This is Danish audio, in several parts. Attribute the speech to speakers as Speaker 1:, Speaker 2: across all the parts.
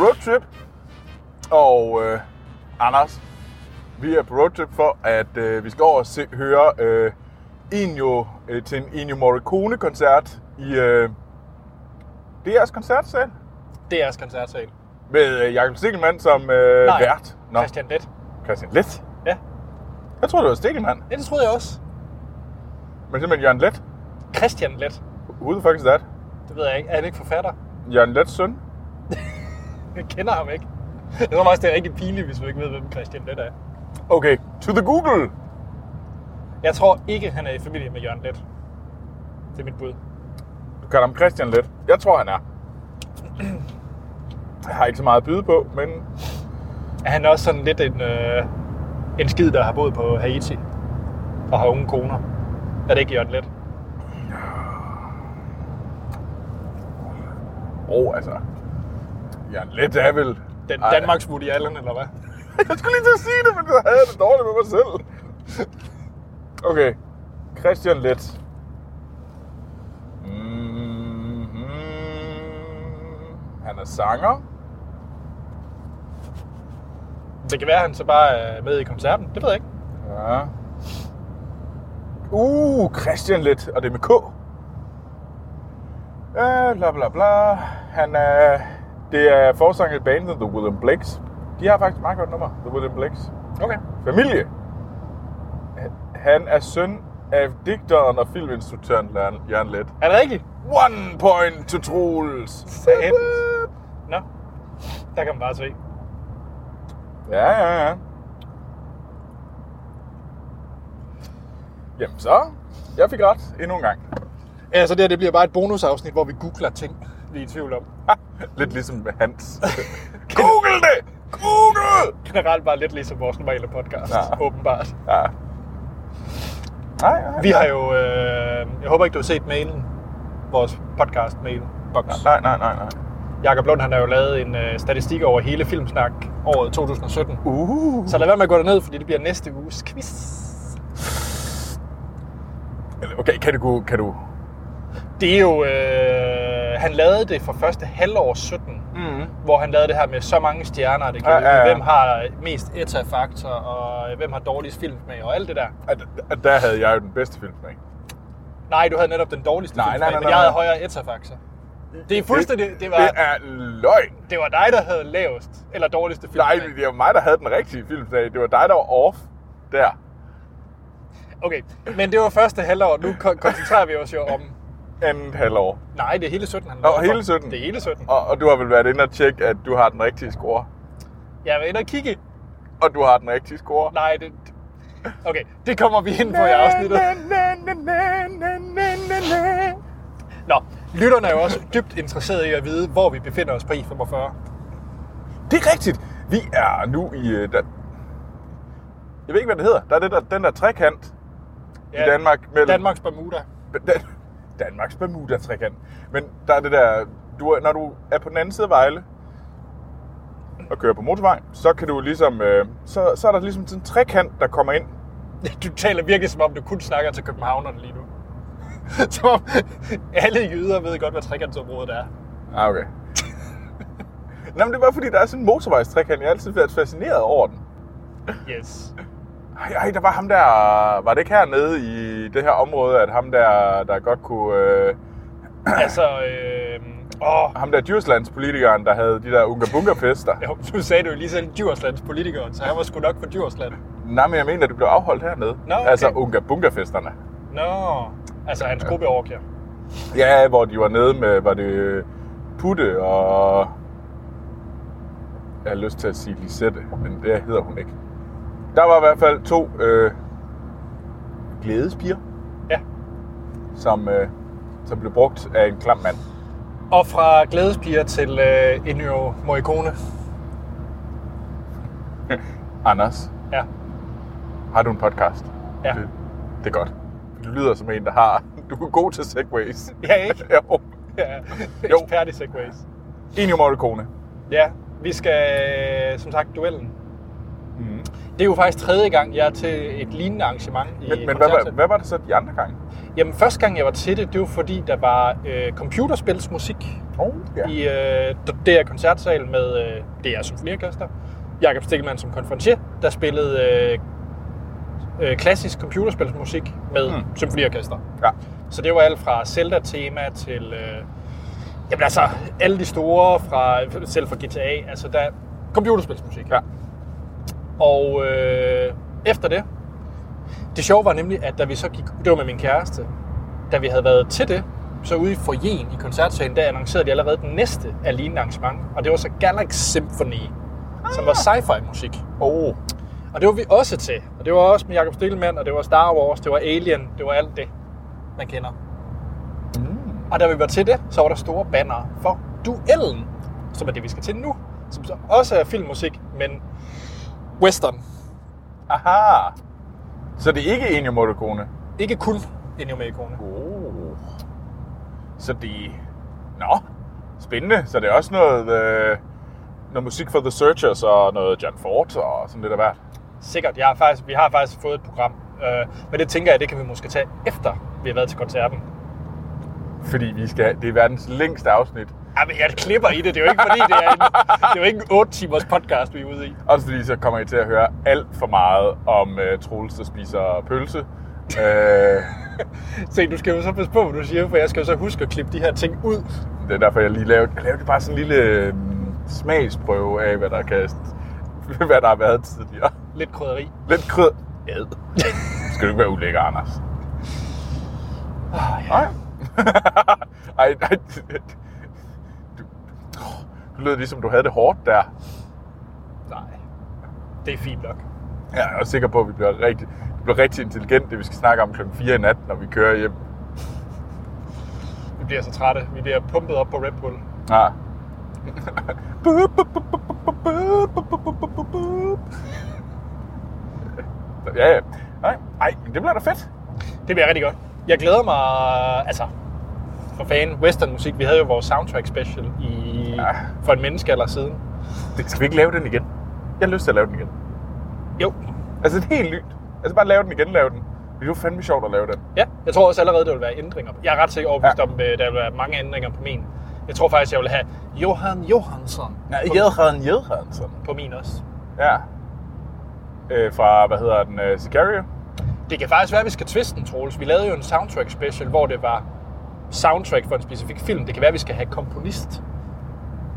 Speaker 1: roadtrip, og øh, Anders, vi er på roadtrip for, at øh, vi skal over og se, høre øh, Inyo, øh, til en Ennio Morricone-koncert i øh, DR's koncertsal
Speaker 2: Det er jeres koncertsal.
Speaker 1: med øh, Jakob Stikkelmann som øh,
Speaker 2: Nej,
Speaker 1: vært.
Speaker 2: Nå. Christian Lett.
Speaker 1: Christian Let.
Speaker 2: Ja,
Speaker 1: Jeg troede, det var Stikkelmann,
Speaker 2: det, det troede jeg også.
Speaker 1: men simpelthen Jørgen Let.
Speaker 2: Christian Lett.
Speaker 1: Who the fuck is that?
Speaker 2: Det ved jeg ikke. Er han ikke forfatter?
Speaker 1: Jørgen Lets søn?
Speaker 2: Jeg kender ham ikke. Jeg tror også, det er rigtig pinligt, hvis vi ikke ved, hvem Christian Lett er.
Speaker 1: Okay, to the Google!
Speaker 2: Jeg tror ikke, han er i familie med Jørgen Lett. Det er mit bud.
Speaker 1: Du kalder ham Christian Let. Jeg tror, han er. Jeg har ikke så meget at byde på, men
Speaker 2: Er han også sådan lidt en, øh, en skid, der har boet på Haiti og har unge koner? Er det ikke Jørgen Lett?
Speaker 1: åh, altså. Jørgen Let er vel...
Speaker 2: Den
Speaker 1: Ej,
Speaker 2: Danmarks Woody Allen, eller hvad?
Speaker 1: Jeg skulle lige til at sige det, men så havde jeg det dårligt med mig selv. Okay. Christian Let. Mhm. Han er sanger.
Speaker 2: Det kan være, at han så bare er med i koncerten. Det ved jeg ikke.
Speaker 1: Ja. Uh, Christian Let, og det er med K. Uh, bla bla bla. Han er... Det er forsanger i bandet The William Blakes. De har faktisk et meget godt nummer, The William Blakes.
Speaker 2: Okay.
Speaker 1: Familie. Han er søn af digteren og filminstruktøren Lern- Jørgen Let.
Speaker 2: Er det rigtigt?
Speaker 1: One point to Troels.
Speaker 2: Satans. Nå. Der kan man bare se.
Speaker 1: Ja, ja, ja. Jamen så, jeg fik ret endnu en gang.
Speaker 2: Altså det her, det bliver bare et bonusafsnit, hvor vi googler ting, vi er i tvivl om.
Speaker 1: Lidt ligesom med Hans. Google det! Google!
Speaker 2: Generelt bare lidt ligesom vores normale podcast,
Speaker 1: Ja.
Speaker 2: ja. åbenbart.
Speaker 1: Ja. Nej, nej,
Speaker 2: Vi har jo... Øh, jeg håber ikke, du har set mailen. Vores podcast-mail. Box.
Speaker 1: Nej, nej, nej, nej.
Speaker 2: Jakob Lund han har jo lavet en øh, statistik over hele Filmsnak året 2017.
Speaker 1: Uh.
Speaker 2: Så lad være med at gå derned, fordi det bliver næste uges quiz.
Speaker 1: Okay, kan du... Kan du...
Speaker 2: Det er jo... Øh, han lavede det for første halvår 17,
Speaker 1: Mm.
Speaker 2: hvor han lavede det her med så mange stjerner, det giver,
Speaker 1: Ja, ja, ja.
Speaker 2: hvem har mest ETA-faktor, og hvem har dårligst film med, og alt det der.
Speaker 1: At, at der havde jeg jo den bedste film med.
Speaker 2: Nej, du havde netop den dårligste
Speaker 1: Nej, nej,
Speaker 2: filmsmag,
Speaker 1: nej,
Speaker 2: men
Speaker 1: nej,
Speaker 2: jeg havde
Speaker 1: nej.
Speaker 2: højere ETA-faktor. Det er fuldstændig... Det, var,
Speaker 1: Det er løgn.
Speaker 2: det var dig, der havde lavest, eller dårligste film.
Speaker 1: Nej, det var mig, der havde den rigtige film. Det var dig, der var off der.
Speaker 2: Okay, men det var første halvår. Nu ko- koncentrerer vi os jo om...
Speaker 1: Andet halvår.
Speaker 2: Nej, det er hele 17, han
Speaker 1: Nå,
Speaker 2: lavede.
Speaker 1: hele 17.
Speaker 2: Det er hele 17.
Speaker 1: Og, og du har vel været inde og tjekke, at du har den rigtige score.
Speaker 2: Jeg var inde og kigge.
Speaker 1: Og du har den rigtige score.
Speaker 2: Nej, det... det- Okay, det kommer vi ind på i afsnittet.
Speaker 1: Na, na, na, na, na, na, na.
Speaker 2: Nå, lytterne er jo også dybt interesserede i at vide, hvor vi befinder os på I45.
Speaker 1: Det er rigtigt. Vi er nu i... øh, Der... Jeg ved ikke, hvad det hedder. Der er det der, den der trekant ja. i Danmark. Mellem...
Speaker 2: Danmarks Bermuda.
Speaker 1: Dan... Danmarks Bermuda-trekant. Men der er det der... Du, er- når du er på den anden side af Vejle og kører på motorvejen, så kan du ligesom... Øh, så, så er der ligesom sådan en trekant, der kommer ind.
Speaker 2: Du taler virkelig som om, du kun snakker til københavnerne lige nu. som om alle jyder ved godt, hvad trekantsområdet er.
Speaker 1: Ah, okay. Nå, men det er bare fordi, der er sådan en motorvejstrekant. Jeg har altid været fascineret over den.
Speaker 2: Yes.
Speaker 1: Ej, ej, der var ham der... Var det ikke hernede i det her område, at ham der, der godt kunne... Øh,
Speaker 2: Altså, øh... Åh,
Speaker 1: ham der Djurslandspolitikeren, der havde de der unga bunga fester.
Speaker 2: jo, du sagde du jo lige selv Djurslands politiker, så han var sgu nok for Djursland.
Speaker 1: Nej, men jeg mener, at det blev afholdt hernede.
Speaker 2: Nå, okay.
Speaker 1: Altså unga bunga festerne.
Speaker 2: Nå, altså hans gruppe overkær.
Speaker 1: Ja, hvor de var nede med, var det øh, Putte og... Jeg har lyst til at sige Lisette, men det hedder hun ikke. Der var i hvert fald to øh, glædespiger,
Speaker 2: Ja.
Speaker 1: som, øh, som blev brugt af en klam mand.
Speaker 2: Og fra glædespiger til øh, Ennio Morricone.
Speaker 1: Anders,
Speaker 2: Ja,
Speaker 1: har du en podcast?
Speaker 2: ja.
Speaker 1: Det, det er godt. Du lyder som en, der har... Du er god til segways.
Speaker 2: Ja, ikke?
Speaker 1: jo.
Speaker 2: ja.
Speaker 1: Jo.
Speaker 2: Ekspert i segways.
Speaker 1: Ennio Morricone.
Speaker 2: Ja, vi skal øh, som sagt duellen.
Speaker 1: Mm.
Speaker 2: Det er jo faktisk tredje gang, jeg er til et lignende arrangement i
Speaker 1: Men, men hvad,
Speaker 2: koncertsalen.
Speaker 1: hvad, hvad var det så de andre gange?
Speaker 2: Jamen, første gang jeg var til det, det var fordi, der var øh, computerspilsmusik
Speaker 1: Oh, ja.
Speaker 2: i øh, DR Koncertsal med øh, DR Symfoniorkester. Jakob Stikkelmann som konferencier, der spillede øh, øh, klassisk computerspilsmusik med
Speaker 1: Mm.
Speaker 2: mm. symfoniorkester.
Speaker 1: ja.
Speaker 2: Så det var alt fra Zelda-tema til... Øh, jamen altså, alle de store, fra, selv fra GTA, altså der er computerspilsmusik.
Speaker 1: Ja.
Speaker 2: Og øh, efter det, det sjove var nemlig, at da vi så gik, det var med min kæreste, da vi havde været til det, så ude i foyeren i koncertsalen, der annoncerede de allerede den næste af lignende arrangement, og det var så Galaxy Symphony, ah. som var sci-fi musik.
Speaker 1: Oh.
Speaker 2: Og det var vi også til. Og det var også med Jakob Stilman, og det var Star Wars, det var Alien, det var alt det, man kender.
Speaker 1: Mm.
Speaker 2: Og da vi var til det, så var der store banner for Duellen, som er det, vi skal til nu. Som så også er filmmusik, men western.
Speaker 1: Aha. Så det er ikke Ennio Morricone?
Speaker 2: Ikke kun Ennio Morricone.
Speaker 1: Oh. Så det... Nå, spændende. Så det er også noget, øh, noget musik for The Searchers og noget John Ford og sådan lidt af hvert.
Speaker 2: Sikkert. Jeg har faktisk, vi har faktisk fået et program. Øh, men det tænker jeg, det kan vi måske tage efter, vi har været til koncerten.
Speaker 1: Fordi vi skal, det er verdens længste afsnit.
Speaker 2: Ej, men jeg klipper i det. Det er jo ikke, fordi det er en, det er jo ikke en 8 timers podcast, vi er ude i.
Speaker 1: Også fordi så kommer I til at høre alt for meget om øh, Troels, der spiser pølse. øh,
Speaker 2: Se, du skal jo så passe på, hvad du siger, for jeg skal jo så huske at klippe de her ting ud.
Speaker 1: det er derfor, jeg lige lavede, jeg lavede bare sådan en lille øh, smagsprøve af, hvad der, kan, hvad der har været tidligere.
Speaker 2: Lidt krydderi.
Speaker 1: Lidt kryd. Ad. Skal du ikke være ulækker, Anders?
Speaker 2: Ah, ja.
Speaker 1: Nej. ej, ej. Du, du lød ligesom, du havde det hårdt der.
Speaker 2: Nej. Det er fint nok.
Speaker 1: Jeg er også sikker på, at vi bliver rigtig, vi bliver rigtig intelligente. Vi skal snakke om klokken 4 i nat, når vi kører hjem.
Speaker 2: Vi bliver så trætte. Vi bliver pumpet op på Red Bull.
Speaker 1: Ja. ja, ja. Nej, ej, men det bliver da fedt.
Speaker 2: Det bliver rigtig godt. Jeg glæder mig, altså, for fanden, western musik. Vi havde jo vores soundtrack special i,
Speaker 1: Ja.
Speaker 2: ja. for en menneskealder siden.
Speaker 1: Det skal vi ikke lave den igen. Jeg har lyst til at lave den igen.
Speaker 2: Jo,
Speaker 1: Altså, det er helt nyt. Altså, bare lave den igen, lave den. Det er jo fandme sjovt at lave den.
Speaker 2: ja. Jeg tror også allerede, der vil være ændringer. Jeg er ret sikker overbevist
Speaker 1: Ja.
Speaker 2: ja. om, at der vil være mange ændringer på min. Jeg tror faktisk, jeg vil have Johan Johansson på,
Speaker 1: Jedren Jedrensen.
Speaker 2: på min også.
Speaker 1: Ja. Øh, fra, hvad hedder den, øh, Sicario?
Speaker 2: Det kan faktisk være, at vi skal twiste den, Troels. Vi lavede jo en soundtrack special, hvor det var soundtrack for en specifik film. Det kan være, at vi skal have komponist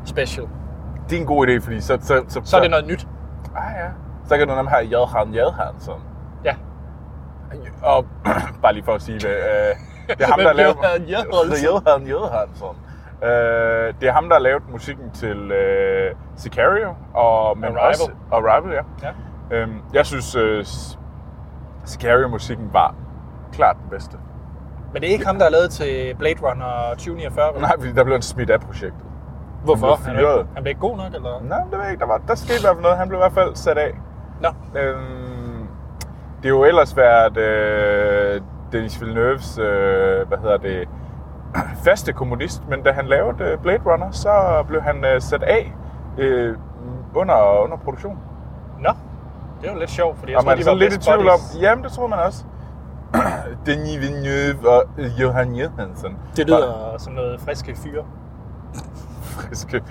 Speaker 2: special.
Speaker 1: Det er en god idé, fordi så... Så, så,
Speaker 2: Så er det noget nyt.
Speaker 1: Ah, ja. Så kan du nemlig have Jedren Jedrensen.
Speaker 2: Ja,
Speaker 1: Og bare lige for at sige det. Øh, det er ham,
Speaker 2: Hvem
Speaker 1: der lavede...
Speaker 2: Jedren Jedrensen?
Speaker 1: Jedren Jedrensen. Øh, det er ham, der har lavet musikken til øh, Sicario og men
Speaker 2: Arrival.
Speaker 1: Også, Arrival, ja.
Speaker 2: ja.
Speaker 1: Øhm, jeg synes, øh, S- Sicario-musikken var klart den bedste.
Speaker 2: Men det er ikke ham, der er lavet til Blade Runner 2049, vel?
Speaker 1: Nej, fordi der blev han smidt af projektet.
Speaker 2: Hvorfor?
Speaker 1: Han
Speaker 2: Han
Speaker 1: blev
Speaker 2: er,
Speaker 1: fyret.
Speaker 2: ikke, han blev ikke god nok, eller?
Speaker 1: Nej, det ved jeg ikke. Der, var, der skete i hvert fald noget. Han blev i hvert fald sat af.
Speaker 2: Nå,
Speaker 1: Øhm, det er jo ellers været øh, Dennis Villeneuve's, øh, hvad hedder det, faste kommunist, men da han lavede øh, Blade Runner, så blev han øh, sat af øh, under, under produktion.
Speaker 2: nå. Det er jo lidt sjovt, fordi jeg
Speaker 1: og
Speaker 2: tror,
Speaker 1: man er
Speaker 2: de var
Speaker 1: sådan altså, lidt i
Speaker 2: best
Speaker 1: tvivl om,
Speaker 2: buddies.
Speaker 1: jamen det tror man også. Denis Villeneuve og øh, Johan Johansson.
Speaker 2: Det lyder som noget friske fyre.
Speaker 1: friske.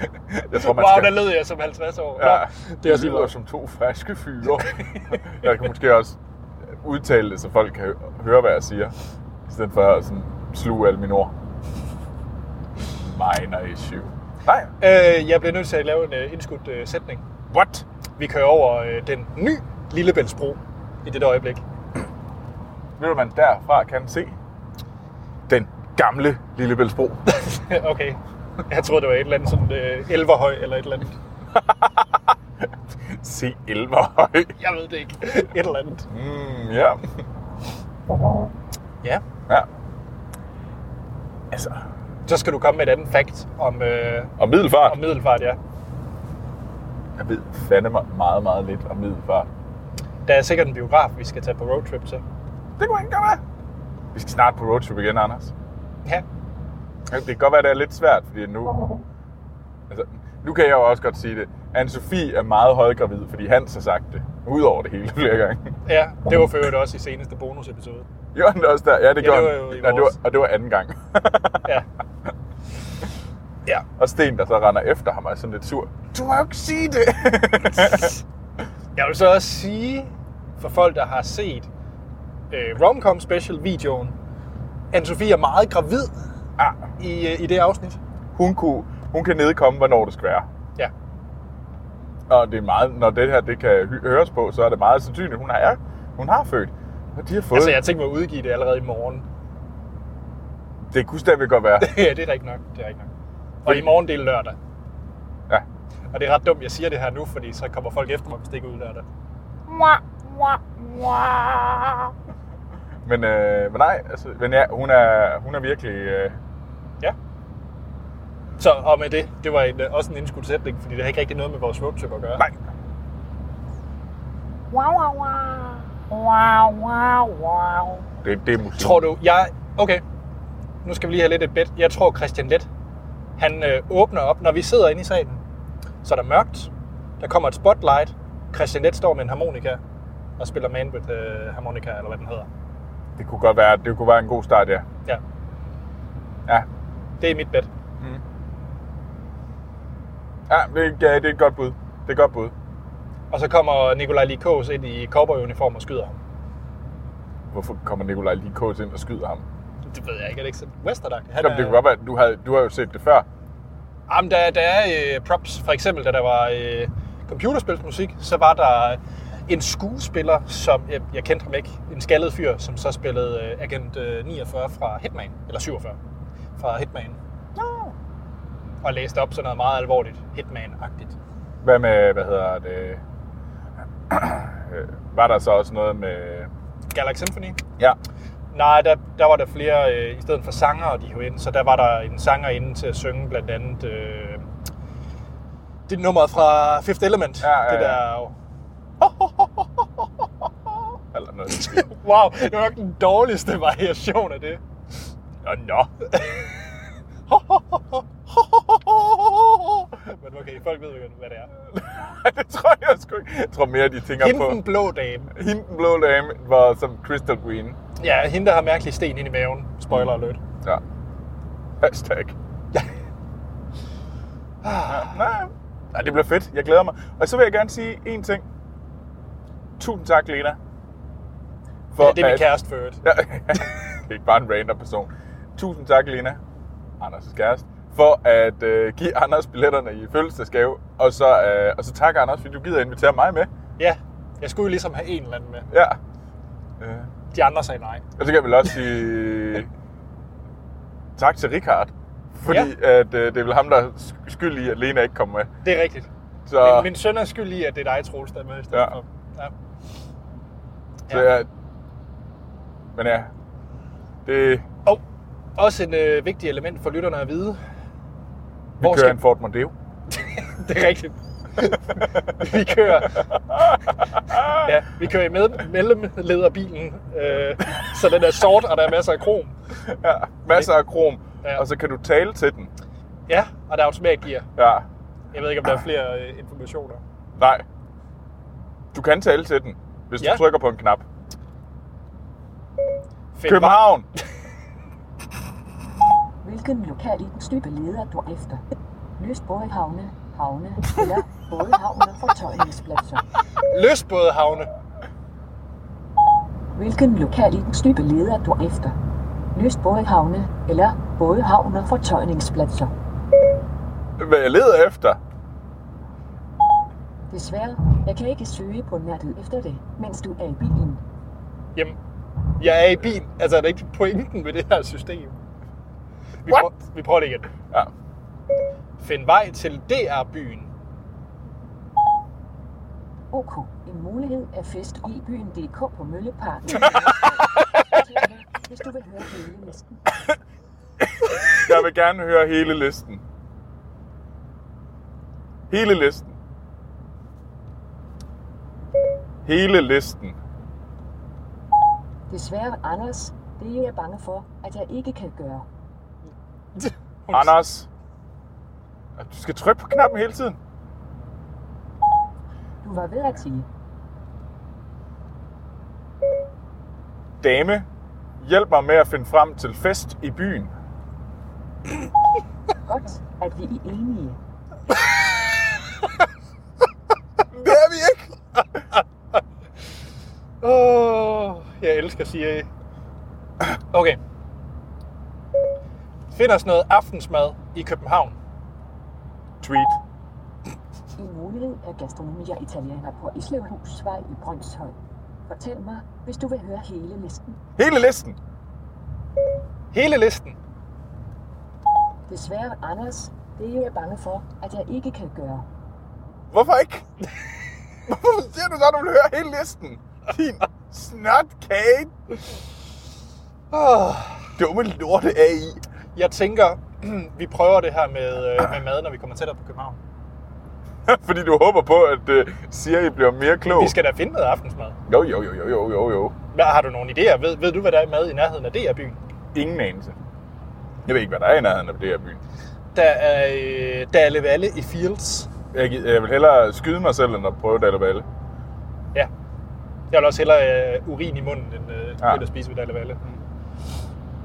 Speaker 1: Jeg tror, man
Speaker 2: Wow,
Speaker 1: skal...
Speaker 2: der lød jeg som 50 år. Nå,
Speaker 1: Ja,
Speaker 2: det er også
Speaker 1: lyder
Speaker 2: lige meget.
Speaker 1: som to friske fyre. jeg kan måske også udtale det, så folk kan hø- høre, hvad jeg siger. I stedet for at sådan, sluge alle mine ord. Minor issue. Nej.
Speaker 2: Øh, jeg bliver nødt til at lave en øh, indskudt øh, sætning.
Speaker 1: What?
Speaker 2: Vi kører over øh, den ny Lillebæltsbro i dette øjeblik.
Speaker 1: Ved du, man derfra kan se den gamle Lillebæltsbro.
Speaker 2: okay. Jeg troede, det var et eller andet sådan øh, elverhøj eller et eller andet.
Speaker 1: Se Elverhøj.
Speaker 2: Jeg ved det ikke. et eller andet.
Speaker 1: Mm, ja.
Speaker 2: Ja.
Speaker 1: ja. Altså,
Speaker 2: Så skal du komme med et andet fact om, øh,
Speaker 1: og Middelfart.
Speaker 2: om Middelfart, ja.
Speaker 1: Jeg ved fandme meget, meget lidt om Middelfart.
Speaker 2: Der er sikkert en biograf, vi skal tage på roadtrip til.
Speaker 1: Det kunne ikke godt være. Vi skal snart på roadtrip igen, Anders.
Speaker 2: Ja.
Speaker 1: Ja, Det kan godt være, det er lidt svært, fordi nu... Altså, nu kan jeg jo også godt sige det. anne Sofie er meget højgravid, fordi Hans har sagt det. Udover det hele flere gange.
Speaker 2: Ja, det var for øvrigt også i seneste bonusepisode.
Speaker 1: Gjorde han det også der? Ja, det
Speaker 2: det
Speaker 1: gjorde
Speaker 2: var
Speaker 1: han.
Speaker 2: jo
Speaker 1: Nej,
Speaker 2: i
Speaker 1: det var,
Speaker 2: morges.
Speaker 1: og det var anden gang.
Speaker 2: Ja. ja.
Speaker 1: og Sten, der så render efter ham, er sådan lidt sur. Du må jo ikke sige det!
Speaker 2: Jeg vil så også sige, for folk, der har set øh, Romcom Special-videoen, anne Sofie er meget gravid
Speaker 1: ah,
Speaker 2: i, øh, i det afsnit.
Speaker 1: hun, kunne, hun kan nedkomme, hvornår det skal være.
Speaker 2: Ja.
Speaker 1: Og det er meget, når det her det kan hy- høres på, så er det meget sandsynligt, hun har, hun har født. Og de har fået.
Speaker 2: Altså, jeg tænkte mig at udgive det allerede i morgen.
Speaker 1: Det kunne stadigvæk godt være.
Speaker 2: ja, det er rigtigt nok. Det er rigtigt nok. Og i morgen, det er lørdag.
Speaker 1: Ja.
Speaker 2: Og det er ret dumt, jeg siger det her nu, fordi så kommer folk efter mig, hvis det ikke er ud lørdag.
Speaker 1: Men, øh, men nej, altså, men ja, hun er, hun er virkelig... Øh,
Speaker 2: Ja. Så og med det, det var en, øh, også en indskudsætning, fordi det har ikke rigtig noget med vores roadtrip at gøre.
Speaker 1: nej, det, det er musik.
Speaker 2: Tror du, jeg... Okay, nu skal vi lige have lidt et bet. Jeg tror, Christian Let, han øh, åbner op, når vi sidder inde i salen. Så er der mørkt, der kommer et spotlight. Christian Let står med en harmonika og spiller Man with øh, Harmonica, eller hvad den hedder.
Speaker 1: Det kunne godt være, det kunne være en god start, ja.
Speaker 2: Ja,
Speaker 1: Ja, Mm.
Speaker 2: det er mit bet.
Speaker 1: ja det, er- ja, det er et godt bud. Det er et godt bud.
Speaker 2: Og så kommer Nikolaj Likos ind i cowboyuniform og skyder ham.
Speaker 1: Hvorfor kommer Nikolaj lige kås ind og skyder ham?
Speaker 2: Det ved jeg ikke, er det ikke sådan? Westerdag? Han
Speaker 1: Jamen, det kunne godt være, du har, du har jo set det før.
Speaker 2: Jamen, der, der er øh, props. For eksempel, da der var øh, computerspilsmusik, så var der en skuespiller, som jeg, jeg kendte ham ikke, en skaldet fyr, som så spillede øh, Agent øh, 49 fra Hitman, eller 47 fra Hitman.
Speaker 1: No.
Speaker 2: Og læste op sådan noget meget alvorligt Hitman-agtigt.
Speaker 1: Hvad med, hvad hedder det? Øh, var der så også noget med...
Speaker 2: Galaxy Symphony?
Speaker 1: Ja.
Speaker 2: Nej, der, der var der flere, øh, i stedet for sanger, de havde ind, så der var der en sanger inde til at synge blandt andet øh, det nummer fra Fifth Element.
Speaker 1: Ja, ja,
Speaker 2: Det
Speaker 1: ja.
Speaker 2: der,
Speaker 1: Eller noget. i den stil.
Speaker 2: wow, det var nok den dårligste variation af det.
Speaker 1: Nå, nå.
Speaker 2: Men okay, folk ved jo, hvad det er.
Speaker 1: det tror jeg sgu ikke. Jeg tror mere, de tænker
Speaker 2: Hende den
Speaker 1: på...
Speaker 2: blå dame.
Speaker 1: Hende den blå dame var som Crystal Green.
Speaker 2: Ja, hende, der har mærkelig sten ind i maven. Spoiler alert.
Speaker 1: Ja. Hashtag. Nej, nej, det bliver fedt. Jeg glæder mig. Og så vil jeg gerne sige én ting. Tusind tak, Lena. For
Speaker 2: Ja, det er min
Speaker 1: at-
Speaker 2: kæreste for øvrigt.
Speaker 1: Ja, det er ikke bare en random person. Tusind tak, Lena, Anders' kæreste, for at øh, give Anders billetterne i fødselsdagsgave. Og så, øh, og så tak, Anders, fordi du gider invitere mig med.
Speaker 2: Ja, jeg skulle jo ligesom have en eller anden med.
Speaker 1: Ja. Øh,
Speaker 2: De andre sagde nej.
Speaker 1: og så kan jeg vel også sige tak til Richard, fordi ja. at, øh, det er vel ham, der er skyld i, at Lena ikke kom med.
Speaker 2: Det er rigtigt.
Speaker 1: Så,
Speaker 2: Min, min søn er skyld i, at det er dig, Troels, der er med i stedet
Speaker 1: Ja.
Speaker 2: for. Ja.
Speaker 1: så ja. Men ja, det,
Speaker 2: Og også et øh, vigtigt element for lytterne at vide.
Speaker 1: vi
Speaker 2: Hvor
Speaker 1: kører
Speaker 2: skal-
Speaker 1: en Ford Mondeo.
Speaker 2: Det er rigtigt. vi kører... Ja, vi kører i med, mellemlederbilen, øh, så den er sort, og der er masser af krom.
Speaker 1: Ja, masser af krom,
Speaker 2: Ja.
Speaker 1: ja. og så kan du tale til den.
Speaker 2: Ja, og der er automatgear.
Speaker 1: Ja.
Speaker 2: Jeg ved ikke, om der er flere øh, informationer.
Speaker 1: Nej. Du kan tale til den, hvis ja.
Speaker 2: Ja.
Speaker 1: du trykker på en knap.
Speaker 2: Fedt,
Speaker 1: København!
Speaker 3: Hvilken lokalitetstype leder du efter? Løsbåde havne, havne eller bådehavne for tøjningspladser.
Speaker 2: hva'? Løsbådehavne.
Speaker 3: Hvilken lokalitetstype leder du efter? Løsbåde havne eller bådehavne for tøjningspladser.
Speaker 1: Hvad jeg leder efter?
Speaker 3: Desværre, jeg kan ikke søge på nettet efter det, mens du er i bilen.
Speaker 2: Jamen, jeg er i bil. Altså, er det ikke pointen med det her system? Vi,
Speaker 1: What?
Speaker 2: prøver, vi prøver det igen.
Speaker 1: Ja.
Speaker 2: Find vej til DR-byen.
Speaker 3: OK, en mulighed er fest i byen DK på Mølleparken. Hvis du vil høre hele listen.
Speaker 1: Jeg vil gerne høre hele listen. Hele listen. Hele listen.
Speaker 3: Desværre, Anders, det er jeg bange for, at jeg ikke kan gøre.
Speaker 1: Anders. Du skal trykke på knappen hele tiden.
Speaker 3: Du var ved at sige,
Speaker 1: Dame. Hjælp mig med at finde frem til fest i byen.
Speaker 3: Godt, at vi er enige.
Speaker 1: Det er vi ikke.
Speaker 2: Åh, oh, jeg elsker CIA. Okay. Find os noget aftensmad i København.
Speaker 1: Tweet.
Speaker 3: I mulighed er Gastronomia Italiana på Islevhusvej i Brøndshøj. Fortæl mig, hvis du vil høre hele listen.
Speaker 1: Hele listen.
Speaker 2: Hele listen.
Speaker 3: Desværre, Anders, det er jeg bange for, at jeg ikke kan gøre.
Speaker 1: Hvorfor ikke? Hvorfor siger du så, at du vil høre hele listen? Din snot kage.
Speaker 2: Oh,
Speaker 1: Dumme lorte AI.
Speaker 2: jeg tænker, vi prøver det her med, øh, med mad, når vi kommer tættere på København.
Speaker 1: Fordi du håber på, at uh, Siri bliver mere klog.
Speaker 2: Vi skal da finde noget aftensmad.
Speaker 1: Jo, jo, jo, jo, jo, jo, jo.
Speaker 2: Hvad, har du nogle idéer? Ved, ved du, hvad der er i mad i nærheden af DR-byen?
Speaker 1: Ingen anelse. Jeg ved ikke, hvad der er i nærheden af det her byen.
Speaker 2: Der er, øh, der er levalle i Fields.
Speaker 1: Jeg, gi- jeg vil hellere skyde mig selv, end at prøve Dalle Balle.
Speaker 2: Ja. Jeg vil også hellere øh, urin i munden, end øh,
Speaker 1: Ja.
Speaker 2: ja. at spise ved Dalle Valle.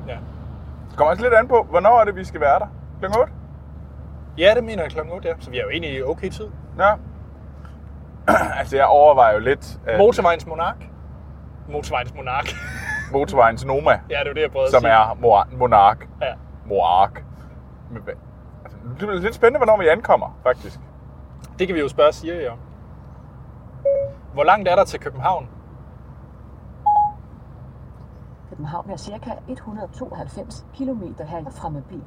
Speaker 2: Ja.
Speaker 1: Det kommer også lidt an på, hvornår er det, vi skal være der? Klokken 8?
Speaker 2: ja, det mener jeg klokken 8, ja. Så vi er jo egentlig i okay tid.
Speaker 1: Ja. altså, jeg overvejer jo lidt at
Speaker 2: Motorvejens monark. Motorvejens monark.
Speaker 1: motorvejens Noma,
Speaker 2: ja, det er jo det, jeg prøvede
Speaker 1: som
Speaker 2: at sige.
Speaker 1: er mor- monark.
Speaker 2: Ja.
Speaker 1: Monark. Men hvad- altså, Det bliver lidt spændende, hvornår vi ankommer, faktisk.
Speaker 2: Det kan vi jo spørge Siri om. Hvor langt er der til København?
Speaker 3: København er ca. 192 km herfra med bil.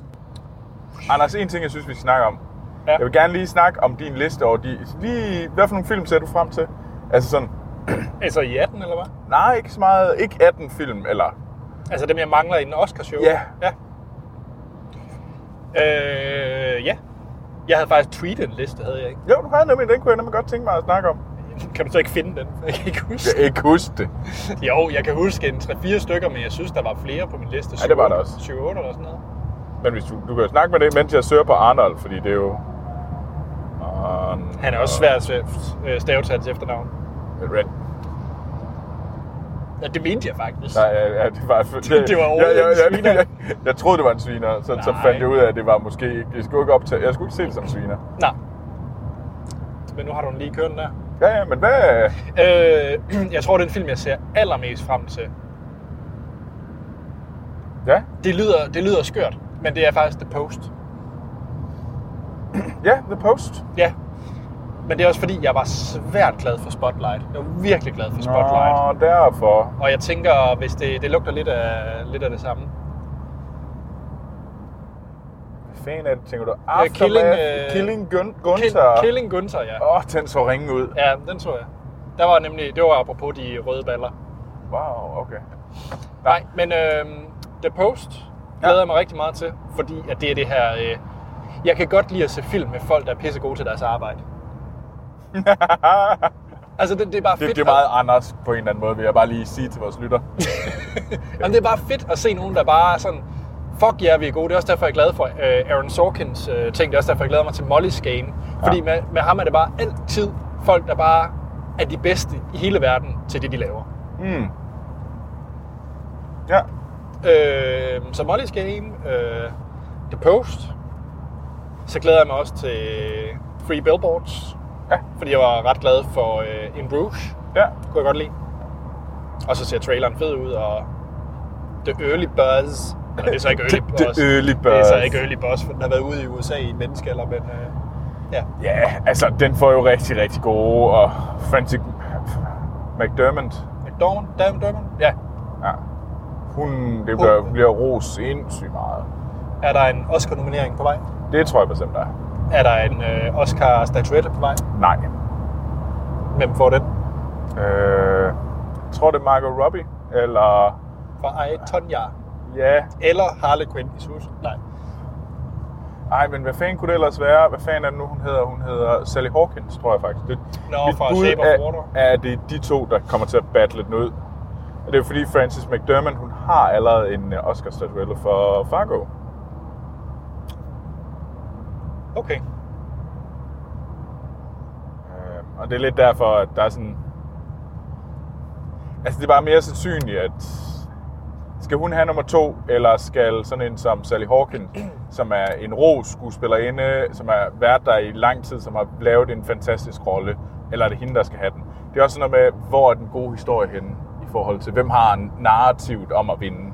Speaker 1: Anders, en ting, jeg synes, vi snakker om.
Speaker 2: Ja.
Speaker 1: Jeg vil gerne lige snakke om din liste over de... Lige, hvad for nogle film ser du frem til? Altså sådan,
Speaker 2: Altså i 18, eller hvad?
Speaker 1: nej, ikke så meget. Ikke 18 film, eller...
Speaker 2: Altså dem, jeg mangler i den Oscars-show?
Speaker 1: Ja.
Speaker 2: ja. Øh, ja. Jeg havde faktisk tweetet en liste, havde jeg ikke.
Speaker 1: Jo, du har nemlig, den kunne jeg nemlig godt tænke mig at snakke om.
Speaker 2: Kan du så ikke finde den? Jeg kan ikke huske.
Speaker 1: Jeg kan ikke huske det.
Speaker 2: Jo, jeg kan huske en 3-4 stykker, men jeg synes, der var flere på min liste.
Speaker 1: Ja, det var der også.
Speaker 2: 7-8 eller sådan noget.
Speaker 1: Men hvis du, du kan jo snakke med det, mens jeg søger på Arnold, fordi det er jo... Arnold.
Speaker 2: Han er også svær at svæ- øh, stave til hans efternavn.
Speaker 1: Red.
Speaker 2: Ja, det mente jeg faktisk.
Speaker 1: Nej, ja, ja, det var... Det,
Speaker 2: det var
Speaker 1: jeg, jeg,
Speaker 2: overhovedet en
Speaker 1: jeg,
Speaker 2: sviner.
Speaker 1: jeg, jeg, troede, det var en sviner, så, så
Speaker 2: Nej.
Speaker 1: fandt jeg ud af, at det var måske... ikke- Jeg skulle ikke, optage, jeg skulle ikke se det som sviner.
Speaker 2: Nej. Men nu har du den lige kørt der.
Speaker 1: Ja, ja, men hvad...
Speaker 2: Øh, jeg tror, det er en film, jeg ser allermest frem til.
Speaker 1: Ja,
Speaker 2: Det lyder, det lyder skørt, men det er faktisk The Post.
Speaker 1: ja, The Post.
Speaker 2: Ja. Men det er også fordi, jeg var svært glad for Spotlight. Jeg var virkelig glad for Spotlight.
Speaker 1: Nå, derfor.
Speaker 2: Og jeg tænker, hvis det, det lugter lidt af, lidt af det samme.
Speaker 1: Hvad fanden er det, tænker du? Aftermath,
Speaker 2: Killing,
Speaker 1: Killing,
Speaker 2: øh,
Speaker 1: Killing Gun- Gunther.
Speaker 2: Kill,
Speaker 1: Åh,
Speaker 2: Killing Gunther, ja.
Speaker 1: oh, den så ringe ud.
Speaker 2: Ja, den så jeg. Der var nemlig, det var apropos de røde baller.
Speaker 1: Wow, okay.
Speaker 2: Nej, men øh, The Post glæder jeg mig rigtig meget til, fordi at det er det her... Øh, jeg kan godt lide at se film med folk, der er pisse gode til deres arbejde. altså, det, det er bare
Speaker 1: Det,
Speaker 2: fedt.
Speaker 1: det er meget Anders på en eller anden måde, vil jeg bare lige sige til vores lytter.
Speaker 2: at, jamen, det er bare fedt at se nogen, der bare er sådan... Fuck ja, vi er gode. Det er også derfor, jeg er glad for øh, Aaron Sorkins øh, ting. Det er også derfor, jeg glæder mig til Molly's Game. Fordi
Speaker 1: Ja.
Speaker 2: med, med ham er det bare altid folk, der bare er de bedste i hele verden til det, de laver.
Speaker 1: Mm. Ja,
Speaker 2: Øh, så Molly's Game, øh, The Post. Så glæder jeg mig også til Free Billboards.
Speaker 1: Ja.
Speaker 2: Fordi jeg var ret glad for øh, In Bruges.
Speaker 1: ja.
Speaker 2: Kunne jeg godt lide. Og så ser traileren fed ud, og The Early Buzz. Eller det er så ikke Early
Speaker 1: The- the
Speaker 2: Buzz.
Speaker 1: early
Speaker 2: Det er så
Speaker 1: buzz.
Speaker 2: ikke Early Buzz, for den har været ude i USA i en menneskealder, men... Øh, ja.
Speaker 1: Ja, altså, den får jo rigtig, rigtig gode, og Francis McDermott,
Speaker 2: McDormand, Damn Dermond. Ja.
Speaker 1: ja. Hun, det bliver, bliver ros sindssygt meget.
Speaker 2: Er der en Oscar-nominering på vej?
Speaker 1: Det tror jeg bestemt, der er.
Speaker 2: Er der en øh, Oscar-statuette på vej?
Speaker 1: Nej.
Speaker 2: Hvem får den?
Speaker 1: Øh, jeg tror, det er Margot Robbie, eller...
Speaker 2: Fra I, Tonja.
Speaker 1: Ja,
Speaker 2: Eller Harley Quinn i sus. Nej.
Speaker 1: Ej, men hvad fanden kunne det ellers være? Hvad fanden er det nu, hun hedder? Hun hedder Sally Hawkins, tror jeg faktisk. Det,
Speaker 2: Nå,
Speaker 1: mit
Speaker 2: fra
Speaker 1: bud
Speaker 2: Shape of
Speaker 1: er-
Speaker 2: Water.
Speaker 1: Er det de to, der kommer til at battle den ud? Og det er jo fordi Frances McDermott, hun har allerede en øh, Oscar-statuelle for Fargo.
Speaker 2: Okay.
Speaker 1: Øhm, Og det er lidt derfor, at der er sådan... Altså, det er bare mere sandsynligt, at Skal hun have nummer to, eller skal sådan en som Sally Hawkins, som er en ro skuespillerinde, som har været der i lang tid, som har lavet en fantastisk rolle, eller er det hende, der skal have den? Det er også sådan noget med, hvor er den gode historie henne i forhold til, hvem har en narrativt om at vinde?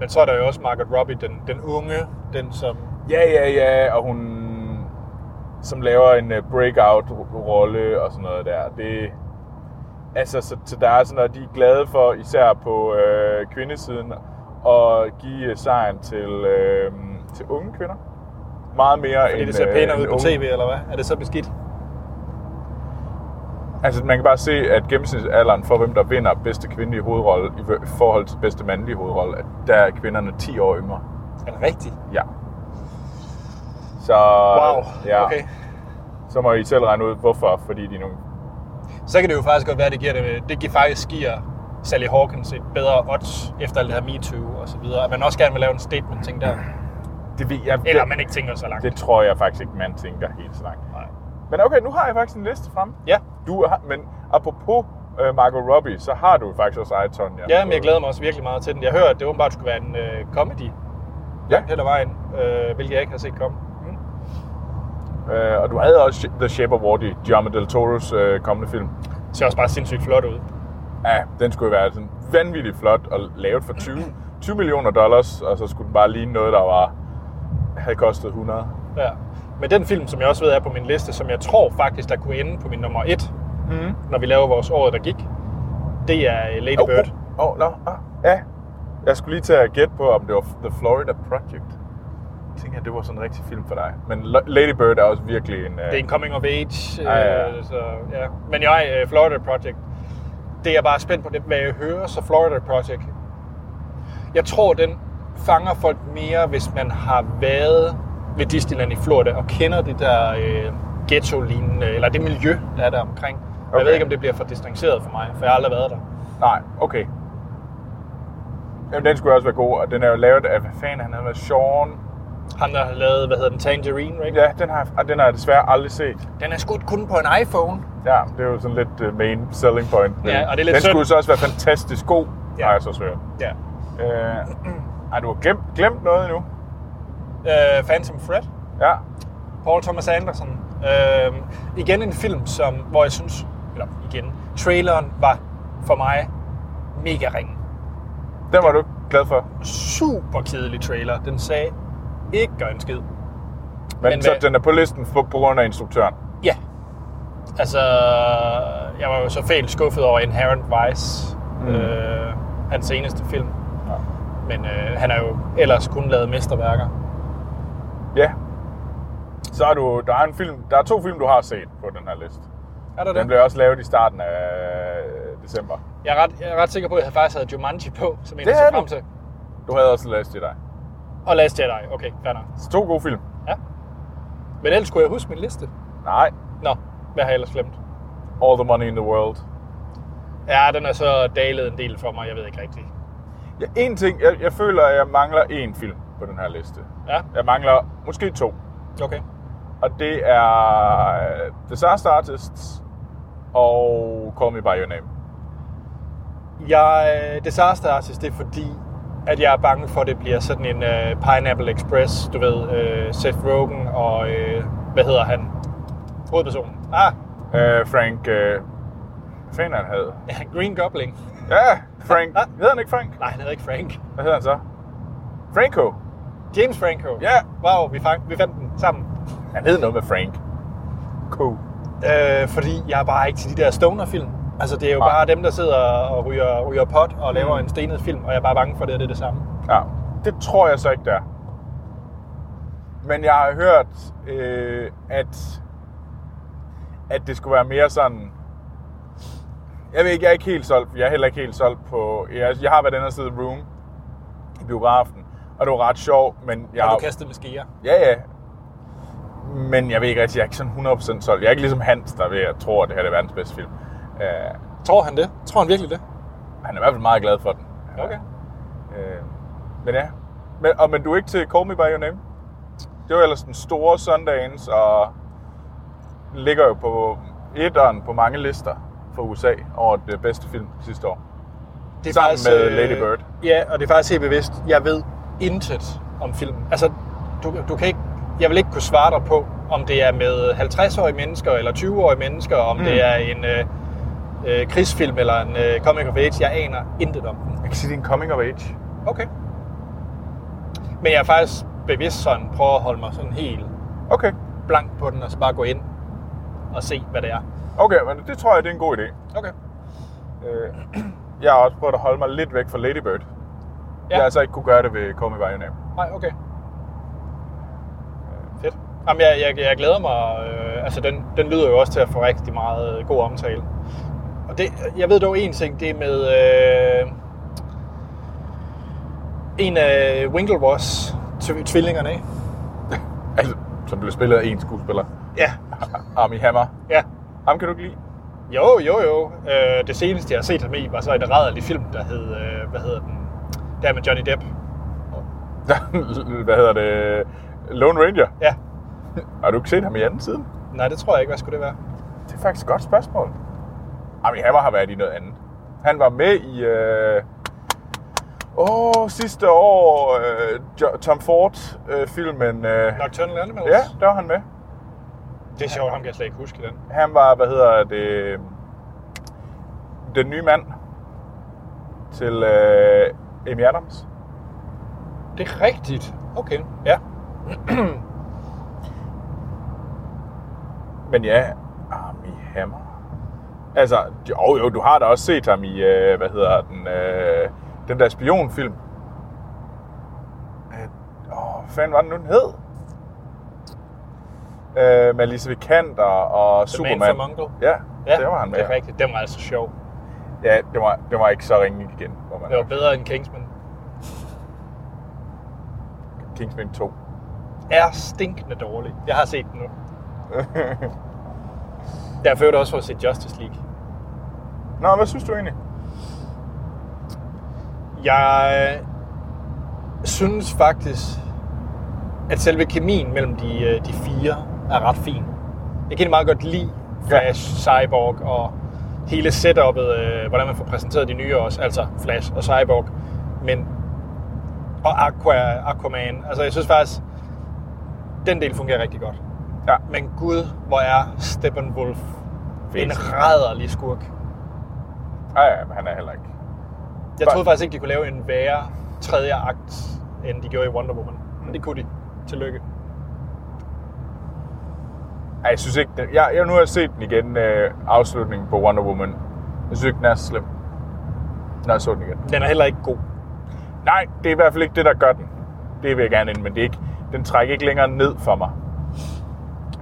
Speaker 2: Men så er der jo også Margaret Robbie, den, den unge, den som...
Speaker 1: Ja, ja, ja, og hun som laver en øh, breakout-rolle og sådan noget der. Det, altså, så, så der er sådan noget, de er glade for, især på øh, kvindesiden, at give øh, sejren til, øh, til unge kvinder. Meget mere
Speaker 2: Fordi
Speaker 1: end
Speaker 2: det ser
Speaker 1: øh,
Speaker 2: pænere ud
Speaker 1: end
Speaker 2: på
Speaker 1: unge.
Speaker 2: tv, eller hvad? Er det så beskidt?
Speaker 1: Altså, man kan bare se, at gennemsnitsalderen for, hvem der vinder bedste kvindelige hovedrolle i v- forhold til bedste mandlige hovedrolle, at der er kvinderne 10 år yngre.
Speaker 2: Er det rigtigt?
Speaker 1: Ja. Så,
Speaker 2: Wow,
Speaker 1: ja,
Speaker 2: okay.
Speaker 1: så må I selv regne ud, hvorfor. Fordi de er nogle
Speaker 2: Så kan det jo faktisk godt være, at det giver, det, det giver faktisk giver Sally Hawkins et bedre odds efter alt det her MeToo og så videre. At man også gerne vil lave en statement, ting der.
Speaker 1: det, ved jeg,
Speaker 2: Eller
Speaker 1: det-
Speaker 2: man ikke tænker så langt.
Speaker 1: Det tror jeg faktisk ikke, man tænker helt så langt.
Speaker 2: Nej.
Speaker 1: Men okay, nu har jeg faktisk en liste frem.
Speaker 2: Ja.
Speaker 1: Du har, men apropos øh, Margot Robbie, så har du faktisk også eget Tonya.
Speaker 2: Ja, men jeg glæder mig også virkelig meget til den. Jeg hører, at det åbenbart skulle være en øh, comedy
Speaker 1: Ja,
Speaker 2: hen ad vejen, øh, hvilket jeg ikke har set komme. Mm.
Speaker 1: øh, og du havde også The Shape of Water, Guillermo del Toro's øh, kommende film.
Speaker 2: Ser også bare sindssygt flot ud.
Speaker 1: Ja, den skulle jo være sådan vanvittigt flot og lavet for 20, 20 millioner dollars, og så skulle den bare ligne noget, der var, havde kostet 100.
Speaker 2: Ja. Men den film, som jeg også ved er på min liste, som jeg tror faktisk, der kunne ende på min nummer et,
Speaker 1: Mm.
Speaker 2: når vi laver vores år, der gik, det er øh, Lady Bird.
Speaker 1: Åh, oh, no, ah, ja. Jeg skulle lige til at gætte på, om det var The Florida Project. Jeg tænker, at det var sådan en rigtig film for dig. Men Lo- Lady Bird er også virkelig en... Uh...
Speaker 2: Det er en coming of age.
Speaker 1: Ja, ja, ja.
Speaker 2: Øh, så, ja. Men jeg, øh, Florida Project, det er jeg bare spændt på, det, hvad jeg hører, så Florida Project. Jeg tror, den fanger folk mere, hvis man har været ved Disneyland i Florida og kender det der øh, ghetto-lignende, eller det miljø, der er der omkring. Okay. Jeg
Speaker 1: Okay.
Speaker 2: ved ikke, om det bliver for distanceret for mig, for jeg har aldrig været der.
Speaker 1: Nej, okay. Jamen, den skulle også være god, og den er jo lavet af, hvad fanden han hedder, Sean...
Speaker 2: Han der har lavet, hvad hedder den, Tangerine, ikke?
Speaker 1: Ja, den har, og den har jeg desværre aldrig set.
Speaker 2: Den er skudt kun på en iPhone.
Speaker 1: Ja, det er jo sådan lidt øh, main selling point.
Speaker 2: Ja, og det er lidt
Speaker 1: den
Speaker 2: synd.
Speaker 1: skulle så også være fantastisk god, ja.
Speaker 2: Ja.
Speaker 1: har jeg så hørt.
Speaker 2: Ja.
Speaker 1: Øh, ej, du har glemt, glemt noget endnu.
Speaker 2: Øh, Phantom Thread.
Speaker 1: Ja,
Speaker 2: Paul Thomas Anderson. Øh, igen en film, som, hvor jeg synes, eller igen, traileren var for mig mega ring.
Speaker 1: den var du ikke glad for.
Speaker 2: Super kedelig trailer. Den sagde ikke gør en skid.
Speaker 1: Men, Men
Speaker 2: Men
Speaker 1: så
Speaker 2: hvad-
Speaker 1: den er på listen for, på grund af instruktøren.
Speaker 2: Ja. Altså, jeg var jo så fælt skuffet over Inherent Vice,
Speaker 1: Mm.
Speaker 2: mm. øh, hans seneste film.
Speaker 1: Ja.
Speaker 2: Men øh, han har jo ellers kun lavet mesterværker.
Speaker 1: ja. Så er du, der er en film, der er to film, du har set på den her liste.
Speaker 2: Er der
Speaker 1: Den
Speaker 2: det?
Speaker 1: blev også lavet i starten af øh, december.
Speaker 2: Jeg, er ret, jeg er ret sikker på, at jeg faktisk havde Jumanji på, som en,
Speaker 1: Det
Speaker 2: jeg så
Speaker 1: havde
Speaker 2: frem
Speaker 1: du.
Speaker 2: til.
Speaker 1: Du havde også læst i dig.
Speaker 2: Og Last Jedi. Okay, fair nok.
Speaker 1: Så to gode film.
Speaker 2: Ja. Men ellers skulle jeg huske min liste.
Speaker 1: Nej.
Speaker 2: Nå, hvad har jeg ellers glemt?
Speaker 1: All the Money in the World.
Speaker 2: Ja, den er så dalet en del for mig, jeg ved ikke rigtigt.
Speaker 1: Ja, en ting, jeg, jeg føler, at jeg mangler én film på den her liste.
Speaker 2: Ja,
Speaker 1: Jeg mangler måske to.
Speaker 2: okay.
Speaker 1: Og det er øh, Disaster Artists og Call Me By Your Name.
Speaker 2: Jeg, øh, Disaster Artist, det er fordi, at jeg er bange for, at det bliver sådan en øh, Pineapple Express, du ved, øh, Seth Rogen og, øh, hvad hedder han? Hovedpersonen. Ah,
Speaker 1: Øh, Frank... Øh, hvad fanden han hed?
Speaker 2: Green Goblin.
Speaker 1: Ja, Frank. Hedder han ikke Frank?
Speaker 2: Nej, han hedder ikke Frank.
Speaker 1: Hvad hedder han så? Franco.
Speaker 2: James Franco.
Speaker 1: Ja.
Speaker 2: Wow, vi, fang, vi fandt den sammen.
Speaker 1: Han hed noget med Frank. Cool.
Speaker 2: Øh, fordi jeg er bare ikke til de der stoner-film. Altså, det er jo
Speaker 1: Nej.
Speaker 2: Nej. bare dem, der sidder og ryger, ryger pot og laver
Speaker 1: Mm.
Speaker 2: en stenet film, og jeg er bare bange for, at det er det, er det samme.
Speaker 1: Ja, det tror jeg så ikke, der. er. Men jeg har hørt, øh, at, at det skulle være mere sådan... Jeg ved ikke, jeg er ikke helt solgt. Jeg er heller ikke helt solgt på... Jeg, jeg har været inde og sidde i Room i biografen, og det var ret sjovt, men jeg
Speaker 2: Ja. Og
Speaker 1: har...
Speaker 2: du kastede med skeer.
Speaker 1: Ja, ja. Men jeg ved ikke rigtig, jeg er ikke sådan 100% solgt. Jeg er ikke ligesom Hans, der ved, at jeg tror, at det her er verdens bedste film. Øh,
Speaker 2: Tror han det? Tror han virkelig det?
Speaker 1: han er i hvert fald meget glad for den.
Speaker 2: Okay.
Speaker 1: Øh, men ja. Men, og, men du er ikke til Call Me By Your Name? Det var ellers den store Sundance, og ligger jo på etteren på mange lister for USA over det bedste film sidste år.
Speaker 2: det er
Speaker 1: Sammen med
Speaker 2: øh,
Speaker 1: Lady Bird.
Speaker 2: Ja, og det er faktisk helt bevidst. Jeg ved intet om filmen. Altså, du, du kan ikke, jeg vil ikke kunne svare dig på, om det er med 50-årige mennesker, eller 20-årige mennesker, om mm. det er en øh, øh, krigsfilm, eller en øh, comic of age. Jeg aner intet om den.
Speaker 1: Jeg kan sige, det er en coming of age.
Speaker 2: Okay. Men jeg er faktisk bevidst sådan, prøver at holde mig sådan helt
Speaker 1: Okay,
Speaker 2: blank på den, og så bare gå ind og se, hvad det er.
Speaker 1: okay, men det tror jeg, det er en god idé.
Speaker 2: Okay.
Speaker 1: Øh, jeg har også prøvet at holde mig lidt væk fra Lady Bird. Ja. Jeg altså ikke kunne gøre det ved Call Me By Your Name.
Speaker 2: Nej, okay. Øh, Fedt. Jamen, jeg, jeg, jeg glæder mig. Øh, altså, den, den lyder jo også til at få rigtig meget øh, god omtale. Og det, jeg ved dog en ting, det er med øh, en af Winklevoss tv- tvillingerne, ikke?
Speaker 1: Altså, som blev spillet af en skuespiller.
Speaker 2: Ja.
Speaker 1: Armie Hammer.
Speaker 2: Ja.
Speaker 1: Ham kan du ikke lide?
Speaker 2: Jo, jo, jo. Øh, det seneste, jeg har set ham i, var så en rædderlig film, der hed, øh, hvad hedder den? Der med Johnny Depp.
Speaker 1: Hvad hedder det? Lone Ranger.
Speaker 2: Ja.
Speaker 1: Har du ikke set ham i anden siden?
Speaker 2: Nej, det tror jeg ikke. Hvad skulle det være?
Speaker 1: Det er faktisk et godt spørgsmål. Armie Hammer har været i noget andet. Han var med i... Øh... Åh, sidste år... Øh, Jo- Tom Ford-filmen... Øh,
Speaker 2: Nocturnal Animals?
Speaker 1: ja, der var han med.
Speaker 2: Det er sjovt, ham kan jeg slet ikke huske i den.
Speaker 1: Han var, hvad hedder det, den nye mand til øh, Amy Adams.
Speaker 2: Det er rigtigt. Okay. Ja.
Speaker 1: Men ja, Armie Hammer. Altså, jo, jo, du har da også set ham i, øh, hvad hedder den, øh, den der spionfilm. Øh, Åh, hvad fanden var den nu, den hed? Øh, med Elisabeth Kanter og
Speaker 2: The Man
Speaker 1: Superman.
Speaker 2: from Uncle.
Speaker 1: Ja, ja, der var han med.
Speaker 2: Det er rigtigt. Den var altså sjov.
Speaker 1: Ja, det var, det var ikke så ringeligt igen, hvor man
Speaker 2: Det var bedre end Kingsman.
Speaker 1: Kingsman 2.
Speaker 2: Er stinkende dårlig. Jeg har set den nu. Jeg har ført også for at se Justice League.
Speaker 1: Nå, hvad synes du egentlig?
Speaker 2: Jeg synes faktisk, at selve kemien mellem de, øh, de fire er ret fin. Jeg kan egentlig meget godt lide Flash, ja. Cyborg og hele setup'et, øh, hvordan man får præsenteret de nye også, altså Flash og Cyborg, men og Aqua, Aquaman. Altså jeg synes faktisk, den del fungerer rigtig godt.
Speaker 1: Ja.
Speaker 2: Men gud, hvor er Steppenwolf en rædderlig skurk.
Speaker 1: Nej, ja, men han er heller ikke.
Speaker 2: Jeg
Speaker 1: Bare-
Speaker 2: troede faktisk ikke, de kunne lave en værre tredje akt, end de gjorde i Wonder Woman.
Speaker 1: Mm.
Speaker 2: Men det kunne de. Tillykke.
Speaker 1: Ej, jeg synes ikke, den, jeg, jeg, nu har jeg set den igen, øh, afslutningen på Wonder Woman. Jeg synes ikke, den er så slem. Når jeg så den igen.
Speaker 2: Den er heller ikke god.
Speaker 1: Nej, det er i hvert fald ikke det, der gør den. Det vil jeg gerne ind, men det er ikke, den trækker ikke længere ned for mig.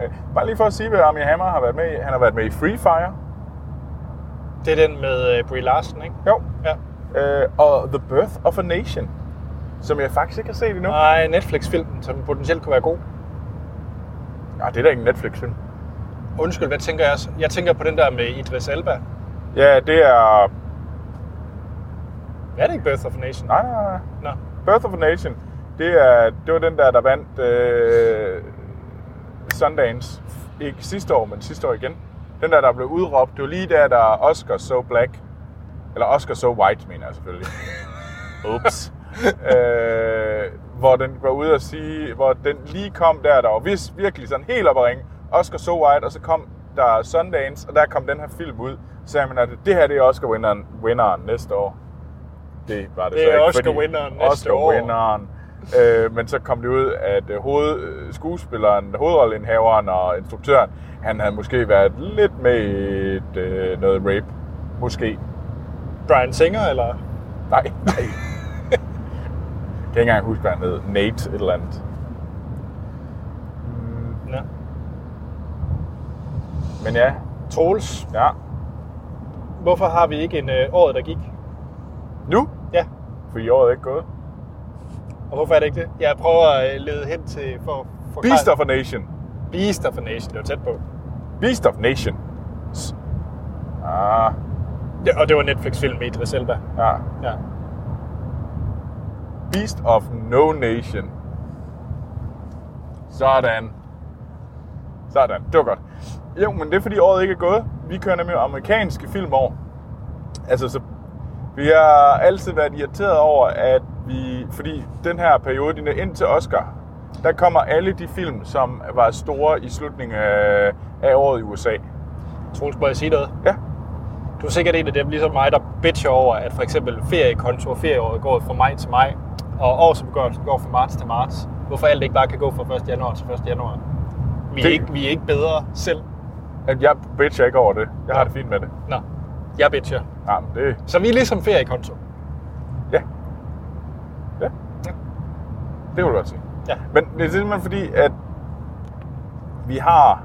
Speaker 1: Øh, bare lige for at sige, hvad Armie Hammer har været med i. Han har været med i Free Fire.
Speaker 2: Det er den med øh, Brie Larson, ikke?
Speaker 1: Jo.
Speaker 2: Ja.
Speaker 1: Øh, og The Birth of a Nation. Som jeg faktisk ikke har set endnu.
Speaker 2: Nej, Netflix-filmen, som potentielt kunne være god.
Speaker 1: Nej, det er da ikke en Netflix-film.
Speaker 2: Undskyld, hvad tænker jeg også? Jeg tænker på den der med Idris Elba.
Speaker 1: Ja, det er...
Speaker 2: Er det ikke Birth of a Nation?
Speaker 1: Nej, nej, nej.
Speaker 2: Nå.
Speaker 1: Birth of a Nation, det, er, det var den der, der vandt øh, Sundance. Ikke sidste år, men sidste år igen. Den der, der blev udråbt, det var lige der, der er Oscar So Black. Eller Oscar So White, mener jeg selvfølgelig. Ups. øh, hvor den var ude og sige, hvor den lige kom der, der var vis, virkelig sådan helt op at ringe. Oscar So White, og så kom der Sundance, og der kom den her film ud. Så sagde man, at det her det er Oscar-vinderen vinderen næste år. Det var det,
Speaker 2: Det
Speaker 1: så
Speaker 2: er
Speaker 1: ikke,
Speaker 2: Oscar-vinderen
Speaker 1: fordi-
Speaker 2: næste år.
Speaker 1: Oscar-vinderen. Øh, men så kom det ud, at øh, hoved, øh, skuespilleren, hovedrollenhaveren og instruktøren, han havde måske været lidt med i et, øh, noget rape. Måske.
Speaker 2: Brian Singer, eller?
Speaker 1: Nej, nej. jeg kan ikke engang huske, hvad han hed. Nate et eller andet.
Speaker 2: Nå.
Speaker 1: Men ja,
Speaker 2: Troels,
Speaker 1: ja.
Speaker 2: hvorfor har vi ikke en øh, året, der gik?
Speaker 1: Nu?
Speaker 2: Ja.
Speaker 1: For i året er ikke gået.
Speaker 2: Og hvorfor er det ikke det? Jeg prøver at øh, lede hen til... For, for
Speaker 1: Beast of a Nation.
Speaker 2: Beast of a Nation, det var tæt på.
Speaker 1: Beast of Nation. S- Ah,
Speaker 2: Ja, og det var Netflix-film med Idris Elba.
Speaker 1: ja.
Speaker 2: Ja.
Speaker 1: Beast of No Nation. Sådan. Sådan, det var godt. Jo, men det er fordi året ikke er gået. Vi kører nemlig amerikanske film over. Altså, så Vi har altid været irriteret over, at vi, fordi den her periode, den er ind til Oscar, der kommer alle de film, som var store i slutningen af, af året i USA.
Speaker 2: Troels, må jeg sige noget?
Speaker 1: Ja,
Speaker 2: Du er sikkert en af dem, ligesom mig, der bitcher over, at for eksempel feriekonto og ferieåret går fra maj til maj, og årsopgørelsen går fra marts til marts. Hvorfor alt ikke bare kan gå fra 1. januar til 1. januar? Vi er,
Speaker 1: Det-
Speaker 2: ikke, vi er ikke bedre selv.
Speaker 1: Jamen, jeg bitcher ikke over det. Jeg har det fint med det.
Speaker 2: Nå, jeg bitcher.
Speaker 1: Jamen, det...
Speaker 2: Så vi er ligesom feriekonto.
Speaker 1: Ja. Ja.
Speaker 2: Ja.
Speaker 1: Det vil du godt sige.
Speaker 2: Ja.
Speaker 1: Men det er simpelthen fordi, at vi har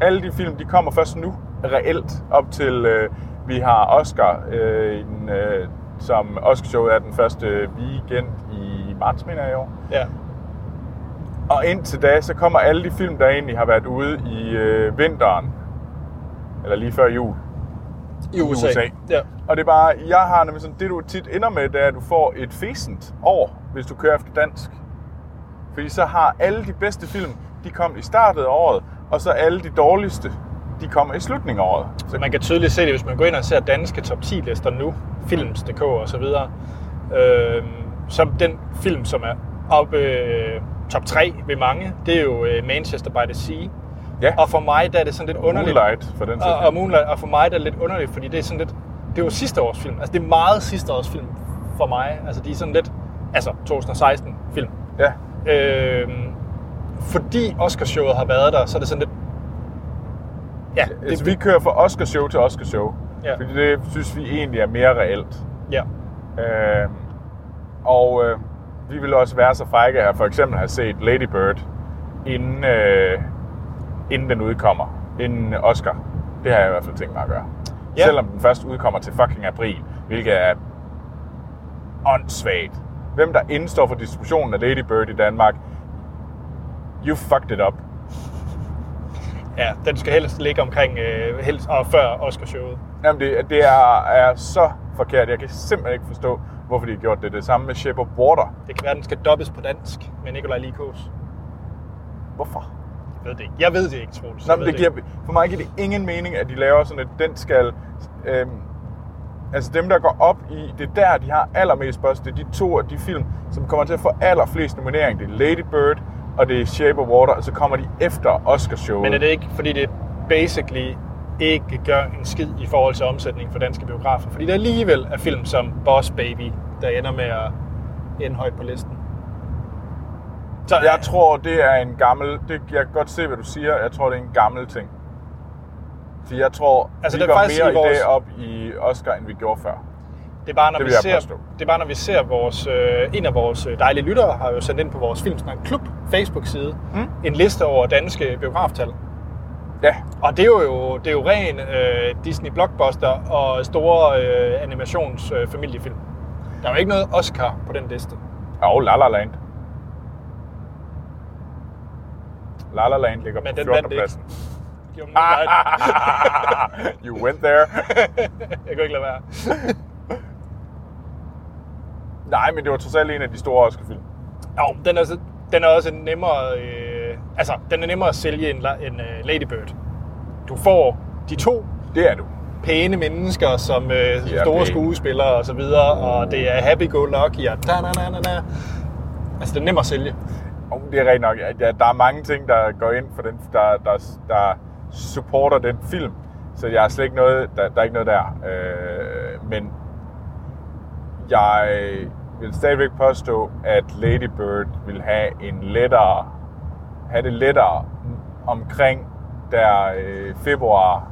Speaker 1: alle de film, de kommer først nu, reelt, op til øh, vi har Oscar, øh, i den, øh, som Oscarshowet er den første weekend i marts, mener jeg i år.
Speaker 2: Ja.
Speaker 1: Og indtil da, så kommer alle de film, der egentlig har været ude i øh, vinteren, eller lige før jul,
Speaker 2: I USA.
Speaker 1: USA.
Speaker 2: Ja.
Speaker 1: Og det er bare, jeg har nemlig sådan, det du tit ender med, det er, at du får et fæsent over, hvis du kører efter dansk. Fordi så har alle de bedste film, de kom i startet af året, og så alle de dårligste, de kommer i slutningen af året. Så
Speaker 2: Så man kan tydeligt se det, hvis man går ind og ser danske top 10 lister nu, films.dk og så videre. Øh, så den film, som er oppe øh, top 3 ved mange, det er jo øh, Manchester by the Sea.
Speaker 1: ja,
Speaker 2: Og for mig der er det sådan lidt underligt.
Speaker 1: Moonlight for den
Speaker 2: Og,
Speaker 1: sags
Speaker 2: og
Speaker 1: skyld.
Speaker 2: Moonlight, og for mig der er det lidt underligt, fordi det er sådan lidt, det er jo sidste års film. Altså det er meget sidste års film for mig. Altså de er sådan lidt, altså 2016 film.
Speaker 1: Ja,
Speaker 2: Øh, fordi Oscarshowet har været der, så er det sådan lidt, ja,
Speaker 1: det, Altså, vi kører fra Oscarshow til Oscarshow.
Speaker 2: Ja.
Speaker 1: Fordi det synes vi egentlig er mere reelt.
Speaker 2: ja.
Speaker 1: Øh, og øh, vi ville også være så frække at for eksempel have set Lady Bird, inden, øh, inden den udkommer. Inden Oscar. Det har jeg i hvert fald tænkt mig at gøre.
Speaker 2: Ja.
Speaker 1: Ja. Selvom den først udkommer til fucking april, hvilket er åndssvagt. Hvem der indstår for distributionen af Lady Bird i Danmark, you fucked it up.
Speaker 2: Ja, den skal helst ligge omkring, øh, helst, og før Oscarshowet.
Speaker 1: Jamen, det, det er, er så forkert. Jeg kan simpelthen ikke forstå, hvorfor de har gjort det. Det samme med Shape of Water.
Speaker 2: Det kan være, den skal dobbes på dansk med Nikolaj Likos.
Speaker 1: Hvorfor?
Speaker 2: Jeg ved det ikke. Jeg ved det ikke, Troels.
Speaker 1: Nå,
Speaker 2: Jeg
Speaker 1: men
Speaker 2: ved
Speaker 1: det giver,
Speaker 2: ikke.
Speaker 1: for mig giver det ingen mening, at de laver sådan, at den skal... Øhm, altså dem, der går op i... Det er der, de har allermest buzz. Det er de to af de film, som kommer til at få allerflest nominering. Det er Lady Bird, og det er Shape of Water, og så kommer de efter Oscarshowet.
Speaker 2: Men er det ikke, fordi det basically ikke gør en skid i forhold til omsætning for danske biografer? Fordi der alligevel er film som Boss Baby, der ender med at ende højt på listen. Så
Speaker 1: Jeg tror, det er en gammel... Det, jeg kan godt se, hvad du siger. Jeg tror, det er en gammel ting. For jeg tror, altså,
Speaker 2: Altså, det
Speaker 1: vi
Speaker 2: er
Speaker 1: går
Speaker 2: faktisk
Speaker 1: mere
Speaker 2: i
Speaker 1: i,
Speaker 2: vores-
Speaker 1: dag op i Oscar, end vi gjorde før.
Speaker 2: Det er bare, når,
Speaker 1: Det
Speaker 2: det
Speaker 1: vil
Speaker 2: vi,
Speaker 1: jeg
Speaker 2: ser,
Speaker 1: påstå.
Speaker 2: det er bare, når vi ser vores, øh, en af vores øh, dejlige lyttere, har jo sendt ind på vores Filmsnak Klub Facebook-side, mm.
Speaker 1: Mm.
Speaker 2: en liste over danske biograftal.
Speaker 1: Ja,
Speaker 2: Og det er jo, det er jo ren øh, Disney blockbuster og store øh, animationsfamiliefilm. Øh, familiefilm. der er jo ikke noget Oscar på den liste.
Speaker 1: og La La Land. La La Land ligger
Speaker 2: Men
Speaker 1: på
Speaker 2: den
Speaker 1: 14.
Speaker 2: vandt ikke.
Speaker 1: pladsen.
Speaker 2: Det gjorde Moonlight.
Speaker 1: you went there.
Speaker 2: Jeg kunne ikke lade være.
Speaker 1: Nej, men det var trods alt en af de store Oscar-film.
Speaker 2: Jo, den er, så- den er også en nemmere, øh, altså, den er nemmere at sælge end, La- end uh, Lady Bird. Du får de to
Speaker 1: Det er du.
Speaker 2: pæne mennesker som øh,
Speaker 1: De er
Speaker 2: store
Speaker 1: pæne.
Speaker 2: skuespillere og så videre, og det er happy-go-lucky og da, na, na, na, na. Altså, det er nemt at sælge.
Speaker 1: Og det er rigtigt nok. at Ja, der er mange ting, der går ind for den, der, der, der supporter den film. Så jeg er slet ikke noget, der, der er ikke noget der. Øh, men jeg vil stadigvæk påstå, at Lady Bird vil have en lettere, have det lettere omkring der øh, februar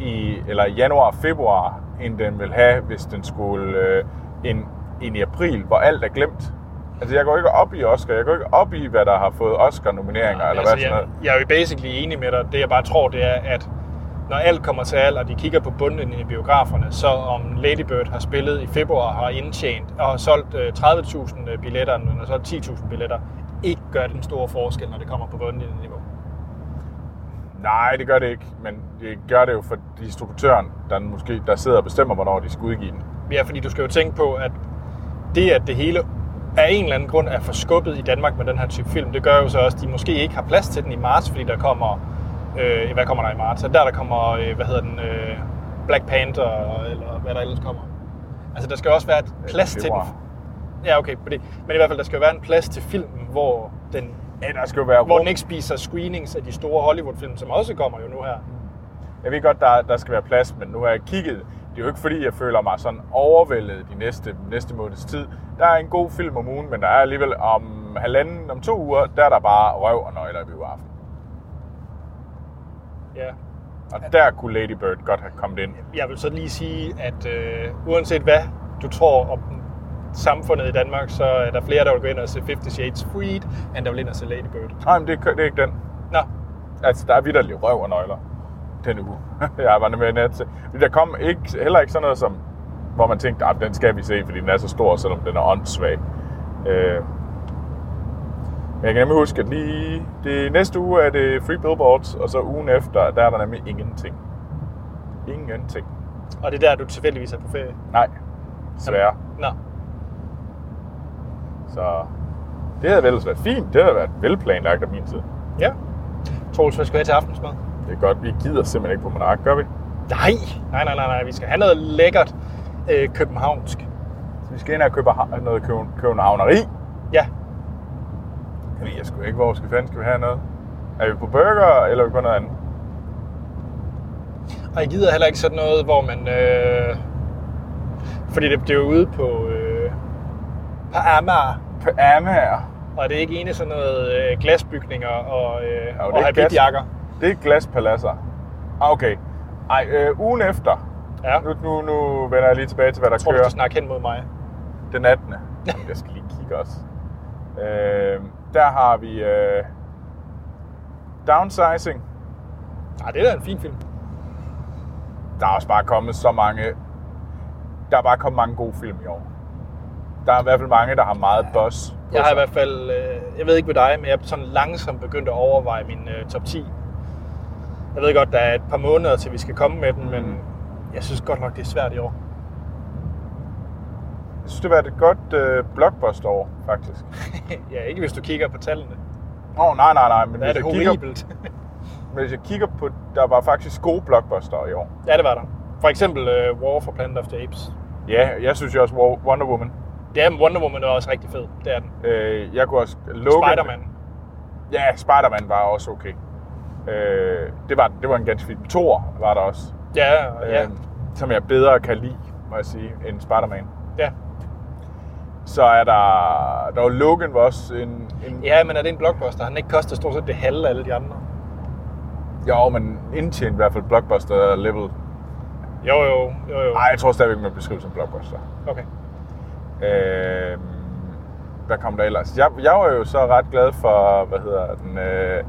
Speaker 1: i, eller januar februar, end den vil have, hvis den skulle øh, ind, ind i april, hvor alt er glemt. Altså, jeg går ikke op i Oscar. Jeg går ikke op i, hvad der har fået Oscar-nomineringer, ja, eller altså, hvad sådan
Speaker 2: jeg,
Speaker 1: noget.
Speaker 2: jeg er jo basically enig med dig. Det jeg bare tror, det er, at når alt kommer til alt, og de kigger på bunden i biograferne, så om Lady Bird har spillet i februar, har indtjent og har solgt øh, 30.000 billetter, eller har solgt 10.000 billetter, ikke gør den store forskel, når det kommer på bundlinjeniveau.
Speaker 1: Nej, det gør det ikke. Men det gør det jo for distributøren, der måske der sidder og bestemmer, hvornår de skal udgive den.
Speaker 2: Ja, fordi du skal jo tænke på, at det, at det hele af en eller anden grund er forskubbet i Danmark med den her type film, det gør jo så også, at de måske ikke har plads til den i marts, fordi der kommer, øh, hvad kommer der i marts? Er det Der, der kommer, øh, hvad hedder den, øh, Black Panther, eller hvad der ellers kommer. Altså, der skal jo også være et plads til den.
Speaker 1: øh, februar.
Speaker 2: Ja, okay. Fordi, men i hvert fald, der skal jo være en plads til filmen, hvor den,
Speaker 1: Ja, der skal jo være
Speaker 2: hvor
Speaker 1: rum.
Speaker 2: den ikke spiser screenings af de store Hollywood-film, som også kommer jo nu her.
Speaker 1: Jeg ved godt, der, der skal være plads, men nu har jeg kigget. Det er jo ikke fordi, jeg føler mig sådan overvældet de næste, næste måneds tid. Der er en god film om ugen, men der er alligevel om halvanden, om to uger, der er der bare røv og nøgler i biografen.
Speaker 2: Ja.
Speaker 1: Og der kunne Lady Bird godt have kommet ind.
Speaker 2: Jeg vil så lige sige, at øh, uanset hvad du tror om samfundet i Danmark, så er der flere, der vil gå ind og se 50 Shades Freed, end der vil ind og se Lady Bird.
Speaker 1: Nej, men det, er- det er ikke den.
Speaker 2: Nå,
Speaker 1: Altså, der er vidderlig røv og nøgler den uge. jeg var nemlig net til. Der kom ikke, heller ikke sådan noget som, hvor man tænkte, at den skal vi se, fordi den er så stor, selvom den er åndssvag. Øh. Men jeg kan nemlig huske, at lige det næste uge er det Free Billboards, og så ugen efter, der er der nemlig ingenting. Ingenting.
Speaker 2: og det er der, du tilfældigvis er på ferie.
Speaker 1: Nej, desværre.
Speaker 2: Nå,
Speaker 1: Så det havde vel også været fint. Det havde været velplanlagt af min side.
Speaker 2: ja. Troels, hvad skal vi have til aftensmad?
Speaker 1: Det er godt, vi gider simpelthen ikke på Monark, gør vi?
Speaker 2: Nej, nej, nej, nej, nej. Vi skal have noget lækkert øh, københavnsk.
Speaker 1: Så vi skal ind og købe ha- noget køben- københavneri.
Speaker 2: Ja,
Speaker 1: Jeg ved jeg sgu ikke, hvor skal fanden skal vi have noget? Er vi på burger, eller er vi på noget andet?
Speaker 2: og jeg gider heller ikke sådan noget, hvor man... Øh, fordi det, det er jo ude på, øh, på Amager,
Speaker 1: På Amager.
Speaker 2: og det er ikke ene sådan noget øh, glasbygninger og, øh,
Speaker 1: det
Speaker 2: og
Speaker 1: ikke glas?
Speaker 2: habitjakker.
Speaker 1: Det er glaspaladser. Ah, okay. Ej, øh, ugen efter.
Speaker 2: Ja,
Speaker 1: Nu, nu, nu vender jeg lige tilbage til, hvad der
Speaker 2: jeg tror, du
Speaker 1: kører
Speaker 2: skal snakke hen mod mig.
Speaker 1: den 18. Jamen, jeg skal lige kigge også. Øh, der har vi øh, downsizing.
Speaker 2: Nej, Ah, det er da en fin film.
Speaker 1: Der er også bare kommet så mange... Der er bare kommet mange gode film i år. Der er i hvert fald mange, der har meget buzz. på
Speaker 2: Jeg har i
Speaker 1: sig.
Speaker 2: hvert fald, øh, jeg ved ikke med dig, men jeg er sådan langsomt begyndt at overveje min øh, top 10. Jeg ved godt, der er et par måneder til, vi skal komme med den, men jeg synes godt nok, det er svært i år.
Speaker 1: Jeg synes, det har været et godt øh, blockbuster-år, faktisk.
Speaker 2: ja, ikke hvis du kigger på tallene.
Speaker 1: Åh, oh, nej, nej, nej. Men
Speaker 2: Der er
Speaker 1: hvis
Speaker 2: det
Speaker 1: jeg kigger,
Speaker 2: horribelt.
Speaker 1: Men hvis jeg kigger på, der var faktisk gode blockbuster i år.
Speaker 2: ja, det var der. For eksempel uh, War for Planet of the Apes.
Speaker 1: Ja, jeg synes jo også Wo- Wonder Woman.
Speaker 2: Ja, men Wonder Woman er også rigtig fed. Det er den.
Speaker 1: Øh, jeg kunne også lukke...
Speaker 2: Spider-Man.
Speaker 1: Ja, Spider-Man var også okay. Øh, det, var, det var en ganske fin Thor var der også.
Speaker 2: Ja, og- ja,
Speaker 1: Øh, som jeg bedre kan lide, må jeg sige, end Spider-Man.
Speaker 2: ja.
Speaker 1: Så er der... Der var Logan var også en... en
Speaker 2: Ja, men er det en blockbuster? Han ikke koster stort set det halve af alle de andre.
Speaker 1: Jo, men indtjent i hvert fald blockbuster-level.
Speaker 2: Jo, jo, jo, jo.
Speaker 1: Nej, jeg tror stadigvæk, man beskriver som blockbuster.
Speaker 2: Okay.
Speaker 1: Øh, hvad kom der ellers? Jeg, jeg var jo så ret glad for, hvad hedder den, øh,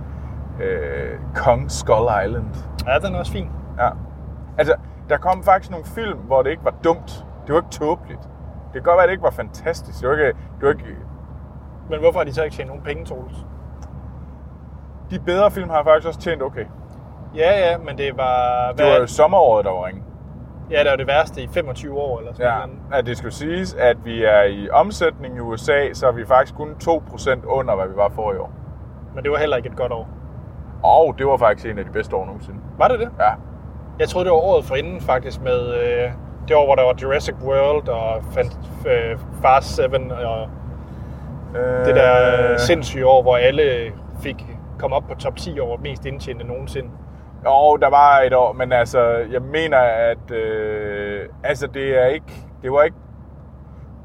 Speaker 1: øh, Kong Skull Island.
Speaker 2: Ja, den er også fin.
Speaker 1: Ja. Altså, der kom faktisk nogle film, hvor det ikke var dumt. Det var ikke tåbeligt. Det kan godt være, at det ikke var fantastisk. Det var ikke, det var ikke,
Speaker 2: Men hvorfor har de så ikke tjent nogen penge, Troels?
Speaker 1: de bedre film har faktisk også tjent okay.
Speaker 2: Ja, ja, men det var...
Speaker 1: Det var jo sommeråret, der var ringe.
Speaker 2: Ja, det var det værste i 25 år eller sådan
Speaker 1: Ja,
Speaker 2: noget.
Speaker 1: at det skulle siges, at vi er i omsætning i USA, så er vi faktisk kun 2% under, hvad vi var for i år.
Speaker 2: Men det var heller ikke et godt år.
Speaker 1: Og det var faktisk en af de bedste år nogensinde.
Speaker 2: Var det det?
Speaker 1: Ja,
Speaker 2: Jeg troede, det var året for inden faktisk med... Øh, det år, hvor der var Jurassic World og Fan- øh, Fast 7 og det der øh... sindssyge år, hvor alle fik kom op på top 10 over mest indtjente nogensinde.
Speaker 1: Jo, der var et år, men altså, jeg mener, at øh, altså, det er ikke, det var ikke,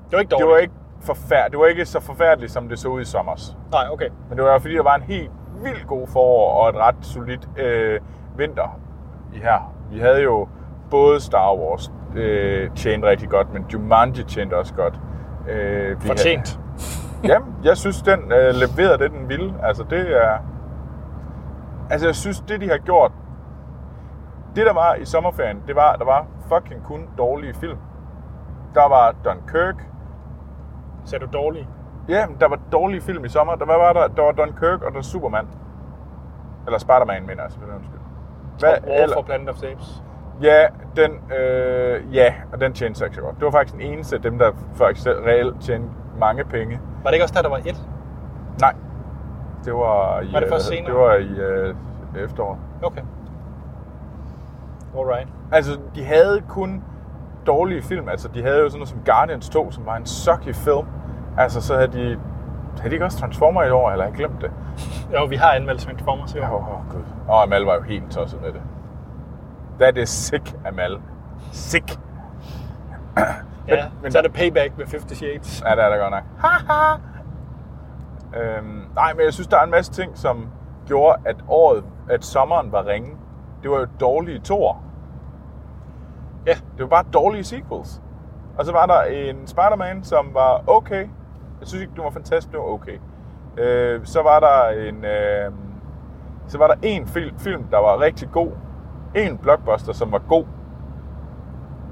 Speaker 2: Det var ikke dårligt.
Speaker 1: det var ikke forfærd, det var ikke så forfærdeligt, som det så ud i sommers.
Speaker 2: Nej, okay.
Speaker 1: Men det var fordi, der var en helt vildt god forår og et ret solidt øh, vinter i her. Vi havde jo både Star Wars øh, tjente rigtig godt, men Jumanji tjente også godt. Øh, vi
Speaker 2: Fortjent.
Speaker 1: Havde, jamen, jeg synes, den øh, leverede det, den ville. Altså, det er... Altså, jeg synes, det de har gjort... Det, der var i sommerferien, det var, der var fucking kun dårlige film. Der var Dunkirk,
Speaker 2: Sagde du dårlig?
Speaker 1: Ja, men der var dårlige film i sommer. Der var, var der, der var Dunkirk og der var Superman. Eller Spider-Man, mener jeg selvfølgelig. Undskyld.
Speaker 2: Hvad, War for
Speaker 1: eller,
Speaker 2: Planet of the Apes.
Speaker 1: ja, den, øh, ja, og den tjente sig ikke så godt. Det var faktisk den eneste af dem, der faktisk reelt tjente mange penge.
Speaker 2: Var det ikke også der, der var et?
Speaker 1: Nej, det var i,
Speaker 2: Var det
Speaker 1: øh,
Speaker 2: først senere?
Speaker 1: det var i øh, efteråret.
Speaker 2: Okay. Alright.
Speaker 1: Altså, de havde kun ret dårlige film. Altså, de havde jo sådan noget som Guardians 2, som var en sucky film. Altså, så havde de... Havde de ikke også Transformer i et år, eller har jeg glemt det?
Speaker 2: Jo, vi har anmeldt Transformers i
Speaker 1: Åh,
Speaker 2: år.
Speaker 1: oh, gud. Og Amal var jo helt tosset med det. That is sick, Amal. Sick.
Speaker 2: Ja,
Speaker 1: men-
Speaker 2: så er det payback med 50 Shades.
Speaker 1: Ja, det er der godt nok. Haha. øhm, nej, men jeg synes, der er en masse ting, som gjorde, at året, at sommeren var ringe. Det var jo dårlige toer.
Speaker 2: Ja.
Speaker 1: Det var bare dårlige sequels. Og så var der en Spider-Man, som var okay. Jeg synes ikke, det var fantastisk, det var okay. Øh, så var der en... Øh, så var der en film, film, der var rigtig god. En blockbuster, som var god.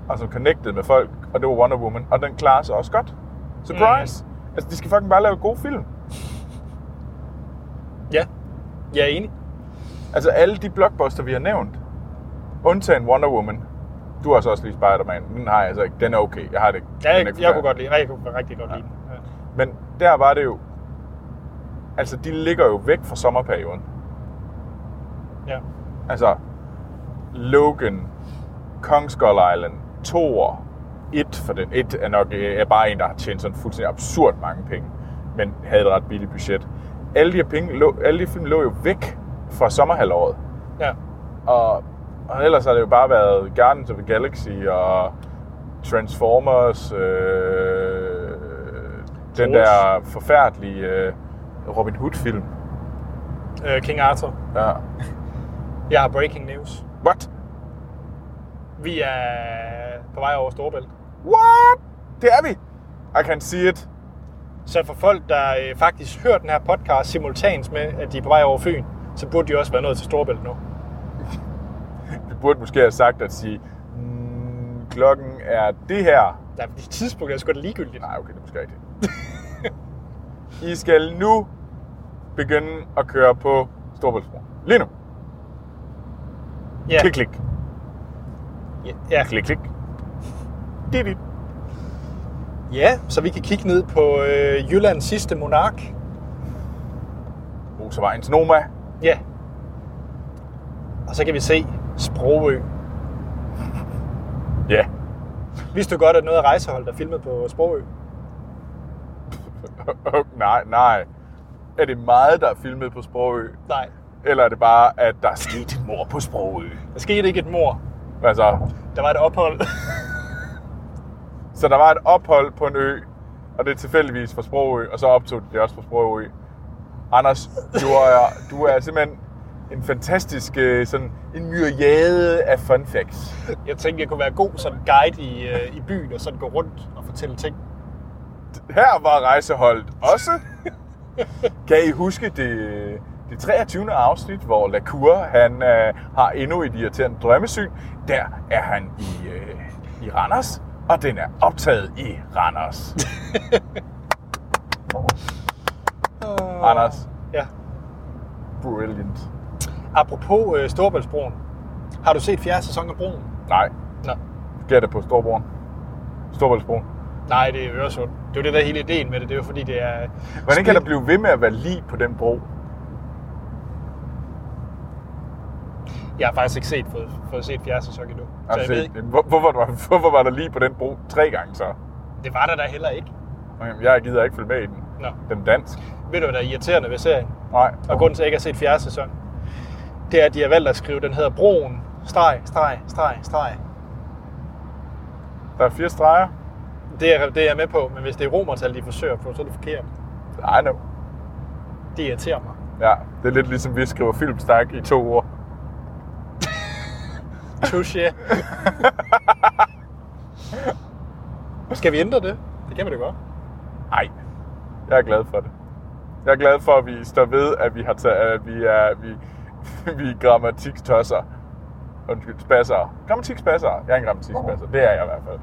Speaker 1: Og som connected med folk. Og det var Wonder Woman. Og den klarer sig også godt. Surprise! Mm. Altså, de skal fucking bare lave gode film.
Speaker 2: Ja, jeg er enig.
Speaker 1: Altså, alle de blockbuster, vi har nævnt. Undtagen Wonder Woman. Du har så også lige Spider-Man. Den har jeg så ikke. Den er okay. Jeg har det ikke.
Speaker 2: Ja,
Speaker 1: Den er
Speaker 2: jeg, jeg
Speaker 1: forfærdelig.
Speaker 2: kunne godt lide, jeg kunne rigtig godt lide den. Ja.
Speaker 1: Men der var det jo... Altså, de ligger jo væk fra sommerperioden.
Speaker 2: ja.
Speaker 1: Altså, Logan, Kongskull Island, Thor, It, for den It er nok øh, er bare en, der har tjent sådan fuldstændig absurd mange penge, men havde et ret billigt budget. Alle de, her penge, lå, alle de film lå jo væk fra sommerhalvåret,
Speaker 2: ja.
Speaker 1: og, og ellers har det jo bare været Guardians of the Galaxy og Transformers, øh, den
Speaker 2: Trolls.
Speaker 1: der forfærdelige øh, Robin Hood-film.
Speaker 2: Øh, King Arthur.
Speaker 1: Ja.
Speaker 2: Jeg har breaking news.
Speaker 1: What?
Speaker 2: Vi er på vej over Storebælt.
Speaker 1: What? Det er vi! I can see it.
Speaker 2: Så for folk, der øh, faktisk hører den her podcast simultant med, at de er på vej over Fyn, så burde de også være nået til Storebælt nu.
Speaker 1: Vi burde måske have sagt at sige, mm, klokken er det her.
Speaker 2: Der er tidspunktet er sgu da ligegyldigt.
Speaker 1: Nej, okay, det er måske rigtigt. I skal nu begynde at køre på Storbæltsbroen. Lige nu.
Speaker 2: Ja,
Speaker 1: Klik, klik.
Speaker 2: ja.
Speaker 1: Klik, klik. Dit, dit.
Speaker 2: ja, så vi kan kigge ned på øh, Jyllands sidste monark.
Speaker 1: Motorvejens Noma.
Speaker 2: Ja. Og så kan vi se Sprogø.
Speaker 1: Ja.
Speaker 2: Vidste du godt, at noget af rejseholdet er filmet på Sprogø?
Speaker 1: Oh, nej, nej. Er det meget, der er filmet på Sprogø?
Speaker 2: Nej.
Speaker 1: Eller er det bare, at der er sket et mor på Sprogø?
Speaker 2: Der skete ikke et mor.
Speaker 1: Hvad så?
Speaker 2: Der var et ophold.
Speaker 1: Så der var et ophold på en ø, og det er tilfældigvis fra Sprogø, og så optog de det også fra Sprogø. Anders, du er, du er simpelthen en fantastisk, øh, sådan en myriade af fun facts.
Speaker 2: Jeg tænkte, jeg kunne være god som guide i, øh, i byen, og sådan gå rundt og fortælle ting.
Speaker 1: Her var rejseholdet også. Kan I huske det, det 23. afsnit, hvor Lacour, han øh, har endnu et irriterende drømmesyn. Der er han i, øh, i Randers, og den er optaget i Randers. Anders,
Speaker 2: Ja.
Speaker 1: brilliant.
Speaker 2: Apropos øh, Storebæltsbroen. Har du set fjerde sæson af broen?
Speaker 1: Nej,
Speaker 2: Nå.
Speaker 1: Sker det på Storbroen? Storbæltsbroen.
Speaker 2: Nej, det er Øresund. Det er jo det, der er hele ideen med det. Det er jo fordi, det er...
Speaker 1: Hvordan kan der blive ved med at være lige på den bro?
Speaker 2: Jeg har faktisk ikke set, fået, fået set fjerde sæson endnu. Så jeg
Speaker 1: Altså,
Speaker 2: ved ikke.
Speaker 1: hvor, hvorfor, var, hvorfor var der lige på den bro tre gange så?
Speaker 2: Det var der da heller ikke.
Speaker 1: Jamen, Jeg gider ikke følge med i den.
Speaker 2: Nå.
Speaker 1: Den er dansk.
Speaker 2: Ved du, hvad der er irriterende ved serien?
Speaker 1: Nej.
Speaker 2: Og grunden til, at jeg ikke har set fjerde sæson, det er, at de har valgt at skrive, den hedder Broen, streg, streg, streg, streg.
Speaker 1: Der er fire streger.
Speaker 2: Det er, det er jeg med på, men hvis det er romertal, de forsøger på, så er det forkert.
Speaker 1: I know.
Speaker 2: Det irriterer mig.
Speaker 1: Ja, det er lidt ligesom, vi skriver filmsnak i to uger.
Speaker 2: Touché. Skal vi ændre det? Det kan vi da godt.
Speaker 1: Nej. Jeg er glad for det. Jeg er glad for, at vi står ved, at vi, har taget, at vi er, vi, vi er grammatikstosser. Undskyld, spassere. Grammatikspasser. Jeg er en grammatikspasser. Det er jeg i hvert fald.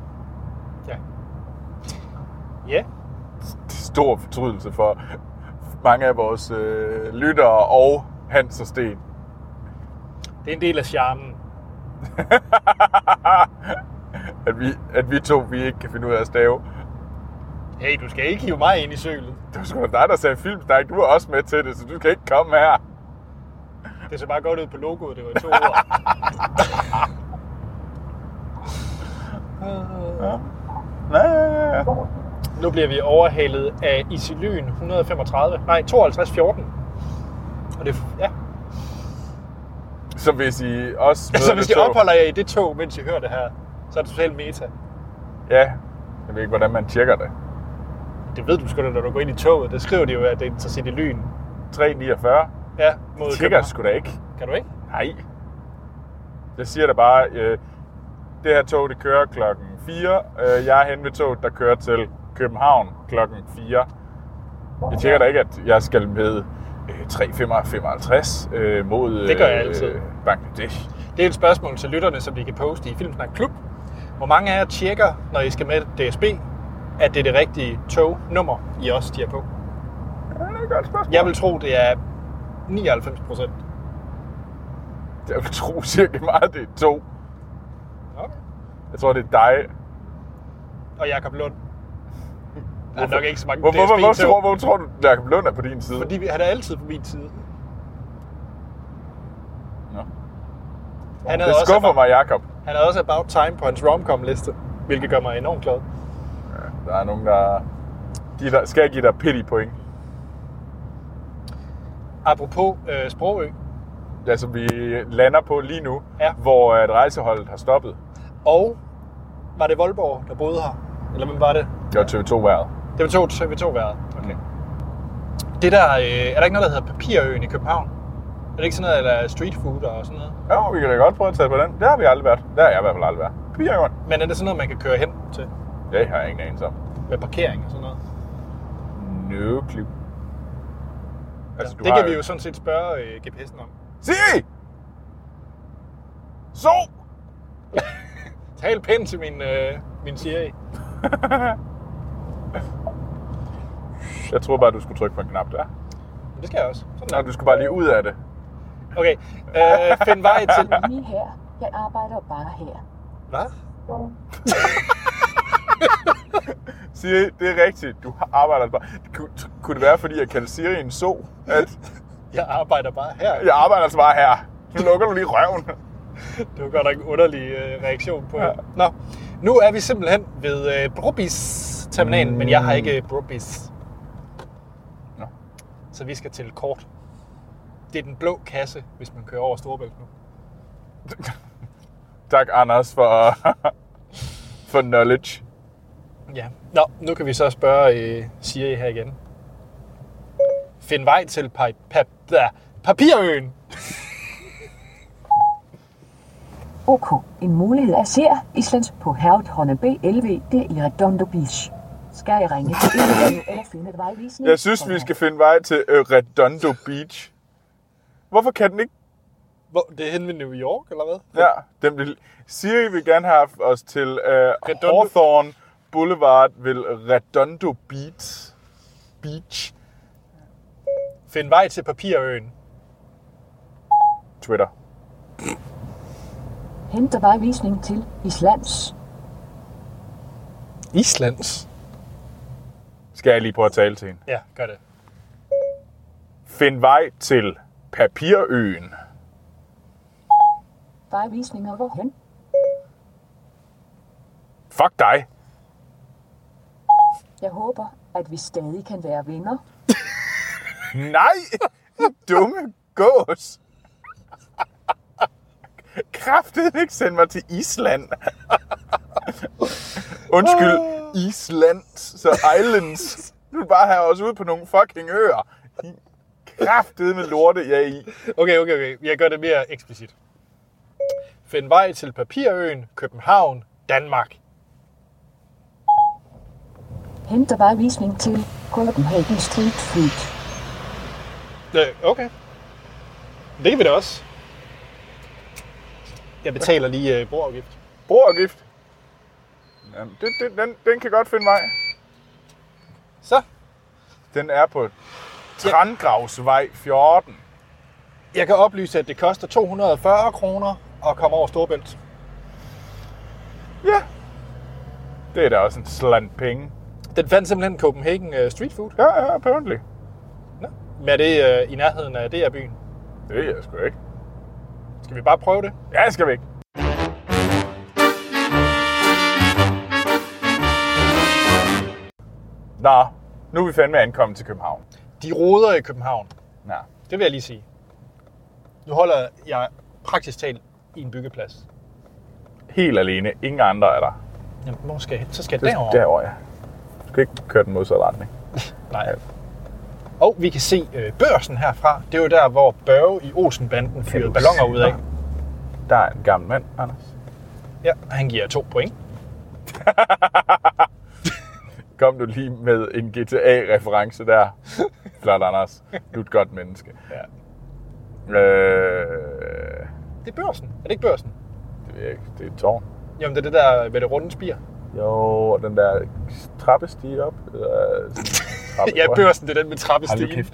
Speaker 2: Ja. Ja.
Speaker 1: stor fortrydelse for mange af vores øh, lyttere og Hans og Sten.
Speaker 2: Det er en del af charmen.
Speaker 1: At vi, at vi to vi ikke kan finde ud af at stave.
Speaker 2: Hey, du skal ikke hive mig ind i sølet.
Speaker 1: Det var sgu da dig, der sagde filmsnak. Du er også med til det, så du kan ikke komme her.
Speaker 2: Det ser bare godt ud på logoet, det var i to ord.
Speaker 1: Ja. Ja, ja, ja.
Speaker 2: Nu bliver vi overhalet af Isilyn 135, nej 5214. Og det, ja.
Speaker 1: Så hvis I også møder
Speaker 2: Så Altså, hvis
Speaker 1: det
Speaker 2: I
Speaker 1: tog-
Speaker 2: opholder jer i det tog, mens I hører det her, så er det totalt meta.
Speaker 1: Ja, jeg ved ikke, hvordan man tjekker det.
Speaker 2: Det ved du sgu da, når du går ind i toget. Der skriver de jo, at det er interesseret i lyn.
Speaker 1: 349.
Speaker 2: Ja, mod
Speaker 1: Tjekker sgu da ikke.
Speaker 2: Kan du ikke?
Speaker 1: Nej. Jeg siger da bare, øh, det her tog, det kører klokken 4. Øh, jeg er hen ved toget, der kører til København klokken 4. Jeg tjekker da ikke, at jeg skal med øh, 3.55 øh, mod øh,
Speaker 2: Det gør jeg altid.
Speaker 1: Bangladesh.
Speaker 2: Det er et spørgsmål til lytterne, som de kan poste i Filmsnak Klub. Hvor mange af jer tjekker, når I skal med DSB, at det er det rigtige tognummer, I også stiger på?
Speaker 1: Ja, det er et godt spørgsmål.
Speaker 2: Jeg vil tro, det er 99 procent.
Speaker 1: jeg vil tro cirka meget, det er to.
Speaker 2: Okay.
Speaker 1: Jeg tror, det er dig.
Speaker 2: Og Jakob Lund. Der er nok ikke så mange
Speaker 1: Hvor, hvor, hvor, hvor,
Speaker 2: DSB-tog.
Speaker 1: tror, hvor tror du, Jacob Lund er på din side?
Speaker 2: Fordi vi- han er altid på min side.
Speaker 1: Nå.
Speaker 2: Han
Speaker 1: Det
Speaker 2: havde, også
Speaker 1: skuffer
Speaker 2: about,
Speaker 1: mig, Jacob.
Speaker 2: han havde også About Time på hans romcom liste, hvilket gør mig enormt glad.
Speaker 1: Der er nogen, der... De der skal jeg give dig pity point.
Speaker 2: Apropos øh, Sprogø.
Speaker 1: Ja, som altså, vi lander på lige nu,
Speaker 2: Ja.
Speaker 1: hvor at rejseholdet har stoppet.
Speaker 2: Og var det Voldborg, der boede her? Eller hvem var det?
Speaker 1: Det var TV2-vejret.
Speaker 2: Det var to TV2 været.
Speaker 1: Okay.
Speaker 2: Det der, øh, er der ikke noget, der hedder Papirøen i København? Er det ikke sådan noget, eller street food og sådan noget?
Speaker 1: Ja, vi kan da godt prøve at tage på den. Der har vi aldrig været. Der har jeg i hvert fald aldrig været. Pigeren.
Speaker 2: Men er det sådan noget, man kan køre hen til?
Speaker 1: Det har jeg ingen anelse om.
Speaker 2: Med parkering og sådan noget?
Speaker 1: No clue. Altså,
Speaker 2: det kan vi jo sådan set spørge øh, GPS'en om.
Speaker 1: Siri! Så!
Speaker 2: Tal pænt til min, øh, min Siri.
Speaker 1: Jeg troede bare, du skulle trykke på en knap der.
Speaker 2: Men det skal jeg også. Sådan
Speaker 1: Nå,
Speaker 2: er.
Speaker 1: du skulle bare lige ud af det.
Speaker 2: Okay, øh, find vej til...
Speaker 3: Lige her. Jeg arbejder bare her.
Speaker 2: Hvad?
Speaker 1: Siri, det er rigtigt. Du arbejder bare. Kunne, kunne det være, fordi jeg kaldte Siri en så? At
Speaker 2: Jeg arbejder bare her.
Speaker 1: jeg arbejder altså bare her. Nu lukker du lige røven.
Speaker 2: Det var godt nok en underlig øh, reaktion på det. Nå, nu er vi simpelthen ved øh, Brobis-terminalen, men jeg har ikke øh, Brobis.
Speaker 1: Nå.
Speaker 2: Så vi skal til kort. Det er den blå kasse, hvis man kører over Storebælt nu.
Speaker 1: Tak, Anders, for, for knowledge.
Speaker 2: Ja. Nå, nu kan vi så spørge øh, Siri her igen. Find vej til pa- pa- da, Papirøen.
Speaker 3: OK. En mulighed er ser Islands på Hervdhånden B11. Det er i Redondo Beach. Skal jeg ringe til en eller finde et vejvisning?
Speaker 1: Jeg synes, vi skal finde vej til øh, Redondo Beach. Hvorfor kan den ikke?
Speaker 2: Hvor, det er henne ved New York, eller hvad?
Speaker 1: Ja, den vil, Siri vil gerne have haft os til øh,
Speaker 2: Redondo-
Speaker 1: Hawthorne Boulevard vil Redondo Beach. Beach.
Speaker 2: Find vej til Papirøen.
Speaker 1: Twitter.
Speaker 3: Henter vejvisning til Islands.
Speaker 2: Islands?
Speaker 1: Skal jeg lige prøve at tale til hende.
Speaker 2: Ja, gør det.
Speaker 1: Find vej til Papirøen.
Speaker 3: Vejvisninger hvorhen?
Speaker 1: Fuck dig.
Speaker 3: Jeg håber, at vi stadig kan være venner.
Speaker 1: Nej, I dumme gås. Kræftet ikke sende mig til Island. Undskyld, Island, så islands. Du vil bare have os ude på nogle fucking øer. I Kræftet med lorte, jeg er i.
Speaker 2: Okay, okay, okay. Jeg gør det mere eksplicit. Find vej til Papirøen, København, Danmark.
Speaker 3: Henter vejvisning til Copenhagen Street Food.
Speaker 2: Øh, okay. Det kan vi da også. Jeg betaler lige øh, brugafgift.
Speaker 1: Bror og gift. Jamen, det, det, den, den kan godt finde vej.
Speaker 2: Så,
Speaker 1: Den er på Trangravsvej 14.
Speaker 2: jeg kan oplyse, at det koster 240 kroner at komme over Storbælt.
Speaker 1: Ja. Det er da også en slant penge.
Speaker 2: Den fandt simpelthen Copenhagen øh, Street Food.
Speaker 1: Ja, ja, apparently.
Speaker 2: Nå. Men er det øh, i nærheden af DR-byen?
Speaker 1: Det er jeg sgu ikke.
Speaker 2: Skal vi bare prøve det?
Speaker 1: Ja, jeg skal væk. Nå, nu er vi fandme ankommet til København.
Speaker 2: De roder i København.
Speaker 1: Nå.
Speaker 2: Det vil jeg lige sige. Nu holder jeg praktisk talt i en byggeplads.
Speaker 1: Helt alene. Ingen andre er der.
Speaker 2: Jamen, hvor skal jeg hen? Så skal jeg
Speaker 1: Det er
Speaker 2: derover.
Speaker 1: Derovre, ja. Du skal ikke køre den modsatte retning.
Speaker 2: Nej. Og vi kan se øh, børsen herfra. Det er jo der, hvor Børge i Olsenbanden fyrede
Speaker 1: du
Speaker 2: ballonger
Speaker 1: se
Speaker 2: ud af.
Speaker 1: der? Der er en gammel mand, Anders.
Speaker 2: Ja, han giver to point.
Speaker 1: Kom du lige med en GTA-reference der. Flot, Anders. Du er et godt menneske.
Speaker 2: Ja.
Speaker 1: Øh,
Speaker 2: Det er børsen. Er det ikke børsen?
Speaker 1: det ved jeg ikke. Det er et tårn.
Speaker 2: Jamen, det er det der med det runde spir.
Speaker 1: Jo, og den der trappestige op. Eller, trappe,
Speaker 2: Ja, børsen, det er den
Speaker 1: Hold nu
Speaker 2: med trappestigen.
Speaker 1: kæft.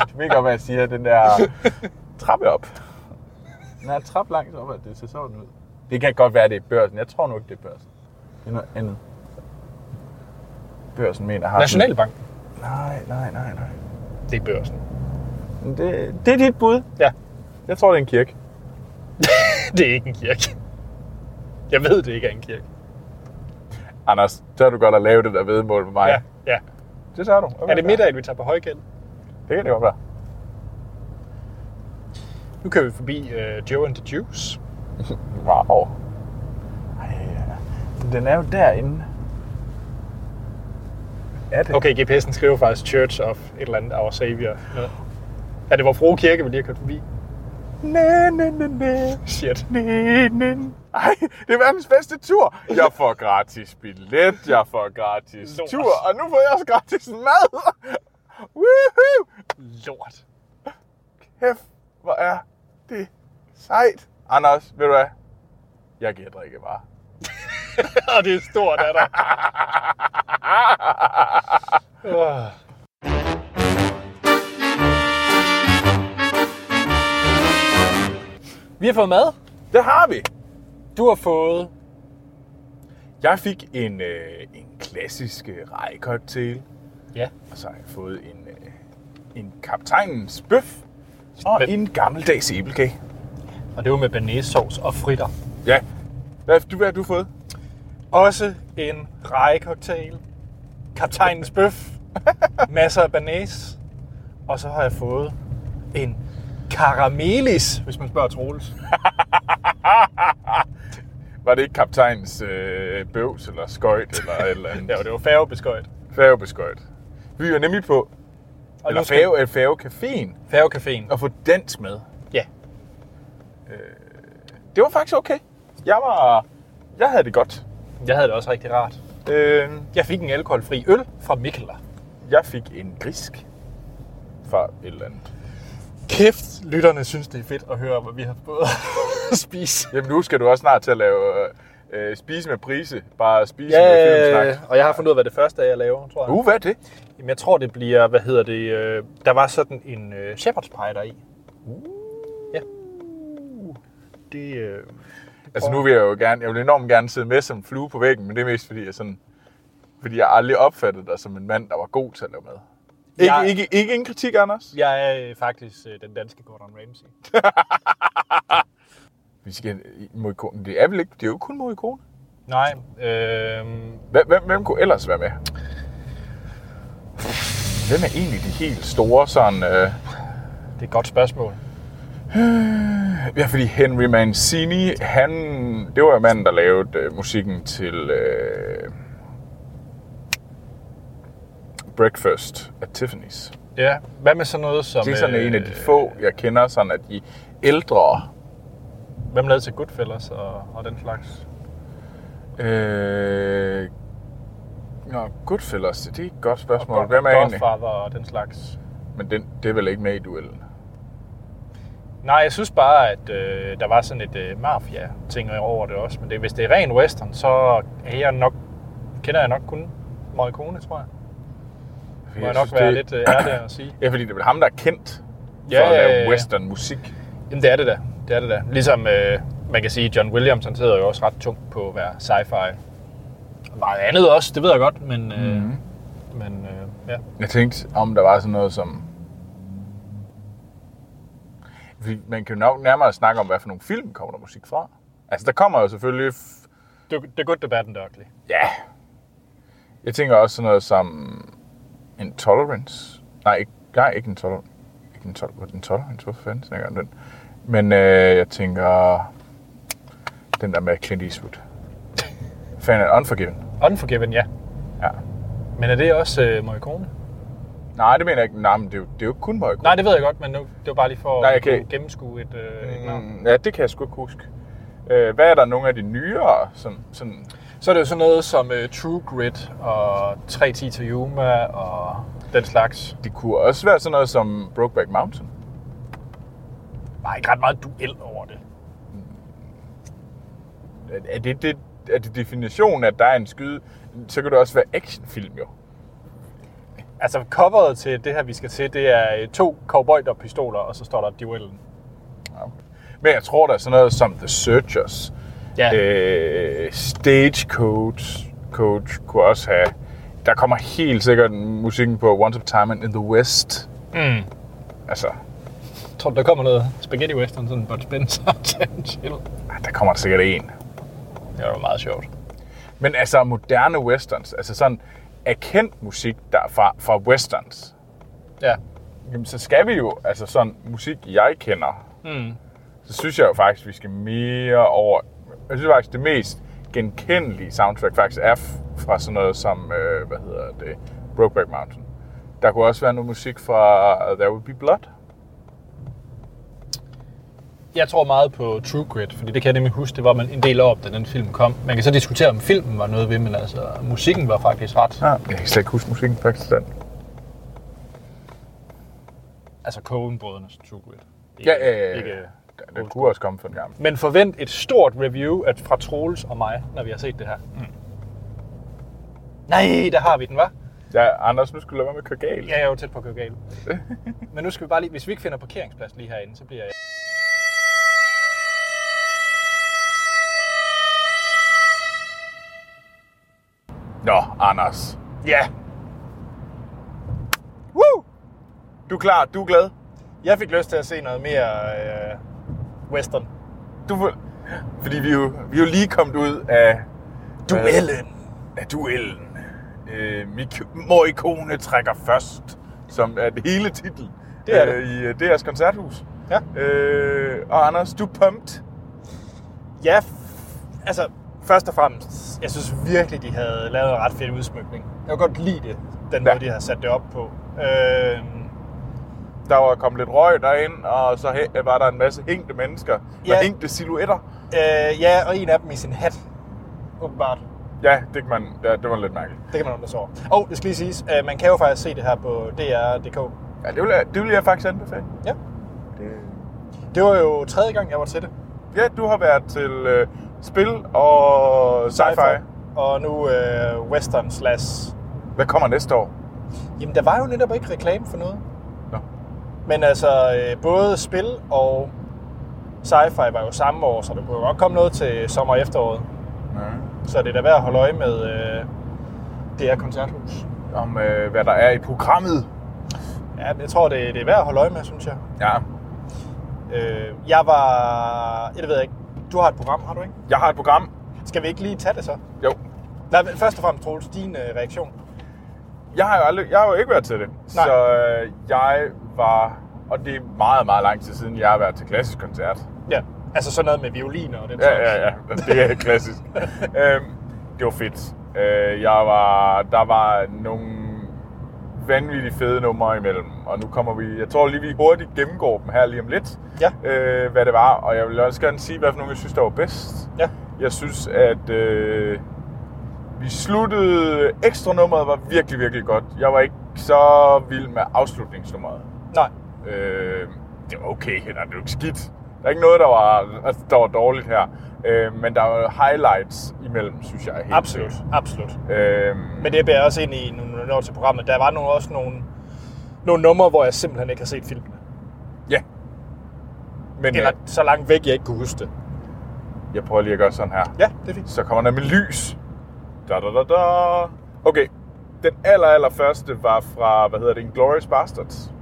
Speaker 1: Det ved godt, hvad jeg siger. Den der trappe op. Den er trappe langt op, at det ser sådan ud. Det kan godt være, det er børsen. Jeg tror nu ikke, det er børsen. Det er noget andet. Børsen mener har...
Speaker 2: Nationalbanken.
Speaker 1: Nej, nej, nej, nej.
Speaker 2: Det er børsen.
Speaker 1: Men det, det er dit bud.
Speaker 2: Ja,
Speaker 1: Jeg tror, det er en kirke.
Speaker 2: det er ikke en kirke. Jeg ved, det ikke er en kirke.
Speaker 1: Anders, tør du godt at lave det der vedmål med mig?
Speaker 2: Ja, ja.
Speaker 1: Det tør du. Okay.
Speaker 2: Er det middag, vi tager på højkæld?
Speaker 1: Det kan det godt være.
Speaker 2: Nu kører vi forbi uh, Joe and the Juice.
Speaker 1: Wow. Ej, den er jo derinde. Er det?
Speaker 2: Okay, GPS'en skriver faktisk Church of et eller andet Our Savior. Noget. Er det vores frue kirke, vi lige har kørt forbi?
Speaker 1: Næ, næ, næ, næ.
Speaker 2: Shit.
Speaker 1: Næ, næ. Ej, det er verdens bedste tur. Jeg får gratis billet, jeg får gratis
Speaker 2: Lort.
Speaker 1: tur, og nu får jeg også gratis mad. Woohoo!
Speaker 2: Lort.
Speaker 1: Kæft, hvor er det sejt. Anders, ved du hvad? Jeg giver drikkevarer.
Speaker 2: Og det er stort, er der. Ah! Åh. Vi har fået mad.
Speaker 1: Det har vi.
Speaker 2: Du har fået...
Speaker 1: Jeg fik en, øh, en klassisk øh, rejcocktail,
Speaker 2: Ja.
Speaker 1: og så har jeg fået en, øh, en kaptajnens bøf og
Speaker 2: Men-
Speaker 1: en gammeldags æblekage.
Speaker 2: Og det var med banæssovs og fritter.
Speaker 1: Ja. Hvad, du, hvad har du fået?
Speaker 2: Også en rejecocktail. Kaptajnens bøf. Masser af banæs. Og så har jeg fået en karamelis, hvis man spørger Troels.
Speaker 1: Var det ikke kaptajnens øh, bøvs eller skøjt eller et eller andet?
Speaker 2: Ja, og det var færgebeskøjt.
Speaker 1: Færgebeskøjt. Vi er nemlig på
Speaker 2: Og
Speaker 1: eller
Speaker 2: nu skal-
Speaker 1: færge, øh, færgecaféen
Speaker 2: Færgecaféen.
Speaker 1: og få dansk med.
Speaker 2: Ja,
Speaker 1: Det var faktisk okay. Jeg var... Jeg havde det godt.
Speaker 2: jeg havde det også rigtig rart.
Speaker 1: Øh,
Speaker 2: Jeg fik en alkoholfri øl fra Mikkeler.
Speaker 1: jeg fik en grisk fra et eller andet.
Speaker 2: Kæft, lytterne synes, det er fedt at høre, hvad vi har fået at spise.
Speaker 1: Jamen nu skal du også snart til at lave øh, spise med prise. Bare spise
Speaker 2: Ja,
Speaker 1: med filmsnak.
Speaker 2: og jeg har fundet ud af, hvad det første er, jeg laver, tror jeg.
Speaker 1: Uh, hvad er det?
Speaker 2: Jamen, jeg tror, det bliver, hvad hedder det, øh, der var sådan en øh, shepherd's pie der i.
Speaker 1: Uh.
Speaker 2: Ja. Det, øh,
Speaker 1: Altså nu vil jeg jo gerne, jeg vil enormt gerne sidde med som flue på væggen, men det er mest fordi jeg sådan, fordi jeg aldrig opfattede dig som en mand, der var god til at lave mad. Ikke,
Speaker 2: Jeg-
Speaker 1: ikke, ikke en kritik, Anders?
Speaker 2: jeg er øh, faktisk øh, den danske Gordon Ramsay.
Speaker 1: Vi skal, Morricone, det er vel ikke, det er jo ikke kun Morricone.
Speaker 2: Nej, øh,
Speaker 1: Hvem, hvem, hvem kunne ellers være med? Hvem er egentlig de helt store sådan... Øh,
Speaker 2: det er et godt spørgsmål.
Speaker 1: ja, fordi Henry Mancini, han... Det var jo manden, der lavede øh, musikken til... Øh, Breakfast at Tiffany's.
Speaker 2: Ja, hvad med sådan noget som...
Speaker 1: Det er sådan
Speaker 2: øh,
Speaker 1: en af de få, jeg kender sådan af de ældre.
Speaker 2: øh, Hvem lavede til Goodfellas og, og den slags?
Speaker 1: Øh... Nå, Goodfellas, det er et godt spørgsmål. Hvem er egentlig?
Speaker 2: Godfather og den slags.
Speaker 1: Men den, det er vel ikke med i duellen?
Speaker 2: Nej, jeg synes bare, at øh, der var sådan et øh, mafia-ting over det også. Men det, hvis det er ren western, så er jeg nok, kender jeg nok kun Morricone, tror jeg. Må jeg nok
Speaker 1: synes,
Speaker 2: være
Speaker 1: det-
Speaker 2: lidt øh, ærlig at sige.
Speaker 1: Ja, fordi det er vel ham, der er kendt
Speaker 2: Ja,
Speaker 1: for at
Speaker 2: ja,
Speaker 1: lave
Speaker 2: ja.
Speaker 1: western musik.
Speaker 2: Jamen, det er det da. Det er det da. Ligesom øh, man kan sige, John Williams, han sidder jo også ret tungt på at være sci-fi. Og meget andet også, det ved jeg godt, men... Øh, mm-hmm. Men øh, ja.
Speaker 1: Mm. Jeg tænkte, om der var sådan noget som... Fordi Man kan jo nok nærmere snakke om, hvad for nogle film kommer der musik fra. Altså, der kommer jo selvfølgelig... F-
Speaker 2: The, the Good, The Bad and the Ugly.
Speaker 1: ja, Jeg tænker også sådan noget som en tolerance. Nej, ikke, nej, ikke en tolerance. Ikke en tolerance. En tolerance? Hvorfor fanden snakker jeg om den? Men øh, jeg tænker... Den der med Clint Eastwood. Fan af Unforgiven.
Speaker 2: Unforgiven, ja.
Speaker 1: Ja.
Speaker 2: Men er det også øh, Morricone?
Speaker 1: Nej, det mener jeg ikke. Nej, men det er jo, det er jo ikke kun Morricone.
Speaker 2: Nej, det ved jeg godt, men nu, det var bare lige for
Speaker 1: Nej,
Speaker 2: at
Speaker 1: jeg kan
Speaker 2: kunne
Speaker 1: ikke.
Speaker 2: gennemskue et, øh, et navn.
Speaker 1: Mm, ja, det kan jeg sgu ikke huske. Øh, hvad er der nogle af de nyere? Som, sådan,
Speaker 2: Så er det jo sådan noget som øh, True Grit og 310 til Yuma og den slags.
Speaker 1: det kunne også være sådan noget som Brokeback Mountain.
Speaker 2: Der er ikke ret meget duel over det.
Speaker 1: Er- Er det, det, er det definitionen, at der er en skyde? Så kan det også være actionfilm, jo.
Speaker 2: Altså, coveret til det her, vi skal til, det er øh, to cowboyter-pistoler, og så står der duellen.
Speaker 1: Ja, okay. Men jeg tror, der er sådan noget som The Searchers.
Speaker 2: Ja.
Speaker 1: Øh, Stagecoach coach kunne også have... Der kommer helt sikkert musikken på Once Upon a Time in the West.
Speaker 2: Mm.
Speaker 1: Altså,
Speaker 2: Tror du, der kommer noget spaghetti western, sådan Bud Spencer og Terence Hill?
Speaker 1: der kommer der sikkert en.
Speaker 2: Det var meget sjovt.
Speaker 1: Men altså moderne westerns, altså sådan erkendt musik der er fra, fra westerns,
Speaker 2: Ja.
Speaker 1: jamen så skal vi jo, altså sådan musik jeg kender,
Speaker 2: Mm.
Speaker 1: så synes jeg jo faktisk, vi skal mere over, jeg synes faktisk det mest genkendelige soundtrack faktisk er f- fra sådan noget som, øh, hvad hedder det, Brokeback Mountain. Der kunne også være noget musik fra øh, There Will Be Blood.
Speaker 2: Jeg tror meget på True Grit, fordi det kan jeg nemlig huske, det var man en del op, da den film kom. Man kan så diskutere, om filmen var noget ved, men altså, musikken var faktisk ret.
Speaker 1: Ja. Jeg kan slet ikke huske musikken faktisk den.
Speaker 2: Altså, Coen-brødrenes True Grit. Ikke-
Speaker 1: Ja, øh,
Speaker 2: ikke-
Speaker 1: den, den kunne også komme fra den gamle.
Speaker 2: Men forvent et stort review at fra Troels og mig, når vi har set det her. Mm. Nej, der har vi den, var.
Speaker 1: Ja, Anders, nu skulle du lade være med at køre galt.
Speaker 2: Ja, jeg er jo tæt på at køre galt. Men nu skal vi bare lige, hvis vi ikke finder parkeringsplads lige herinde, så bliver jeg...
Speaker 1: Nå, Anders.
Speaker 2: Ja,
Speaker 1: Woo! Du er klar, du er glad.
Speaker 2: jeg fik lyst til at se noget mere øh, western.
Speaker 1: Du får... Fordi vi er, jo, vi er jo lige kommet ud af...
Speaker 2: Øh,
Speaker 1: Af duellen. Øh, Mik- Morricone trækker først, som er det hele titel
Speaker 2: Det er
Speaker 1: øh, i øh, DR's koncerthus.
Speaker 2: Ja.
Speaker 1: Øh, og Anders, du er pumped.
Speaker 2: Ja, f- altså først og fremmest, jeg synes virkelig, de havde lavet en ret fed udsmykning. Jeg kunne godt lide det, den
Speaker 1: Ja.
Speaker 2: måde, de har sat det op på. Øh,
Speaker 1: Der var kommet lidt røg derind, og så hæ- var der en masse hængte mennesker med
Speaker 2: Ja.
Speaker 1: hængte silhuetter.
Speaker 2: øh, ja, og en af dem i sin hat, åbenbart.
Speaker 1: Ja, det, kan man, ja, det var lidt mærkeligt.
Speaker 2: Det kan man undre sig over. Og det skal lige siges, øh, man kan jo faktisk se det her på DR.dk.
Speaker 1: Ja, det vil jeg, det vil jeg faktisk anbefale.
Speaker 2: Ja.
Speaker 1: Det...
Speaker 2: Det var jo tredje gang, jeg var til det.
Speaker 1: Ja, du har været til øh, spil og sci-fi.
Speaker 2: Og nu øh, western slash...
Speaker 1: Hvad kommer næste år?
Speaker 2: Jamen, der var jo netop ikke reklame for noget.
Speaker 1: Nå.
Speaker 2: Men altså, øh, både spil og sci-fi var jo samme år, så der kunne jo godt komme noget til sommer og efteråret. Så det er da værd at holde øje med øh, det her koncerthus.
Speaker 1: Om øh, hvad der er i programmet.
Speaker 2: Ja, men jeg tror, det, det er værd at holde øje med, synes jeg.
Speaker 1: Ja.
Speaker 2: Øh, jeg var... Ja, det ved jeg ikke. Du har et program, har du ikke?
Speaker 1: Jeg har et program.
Speaker 2: Skal vi ikke lige tage det så?
Speaker 1: Jo.
Speaker 2: Nej, men først og fremmest, Troels, din øh, reaktion.
Speaker 1: Jeg har jo, aldrig, jeg har jo ikke været til det.
Speaker 2: Nej.
Speaker 1: Så øh, jeg var, og det er meget, meget lang tid siden, jeg har været til klassisk koncert.
Speaker 2: Ja. Altså sådan noget med violiner og den
Speaker 1: Ja, ja, ja. Det er klassisk. øhm, det var fedt. Øh, jeg var, der var nogle vanvittigt fede numre imellem, og nu kommer vi, jeg tror lige vi hurtigt gennemgår dem her lige om lidt,
Speaker 2: Ja.
Speaker 1: øh, hvad det var, og jeg vil også gerne sige, hvad for nogle jeg synes, der var bedst.
Speaker 2: Ja.
Speaker 1: Jeg synes, at øh, vi sluttede, ekstra nummeret var virkelig, virkelig godt. Jeg var ikke så vild med afslutningsnummeret.
Speaker 2: Nej.
Speaker 1: Øh, det var okay, eller det var ikke skidt. Der er ikke noget, der var, altså, der var dårligt her. Øh, men der var highlights imellem, synes jeg. Helt
Speaker 2: Absolut, absolut.
Speaker 1: sikkert. Øh,
Speaker 2: Men det bærer også ind i, nu når vi når til programmet, der var nogle, også nogle, nogle numre, hvor jeg simpelthen ikke har set filmene.
Speaker 1: ja. Men
Speaker 2: Eller
Speaker 1: Eller...
Speaker 2: så langt væk, jeg ikke kunne huske det.
Speaker 1: jeg prøver lige at gøre sådan her.
Speaker 2: Ja, det er fint.
Speaker 1: Så kommer der med lys. Da, da, da, da. Okay. Den aller, aller første var fra, hvad hedder det, Inglourious Bastards.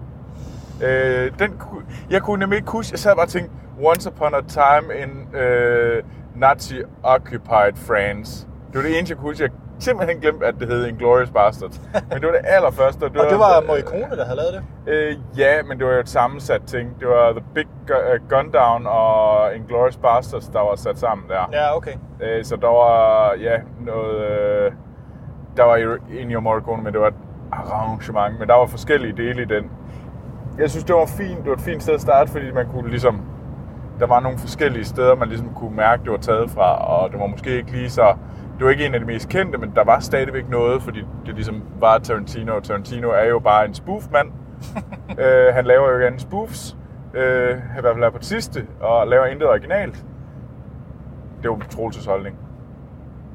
Speaker 1: Øh, den, ku- jeg kunne nemlig ikke huske, jeg sad bare og tænkte, Once upon a time in øh, Nazi-occupied France. Det var det eneste, jeg kunne huske. Jeg simpelthen glemte, at det hed Inglourious Bastards. Men det var det allerførste.
Speaker 2: Og det var Morricone, der havde lavet det.
Speaker 1: Øh, ja, men det var jo et sammensat ting. Det var The Big Gu- øh, Gun Down og Inglourious Bastards, der var sat sammen der.
Speaker 2: Ja, okay.
Speaker 1: Øh, så der var, ja, noget... Øh, der var i- Ennio Morricone, men det var et arrangement. Men der var forskellige dele i den. Jeg synes, det var fint. Det var et fint sted at starte, fordi man kunne ligesom... Der var nogle forskellige steder, man ligesom kunne mærke, det var taget fra, og det var måske ikke lige så... Det var ikke en af de mest kendte, men der var stadigvæk noget, fordi det ligesom var Tarantino, og Tarantino er jo bare en spoofmand. øh, han laver jo ikke andet spoofs, øh, i hvert fald er på det sidste, og laver intet originalt. Det var Troelses holdning.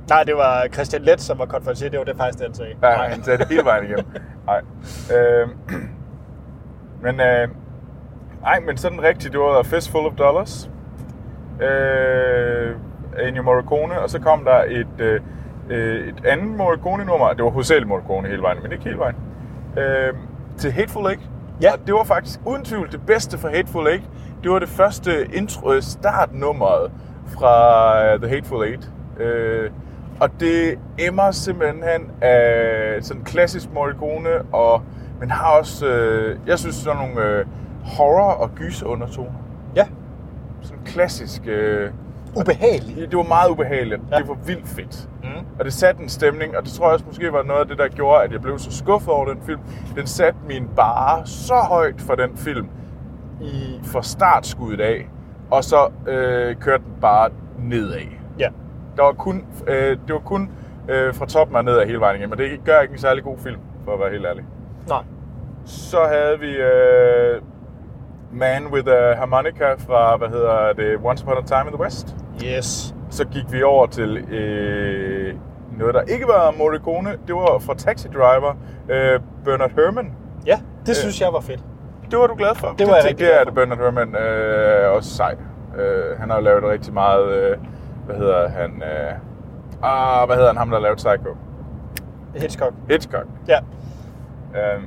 Speaker 2: Nej, det var Christian Let, som var konferencier. Det var det faktisk, det, han sagde.
Speaker 1: Ja, han sagde det hele vejen igennem. Nej. Øh, men, øh, ej, men sådan rigtigt, det var A Fistful of Dollars. Øh, Ennio Morricone, og så kom der et, øh, øh, et andet Morricone-nummer. Det var hovedsageligt Morricone hele vejen, men ikke hele vejen. Øh, til Hateful Eight.
Speaker 2: Ja.
Speaker 1: Og det var faktisk uden tvivl det bedste fra Hateful Eight. Det var det første intro, øh, startnummeret fra øh, The Hateful Eight. Øh, og det emmer simpelthen af sådan klassisk Morricone, og, men har også, øh, jeg synes, sådan nogle øh, horror- og gyserundertoner.
Speaker 2: ja.
Speaker 1: Sådan klassisk... Øh,
Speaker 2: Ubehageligt.
Speaker 1: det var meget ubehageligt. Ja.
Speaker 2: Ja.
Speaker 1: Det var vildt fedt.
Speaker 2: Mm.
Speaker 1: Og det satte en stemning, og det tror jeg også måske var noget af det, der gjorde, at jeg blev så skuffet over den film. Den satte min bare så højt for den film i fra startskuddet af, og så øh, kørte den bare nedad.
Speaker 2: Ja.
Speaker 1: Der var kun, øh, det var kun øh, fra toppen og nedad hele vejen igennem, og det gør ikke en særlig god film, for at være helt ærlig.
Speaker 2: Nej.
Speaker 1: Så havde vi øh, Man with a Harmonica fra, hvad hedder det, Once Upon a Time in the West.
Speaker 2: Yes.
Speaker 1: Så gik vi over til øh, noget, der ikke var Morricone. Det var fra Taxi Driver, øh, Bernard Herrmann.
Speaker 2: Ja, det øh. synes jeg var fedt.
Speaker 1: Det var du glad for?
Speaker 2: Det var jeg
Speaker 1: det,
Speaker 2: rigtig
Speaker 1: det er
Speaker 2: glad
Speaker 1: det Bernard Herrmann øh, også sej. Øh, han har jo lavet rigtig meget, øh, hvad hedder han, øh, ah, hvad hedder han, ham der har lavet Psycho?
Speaker 2: Hitchcock.
Speaker 1: Hitchcock.
Speaker 2: Ja.
Speaker 1: Øh,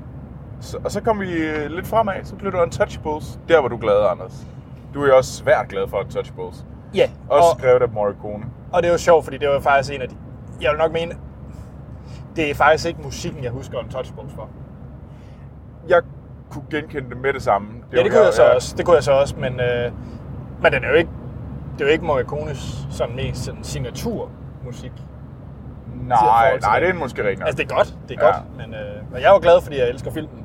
Speaker 1: så, og så kom vi øh, lidt fremad, så blev det Untouchables. Der var du glad, Anders. Du er jo også svært glad for Untouchables.
Speaker 2: Ja,
Speaker 1: Også
Speaker 2: og,
Speaker 1: skrevet af Morricone.
Speaker 2: og det var sjovt, fordi det var faktisk en af de... Jeg vil nok mene, det er faktisk ikke musikken, jeg husker om Touchbones for.
Speaker 1: Jeg kunne genkende det med det samme.
Speaker 2: Ja, det
Speaker 1: var-
Speaker 2: kunne jeg så også. Det kunne jeg så også, men, øh, men den er jo ikke, det er jo ikke Morricones sådan mest sådan signaturmusik.
Speaker 1: Nej, nej, det er måske rigtigt nok.
Speaker 2: Altså, det er godt, det er
Speaker 1: Ja.
Speaker 2: ja. Mm. godt, men øh, og jeg er jo glad, fordi jeg elsker filmen.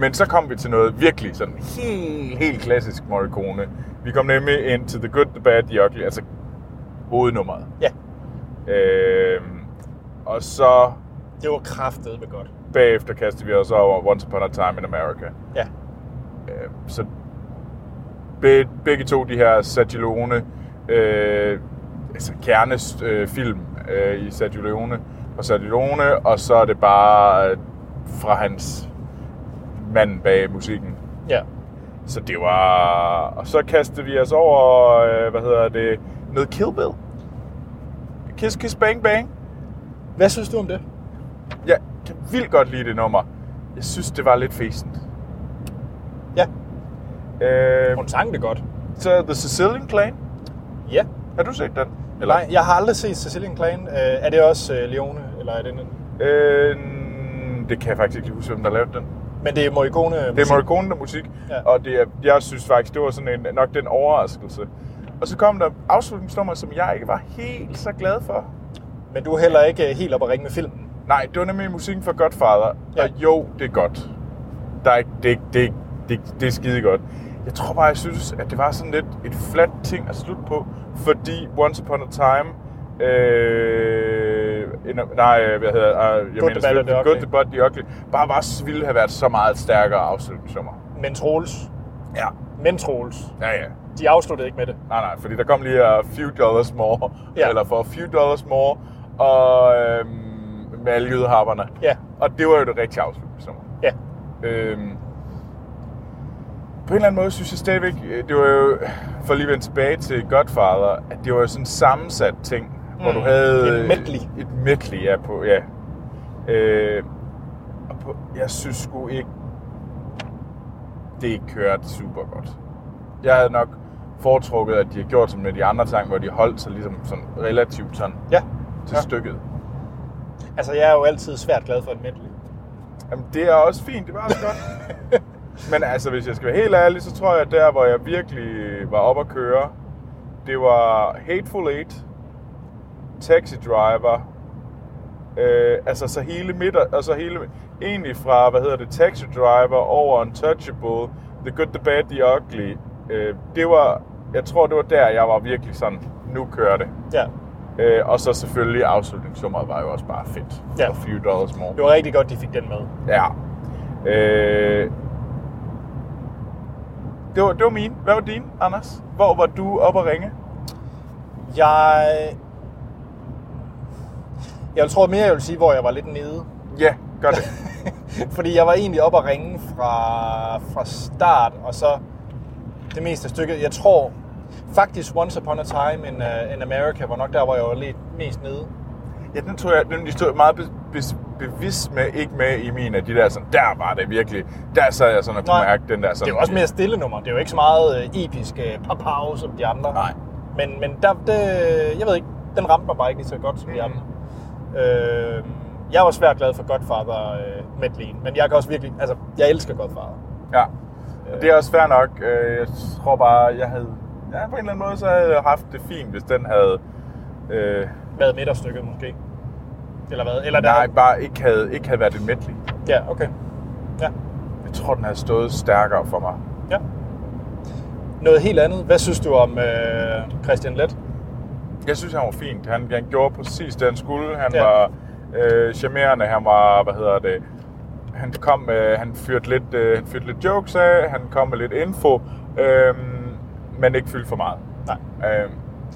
Speaker 1: Men så kom vi til noget virkelig sådan helt, helt klassisk Morricone. Vi kom nemlig ind til The Good, The Bad, The Ugly, altså hovednummeret.
Speaker 2: Ja,
Speaker 1: Øhm, og så
Speaker 2: det var kraftedeme godt.
Speaker 1: bagefter kastede vi os over Once Upon a Time in America.
Speaker 2: Ja,
Speaker 1: Øhm, så be, begge to de her Sergio Leone, øh, altså kernes øh, film øh, i Sergio Leone og Sergio Leone, og så er det bare øh, fra hans mand bag musikken.
Speaker 2: ja.
Speaker 1: Så det var... Og så kastede vi os over, øh, hvad hedder det, noget Kill Bill. Kiss Kiss Bang Bang.
Speaker 2: Hvad synes du om det?
Speaker 1: Jeg kan vildt godt lide det nummer. Jeg synes, det var lidt fæsent.
Speaker 2: Ja,
Speaker 1: Øh,
Speaker 2: hun sang det godt.
Speaker 1: så The Sicilian Clan.
Speaker 2: Ja.
Speaker 1: Har du set den?
Speaker 2: Eller? Nej, jeg har aldrig set Cecilian Clan. Øh, er det også øh, Leone, eller er det en...
Speaker 1: Øh, det kan jeg faktisk ikke lige huske, hvem der lavede den.
Speaker 2: Men det er Morricone.
Speaker 1: Det er Morricone, der er musik, ja.
Speaker 2: Ja.
Speaker 1: og det er, jeg synes faktisk, det var sådan en, nok den overraskelse. Og så kom der afslutningsnummer, som jeg ikke var helt så glad for.
Speaker 2: Men du er heller ikke øh, helt op at ringe med filmen.
Speaker 1: Nej, det var nemlig musikken fra Godfather. Ja.
Speaker 2: Ja.
Speaker 1: Og jo, det er godt. Der er ikke, det, er ikke- det, er ikke- det, er ikke- det er skide godt. Jeg tror bare, jeg synes, at det var sådan lidt et flat ting at slutte på, fordi Once Upon a Time... Øh, en, nej, hvad hedder øh, jeg?
Speaker 2: Good, the Bad and the
Speaker 1: selvfølgelig, Good,
Speaker 2: Ugly.
Speaker 1: the Bad, the Ugly. Bare var ville have været så meget stærkere afslutningsnummer.
Speaker 2: Men Troels.
Speaker 1: Ja.
Speaker 2: Men Troels.
Speaker 1: Ja, ja.
Speaker 2: De afsluttede ikke med det.
Speaker 1: Nej, nej, fordi der kom lige a few dollars more, ja.
Speaker 2: Ja.
Speaker 1: eller for a few dollars more, og øhm, med alle jydeharperne.
Speaker 2: Ja.
Speaker 1: Og det var jo det rigtige afslutningsnummer.
Speaker 2: Ja.
Speaker 1: Øhm, på en eller anden måde synes jeg stadigvæk, øh, det var jo, for lige at vende tilbage til Godfather, at det var jo sådan en sammensat ting, mm. hvor
Speaker 2: Mm,
Speaker 1: du havde...
Speaker 2: et medley.
Speaker 1: Et medley, ja. På, ja. Øh, og på, jeg synes sgu ikke, det kørte super godt. Jeg havde nok foretrukket, at de havde gjort som med de andre sange, hvor de holdt sig ligesom sådan relativt sådan
Speaker 2: Ja.
Speaker 1: til
Speaker 2: Ja.
Speaker 1: ja. stykket.
Speaker 2: Altså, jeg er jo altid svært glad for et medley.
Speaker 1: Jamen, det er også fint, det var også godt. Men altså, hvis jeg skal være helt ærlig, så tror jeg, at der, hvor jeg virkelig var op at køre, det var Hateful Eight, Taxi Driver, øh, altså så hele midt, altså hele, egentlig fra, hvad hedder det, Taxi Driver over Untouchable, The Good, The Bad, The Ugly, øh, det var, jeg tror, det var der, jeg var virkelig sådan, nu kører det.
Speaker 2: Ja.
Speaker 1: Øh, og så selvfølgelig afslutningsnummeret var jo også bare fedt.
Speaker 2: Ja.
Speaker 1: Og Few Dollars More.
Speaker 2: Det var rigtig godt, de fik den med.
Speaker 1: Ja. Øh, det, var, det var min. Hvad var din, Anders? Hvor var du op at ringe?
Speaker 2: Jeg... Jeg tror mere, jeg vil sige, hvor jeg var lidt nede.
Speaker 1: Ja, gør det.
Speaker 2: Fordi jeg var egentlig op at ringe fra, fra start, og så det meste af stykket. Jeg tror faktisk Once Upon a Time in, uh, in America var nok der, hvor jeg var lidt mest nede.
Speaker 1: ja, den tror jeg, den stod jeg meget be, be, bevidst med, ikke med i min af de der sådan, der var det virkelig. Der sad jeg sådan og kunne
Speaker 2: Nej.
Speaker 1: mærke den der sådan.
Speaker 2: Det er jo også mere stille nummer. Det er jo ikke så meget øh, episk øh, papau som de andre.
Speaker 1: Nej.
Speaker 2: Men, men der, det, jeg ved ikke, den ramte mig bare ikke lige så godt som de
Speaker 1: Mhm.
Speaker 2: andre. Øh, jeg var svært glad for Godfather øh, medleyen, men jeg kan også virkelig, altså, jeg elsker Godfather.
Speaker 1: Ja. Og Det er også fair nok. Øh, Jeg tror bare, jeg havde... Ja, på en eller anden måde, så havde jeg haft det fint, hvis den havde... Øh,
Speaker 2: Været midterstykket måske. Eller hvad? Eller
Speaker 1: nej,
Speaker 2: der.
Speaker 1: bare ikke havde, ikke havde været et medley.
Speaker 2: Ja, okay. Ja.
Speaker 1: Jeg tror, den havde stået stærkere for mig.
Speaker 2: ja. Noget helt andet. Hvad synes du om øh, Christian Let?
Speaker 1: Jeg synes, han var fint. Han, han gjorde præcis det, han skulle. Han
Speaker 2: Ja.
Speaker 1: ja. var øh, charmerende. Han var, hvad hedder det... Han kom med, han fyrte lidt, øh, han fyrte lidt jokes af. Han kom med lidt info. Øh, men ikke fyldte for meget.
Speaker 2: Nej.
Speaker 1: Øh,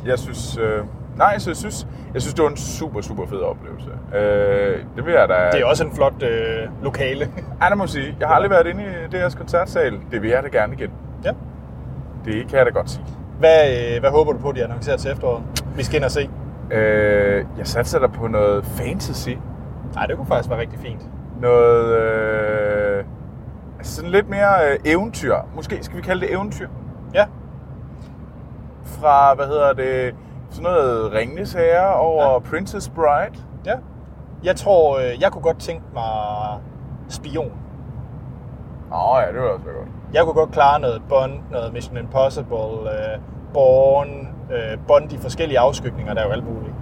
Speaker 1: jeg synes... Øh, nej, så jeg synes, jeg synes, det var en super, super fed oplevelse. Øh, det vil jeg da...
Speaker 2: Det er også en flot øh, lokale.
Speaker 1: Ej, det må jeg sige. Jeg har aldrig været inde i deres koncertsal. Det vil jeg da gerne igen.
Speaker 2: ja.
Speaker 1: Det kan jeg da godt sige.
Speaker 2: Hvad, øh, hvad håber du på, de annoncerer til efteråret? Vi skal ind og se.
Speaker 1: Øh, jeg satser da på noget fantasy.
Speaker 2: Nej, det kunne faktisk være rigtig fint.
Speaker 1: noget øh, altså sådan lidt mere øh, eventyr. Måske skal vi kalde det eventyr.
Speaker 2: Ja,
Speaker 1: Fra, hvad hedder det, sådan noget Ringnes Herre over ja. Princess Bride.
Speaker 2: ja. Jeg tror, øh, jeg kunne godt tænke mig spion.
Speaker 1: Åh oh, ja, det var også være godt.
Speaker 2: Jeg kunne godt klare noget Bond, noget Mission Impossible, øh, Born, øh, Bond i forskellige afskygninger, der er jo alt muligt.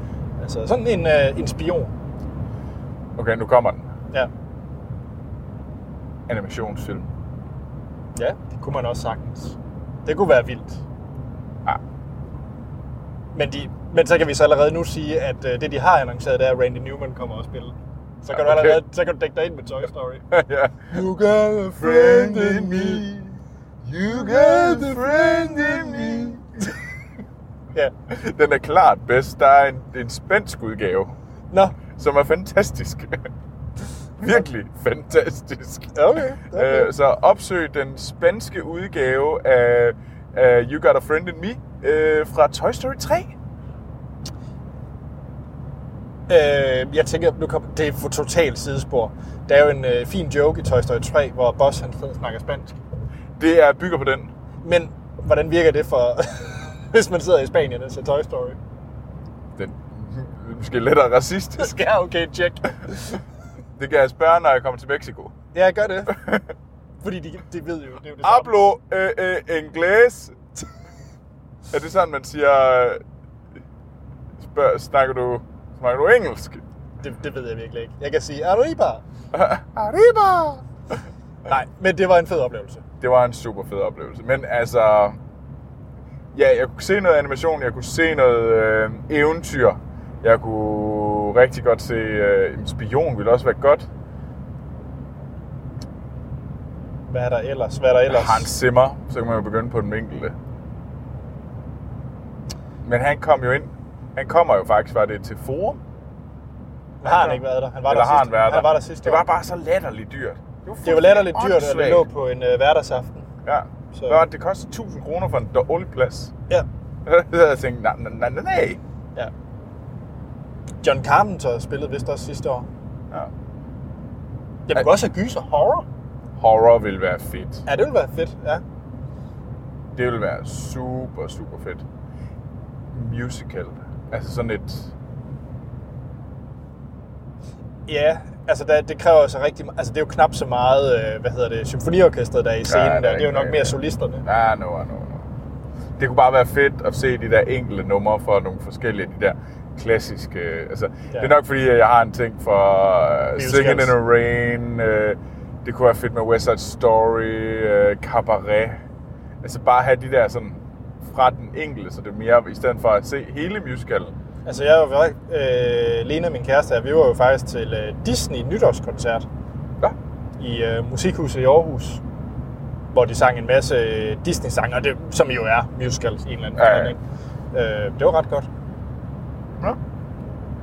Speaker 2: Altså sådan en, øh, en spion.
Speaker 1: Okay, nu kommer den.
Speaker 2: Ja.
Speaker 1: Animationsfilm.
Speaker 2: ja, det kunne man også sagtens. Det kunne være vildt.
Speaker 1: Ja.
Speaker 2: Men, de, men så kan vi så allerede nu sige, at øh, det de har annonceret, det er, at Randy Newman kommer og spille. Så kan,
Speaker 1: Ja,
Speaker 2: ja, okay. du
Speaker 1: okay.
Speaker 2: allerede, så kan du dække dig ind med Toy Story.
Speaker 1: ja.
Speaker 2: You got a
Speaker 1: friend in me.
Speaker 2: You Ja.
Speaker 1: Den er klart bedst. Der er en, en spansk udgave,
Speaker 2: Nå,
Speaker 1: som er fantastisk. Virkelig fantastisk.
Speaker 2: okay. okay.
Speaker 1: Øh, så opsøg den spanske udgave af, af You Got a Friend in Me øh, fra Toy Story 3.
Speaker 2: Øh, jeg tænker, nu kom, det er for totalt sidespor. Der er jo en øh, fin joke i Toy Story 3, hvor Boss han sidder og snakker spansk.
Speaker 1: Det er bygger på den.
Speaker 2: Men hvordan virker det for, hvis man sidder i Spanien og ser Toy Story?
Speaker 1: Den måske lettere racistisk.
Speaker 2: Skal jeg? Okay, check.
Speaker 1: Det kan jeg spørge, når jeg kommer til Mexico.
Speaker 2: Ja, gør det. Fordi de, de ved jo, det er jo det samme.
Speaker 1: Hablo øh, øh, inglés. Er det sådan, man siger... øh, Spørg, snakker du, snakker du engelsk?
Speaker 2: Det, det ved jeg virkelig ikke. Jeg kan sige, arriba.
Speaker 1: Arriba!
Speaker 2: Nej, men det var en fed oplevelse.
Speaker 1: det var en super fed oplevelse. Men altså, ja, jeg kunne se noget animation, jeg kunne se noget øh, eventyr. Jeg kunne rigtig godt se, øh, en spion ville også være godt.
Speaker 2: Hvad er der ellers? Hvad er der ellers?
Speaker 1: Hans Zimmer, så kan man jo begynde på den enkelte. Men han kom jo ind, han kommer jo faktisk, var det til Forum?
Speaker 2: Har han ikke været der? Han var
Speaker 1: Eller
Speaker 2: der
Speaker 1: har
Speaker 2: sidste,
Speaker 1: han været der?
Speaker 2: Han var der sidste
Speaker 1: Det
Speaker 2: år.
Speaker 1: var bare så latterligt dyrt. var
Speaker 2: det var latterligt dyrt, at det
Speaker 1: åndssvagt.
Speaker 2: lå på en øh, hverdagsaften.
Speaker 1: Ja,
Speaker 2: Så-
Speaker 1: så... Hvad, var det det kostede 1000 kroner for en dårlig plads.
Speaker 2: Ja.
Speaker 1: så havde jeg tænkt, nej, nej, nej, nej, nej.
Speaker 2: ja. John Carpenter spillede vist også sidste år.
Speaker 1: Ja.
Speaker 2: Jeg kunne også have gyser horror.
Speaker 1: Horror ville være fedt.
Speaker 2: Ja, det ville være fedt, ja.
Speaker 1: Det ville være super, super fedt. Musical. Altså sådan et...
Speaker 2: Ja, altså der, det kræver så rigtig meget. Altså det er jo knap så meget, øh, hvad hedder det, symfoniorkestret, der er i scenen
Speaker 1: der
Speaker 2: ja,
Speaker 1: er
Speaker 2: der. Det er
Speaker 1: ikke
Speaker 2: jo nok
Speaker 1: noget,
Speaker 2: mere
Speaker 1: ja.
Speaker 2: solisterne.
Speaker 1: Nej, no, no, no. Det kunne bare være fedt at se de der enkelte numre for nogle forskellige de der klassiske... Altså, ja. Det er nok fordi, at jeg har en ting for uh,
Speaker 2: Musicals.
Speaker 1: Singing in the Rain. Uh, det kunne være fedt med West Side Story, uh, Cabaret. Altså bare have de der sådan fra den enkelte, så det er mere, i stedet for at se hele musicalen.
Speaker 2: Altså jeg var, øh, Lena, min kæreste her, vi var jo faktisk til øh, Disney nytårskoncert
Speaker 1: Ja.
Speaker 2: i øh, Musikhuset i Aarhus, hvor de sang en masse øh, Disney-sange, og det, som jo er musicals i en eller anden
Speaker 1: Ja, ja.
Speaker 2: forstand, ikke? Øh, det var ret godt.
Speaker 1: ja.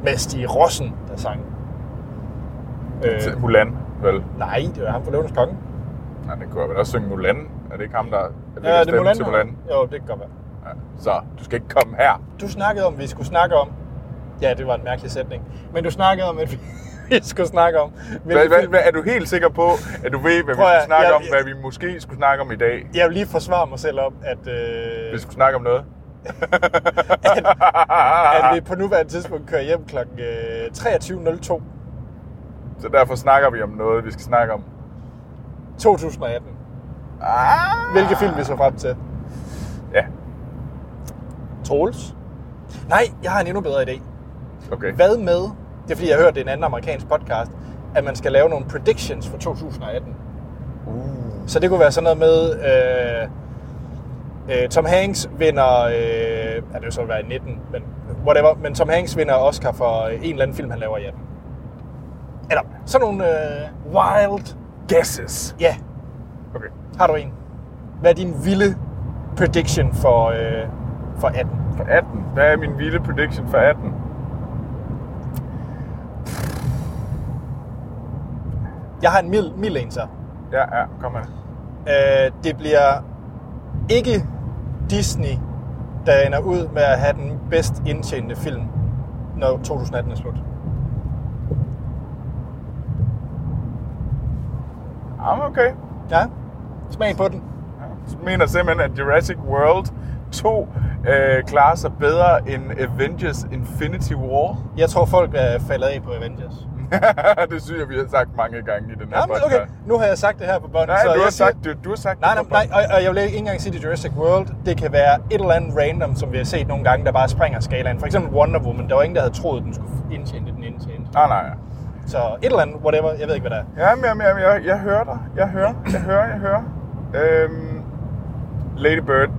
Speaker 2: Med Stig Rossen, der sang. Øh,
Speaker 1: Til Mulan, vel?
Speaker 2: nej, det var ham fra Løvens Konge.
Speaker 1: Nej, det kunne jeg vel også synge Mulan. Er det ikke ham, der er det
Speaker 2: Ja, det er Mulan.
Speaker 1: til
Speaker 2: han-
Speaker 1: Mulan?
Speaker 2: Jo, det kan godt være.
Speaker 1: Ja. Så du skal ikke komme her.
Speaker 2: Du snakkede om, at vi skulle snakke om... Ja, det var en mærkelig sætning. Men du snakkede om, at vi vi skulle snakke om...
Speaker 1: Hvad, hvad, hvad, er du helt sikker på, at du ved, hvad vi
Speaker 2: Prøv at-
Speaker 1: skulle snakke
Speaker 2: jeg-
Speaker 1: om, hvad vi måske skulle snakke om i dag?
Speaker 2: Jeg vil lige forsvare mig selv om, at, øh,
Speaker 1: Vi skulle snakke om noget. Ah,
Speaker 2: at vi på nuværende tidspunkt kører hjem øh, kl. 23.02
Speaker 1: Så derfor snakker vi om noget, vi skal snakke om.
Speaker 2: 2018.
Speaker 1: Ah,
Speaker 2: Hvilke film vi så frem til?
Speaker 1: Ja,
Speaker 2: Troels? Nej, jeg har en endnu bedre idé.
Speaker 1: okay.
Speaker 2: Hvad med... Det er fordi, jeg har hørt, det er en anden amerikansk podcast, at man skal lave nogle predictions for 2018.
Speaker 1: Uh,
Speaker 2: Så det kunne være sådan noget med, øh, øh, Tom Hanks vinder, øh, ja, det vil så være i 19, men whatever, men Tom Hanks vinder Oscar for en eller anden film, han laver i 18. Eller sådan nogle øh, wild,
Speaker 1: guesses.
Speaker 2: ja,
Speaker 1: Okay.
Speaker 2: har du en? Hvad er din vilde prediction for, øh, for 18?
Speaker 1: For 18. Hvad er min vilde prediction for 18?
Speaker 2: Jeg har en mild, mild en så.
Speaker 1: Ja, ja, kom her.
Speaker 2: Øh, det bliver ikke Disney, der ender ud med at have den bedst indtjente film, når 2018 er slut.
Speaker 1: Jamen, Ah, okay.
Speaker 2: Ja, smag på den.
Speaker 1: Jeg mener simpelthen, at Jurassic World 2 øh, klarer sig bedre end Avengers Infinity War.
Speaker 2: Jeg tror, folk er faldet af på Avengers.
Speaker 1: det synes jeg, vi har sagt mange gange i den her
Speaker 2: Ja, men
Speaker 1: podcast.
Speaker 2: okay, nu har jeg sagt det her på bånd.
Speaker 1: Nej,
Speaker 2: så
Speaker 1: du
Speaker 2: jeg
Speaker 1: har,
Speaker 2: siger-
Speaker 1: sagt, du, du har sagt
Speaker 2: Nej,
Speaker 1: det.
Speaker 2: nej, nej, og, og jeg vil ikke engang sige det er Jurassic World. Det kan være et eller andet random, som vi har set nogle gange, der bare springer skalaen. For eksempel Wonder Woman. Der var ingen, der havde troet, den skulle indtjene det, den indtjente.
Speaker 1: Ah, Nej, nej.
Speaker 2: Så et eller andet, whatever. Jeg ved ikke, hvad der er.
Speaker 1: Jamen, jamen, jamen, jeg, jeg hører dig. Jeg hører, jeg hører, jeg hører. Øhm, Lady Bird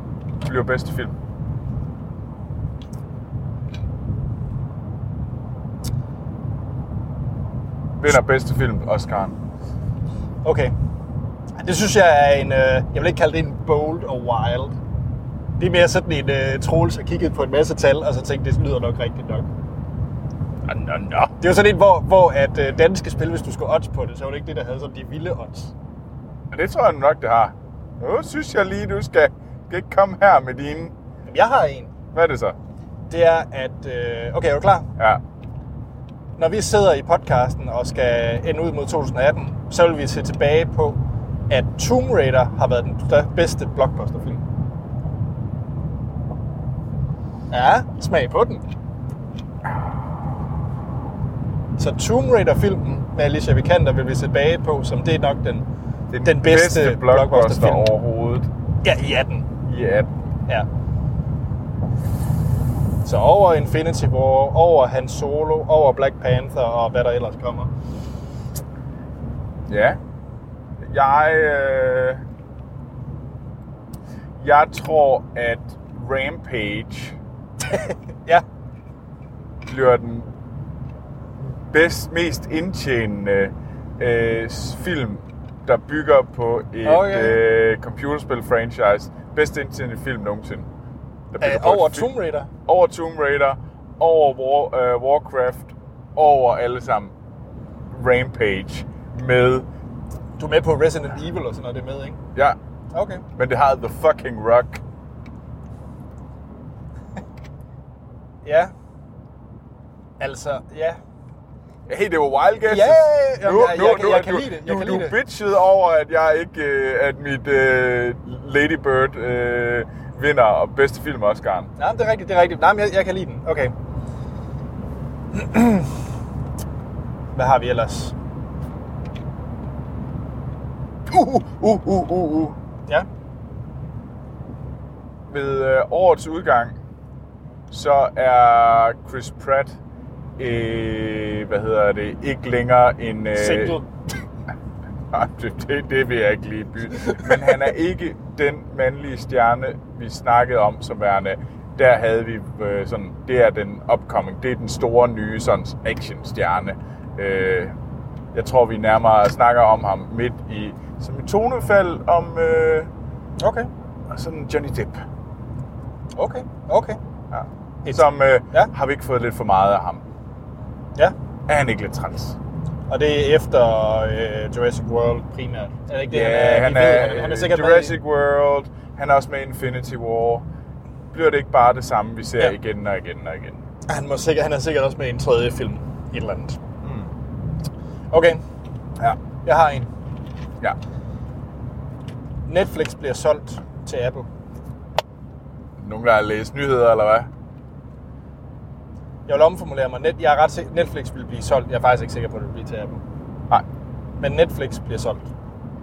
Speaker 1: bliver bedste film. Vinder bedste film, Oscar'en.
Speaker 2: Okay. Det synes jeg er en... Øh, jeg vil ikke kalde det en bold og wild. Det er mere sådan en øh, Troels har kigget på en masse tal, og så tænkte, det lyder nok rigtigt nok.
Speaker 1: Nå, nå, nå.
Speaker 2: Det er jo sådan en, hvor, hvor at øh, danske spil, hvis du skulle odds på det, så var det ikke det, der havde sådan de vilde odds.
Speaker 1: Men det tror jeg nok, det har. Nu synes jeg lige, du skal, skal ikke komme her med dine...
Speaker 2: Jamen, jeg har en.
Speaker 1: Hvad er det så?
Speaker 2: Det er, at... Øh, okay, er du klar?
Speaker 1: Ja.
Speaker 2: Når vi sidder i podcasten og skal ende ud mod 2018, så vil vi se tilbage på, at Tomb Raider har været den stør- bedste blockbusterfilm. Ja, smag på den. Så Tomb Raider-filmen med Alicia Vikander vil vi se tilbage på, som det er nok den,
Speaker 1: Den, den bedste, bedste blockbuster overhovedet
Speaker 2: Ja, i 18.
Speaker 1: i 18.
Speaker 2: Ja. Så over Infinity War, over Han Solo, over Black Panther og hvad der ellers kommer.
Speaker 1: Ja. Jeg, øh, jeg tror, at Rampage
Speaker 2: Ja,
Speaker 1: bliver den bedst, mest indtjenende øh, s- film, der bygger på et
Speaker 2: Okay.
Speaker 1: øh, computerspil-franchise. Bedst indtjenende film nogensinde. Der bygger
Speaker 2: øh,
Speaker 1: på et
Speaker 2: over
Speaker 1: fi-
Speaker 2: Tomb Raider.
Speaker 1: Over Tomb Raider, over War, øh, Warcraft, over alle sammen. Rampage med...
Speaker 2: Du er med på Resident Evil og sådan noget, det er med, ikke?
Speaker 1: Ja,
Speaker 2: Okay.
Speaker 1: Men det har The Fucking Rock.
Speaker 2: Ja. Altså, ja.
Speaker 1: Hey, det var wild guesses.
Speaker 2: Ja, ja, ja.
Speaker 1: Nu,
Speaker 2: Jeg-
Speaker 1: nu,
Speaker 2: jeg kan-
Speaker 1: nu,
Speaker 2: jeg
Speaker 1: er
Speaker 2: kan
Speaker 1: du,
Speaker 2: lide det. Jeg
Speaker 1: Du,
Speaker 2: kan
Speaker 1: du
Speaker 2: lide det.
Speaker 1: bitchede over, at jeg ikke, øh, at mit øh, Lady Bird øh, vinder og bedste film Oscar'en.
Speaker 2: Nej, men det er rigtigt, det er rigtigt. Nej, men jeg, jeg kan lide den. Okay. Hvad har vi ellers?
Speaker 1: Uh, uh, uh, uh, uh.
Speaker 2: Ja,
Speaker 1: Ved øh, årets udgang, så er Chris Pratt, øh, hvad hedder det, ikke længere en... Øh,
Speaker 2: single.
Speaker 1: Ah, det, det, det vil jeg ikke lige bytte. Men han er ikke den mandlige stjerne, vi snakkede om som værende. Der havde vi øh, sådan, det er den upcoming, det er den store nye sådan actionstjerne. Øh, jeg tror, vi nærmere snakker om ham midt i, som et tonefald om øh,
Speaker 2: Okay,
Speaker 1: sådan Johnny Depp.
Speaker 2: okay, okay.
Speaker 1: Ja.
Speaker 2: Et-
Speaker 1: Som, øh,
Speaker 2: ja.
Speaker 1: ja. har vi ikke fået lidt for meget af ham?
Speaker 2: Ja,
Speaker 1: Er han ikke lidt træls?
Speaker 2: og det er efter øh, Jurassic World primært. Er det ikke det, han er? Vi ved, han, er, han er sikkert med i-
Speaker 1: Jurassic World, han er også med i Infinity War. Bliver det ikke bare det samme, vi ser
Speaker 2: Ja.
Speaker 1: ja. igen og igen og igen?
Speaker 2: Han, må sikkert, han er sikkert også med i en tredje film. Et eller andet. Okay,
Speaker 1: Ja.
Speaker 2: jeg har en.
Speaker 1: ja.
Speaker 2: Netflix bliver solgt til Apple.
Speaker 1: Nogen, der har læst nyheder, eller hvad?
Speaker 2: Jeg vil omformulere mig. Net, jeg er ret sikker, Netflix vil blive solgt. Jeg er faktisk ikke sikker på, at det vil blive til Apple.
Speaker 1: Nej.
Speaker 2: Men Netflix bliver solgt.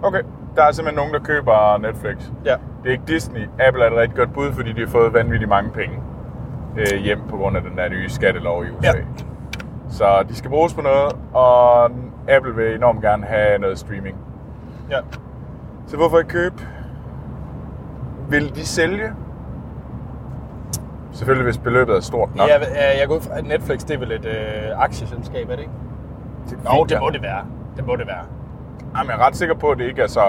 Speaker 1: Okay. Der er simpelthen nogen, der køber Netflix.
Speaker 2: Ja.
Speaker 1: Det er ikke Disney. Apple er et rigtig godt bud, fordi de har fået vanvittigt mange penge øh, hjem på grund af den der nye skattelov i USA.
Speaker 2: Ja.
Speaker 1: Ja. Så de skal bruges på noget, og Apple vil enormt gerne have noget streaming.
Speaker 2: ja.
Speaker 1: Så hvorfor ikke købe? Vil de sælge? Selvfølgelig, hvis beløbet er stort nok.
Speaker 2: Jeg, jeg, jeg går ud fra, at Netflix det er vel et øh, aktieselskab, er det ikke?
Speaker 1: det er
Speaker 2: Jo,
Speaker 1: fint,
Speaker 2: det
Speaker 1: ja.
Speaker 2: må det være. Det må det være.
Speaker 1: Jamen, jeg er ret sikker på, at det ikke er så...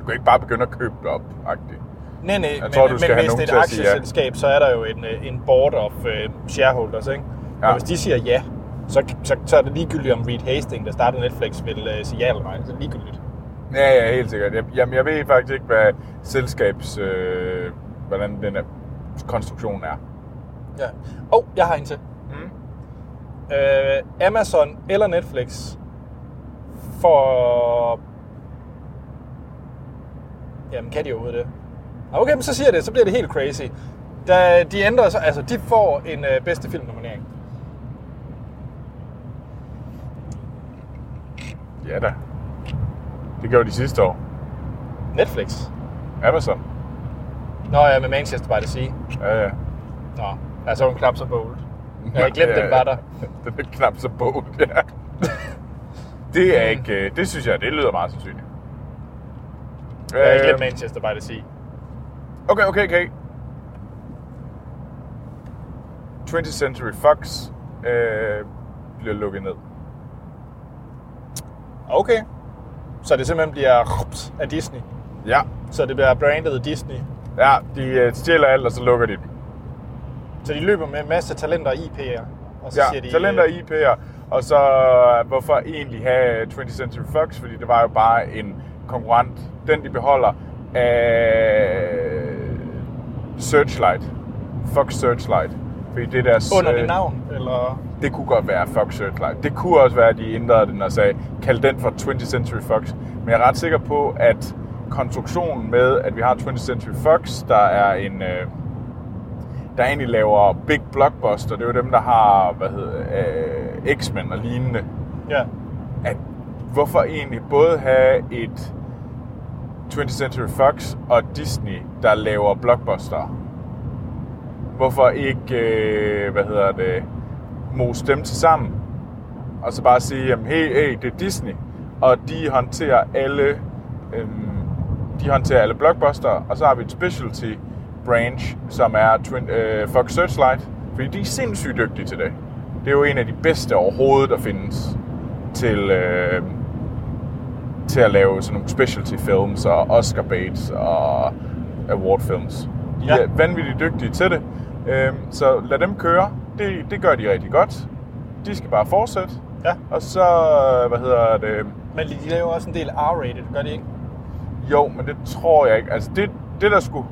Speaker 1: Du kan ikke bare begynde at købe det op, agtigt.
Speaker 2: Nej, nej, men,
Speaker 1: tror, du
Speaker 2: men
Speaker 1: skal have
Speaker 2: hvis
Speaker 1: nogen
Speaker 2: det
Speaker 1: til
Speaker 2: er et
Speaker 1: at sige ja.
Speaker 2: aktieselskab, så er der jo en, øh, en board of øh, shareholders, ikke? Ja.
Speaker 1: Ja.
Speaker 2: Og hvis de siger ja, så, så, så er det ligegyldigt, om Reed Hastings, der startede Netflix, vil øh, sige ja eller nej. Så er det ligegyldigt.
Speaker 1: Ja, ja, helt sikkert. Jeg, jamen, jeg ved faktisk ikke, hvad selskabs... Øh, hvordan den er, konstruktion er.
Speaker 2: Ja. Og jeg har en til.
Speaker 1: Mm.
Speaker 2: Øh, Amazon eller Netflix får... Jamen, kan de overhovedet det? Nå, Okay, men så siger jeg det, så bliver det helt crazy. Da de ændrer sig, altså de får en øh, bedste filmnominering.
Speaker 1: Ja da. Det gjorde de sidste år.
Speaker 2: Netflix.
Speaker 1: Amazon.
Speaker 2: Nå ja, med Manchester by the Sea.
Speaker 1: Ja, ja.
Speaker 2: Nå, altså hun knap så bold. Jeg havde glemt, den var der.
Speaker 1: Den er knap så bold, ja. Det er
Speaker 2: Mm.
Speaker 1: ikke... øh, Det synes jeg, det lyder meget sandsynligt.
Speaker 2: Jeg havde glemt
Speaker 1: Øhm,
Speaker 2: Manchester by the Sea.
Speaker 1: Okay, okay, okay. 20th Century Fox øh, bliver lukket ned.
Speaker 2: Okay. Så det simpelthen bliver rups af Disney.
Speaker 1: Ja.
Speaker 2: Så det bliver brandet Disney.
Speaker 1: Ja, de øh, stjæler alt, og så lukker de dem.
Speaker 2: Så de løber med en masse talenter og IP'er. Og så
Speaker 1: Ja,
Speaker 2: siger de,
Speaker 1: talenter og
Speaker 2: øh,
Speaker 1: IP'er. Og så, øh, hvorfor egentlig have 20th Century Fox? Fordi det var jo bare en konkurrent. Den, de beholder, af øh, Searchlight. Fox Searchlight. Fordi det er deres...
Speaker 2: Under det
Speaker 1: øh,
Speaker 2: navn, eller...
Speaker 1: Det kunne godt være Fox Searchlight. Det kunne også være, at de ændrede den og sagde, kald den for 20th Century Fox. Men jeg er ret sikker på, at konstruktionen med, at vi har 20th Century Fox, der er en... Øh, der egentlig laver Big Blockbuster, det er jo dem, der har, hvad hedder, øh, X-Men og lignende.
Speaker 2: Ja.
Speaker 1: At hvorfor egentlig både have et 20th Century Fox og Disney, der laver blockbuster? Hvorfor ikke, øh, hvad hedder det, mose dem til sammen? Og så bare sige, jamen hey, hey, det er Disney, og de håndterer alle, øhm, de håndterer alle blockbuster, og så har vi et specialty branch, som er twin, øh, Fox Searchlight, fordi de er sindssygt dygtige til det. Det er jo en af de bedste overhovedet, der findes til, øh, til at lave sådan nogle specialty films og Oscar baits og award films. De
Speaker 2: Ja.
Speaker 1: ja. er vanvittigt dygtige til det. Øhm, så lad dem køre. Det, det gør de rigtig godt. De skal bare fortsætte.
Speaker 2: Ja.
Speaker 1: Og så, øh, hvad hedder det?
Speaker 2: Men de laver også en del R-rated, gør de ikke?
Speaker 1: Jo, men det tror jeg ikke. Altså det, det der skulle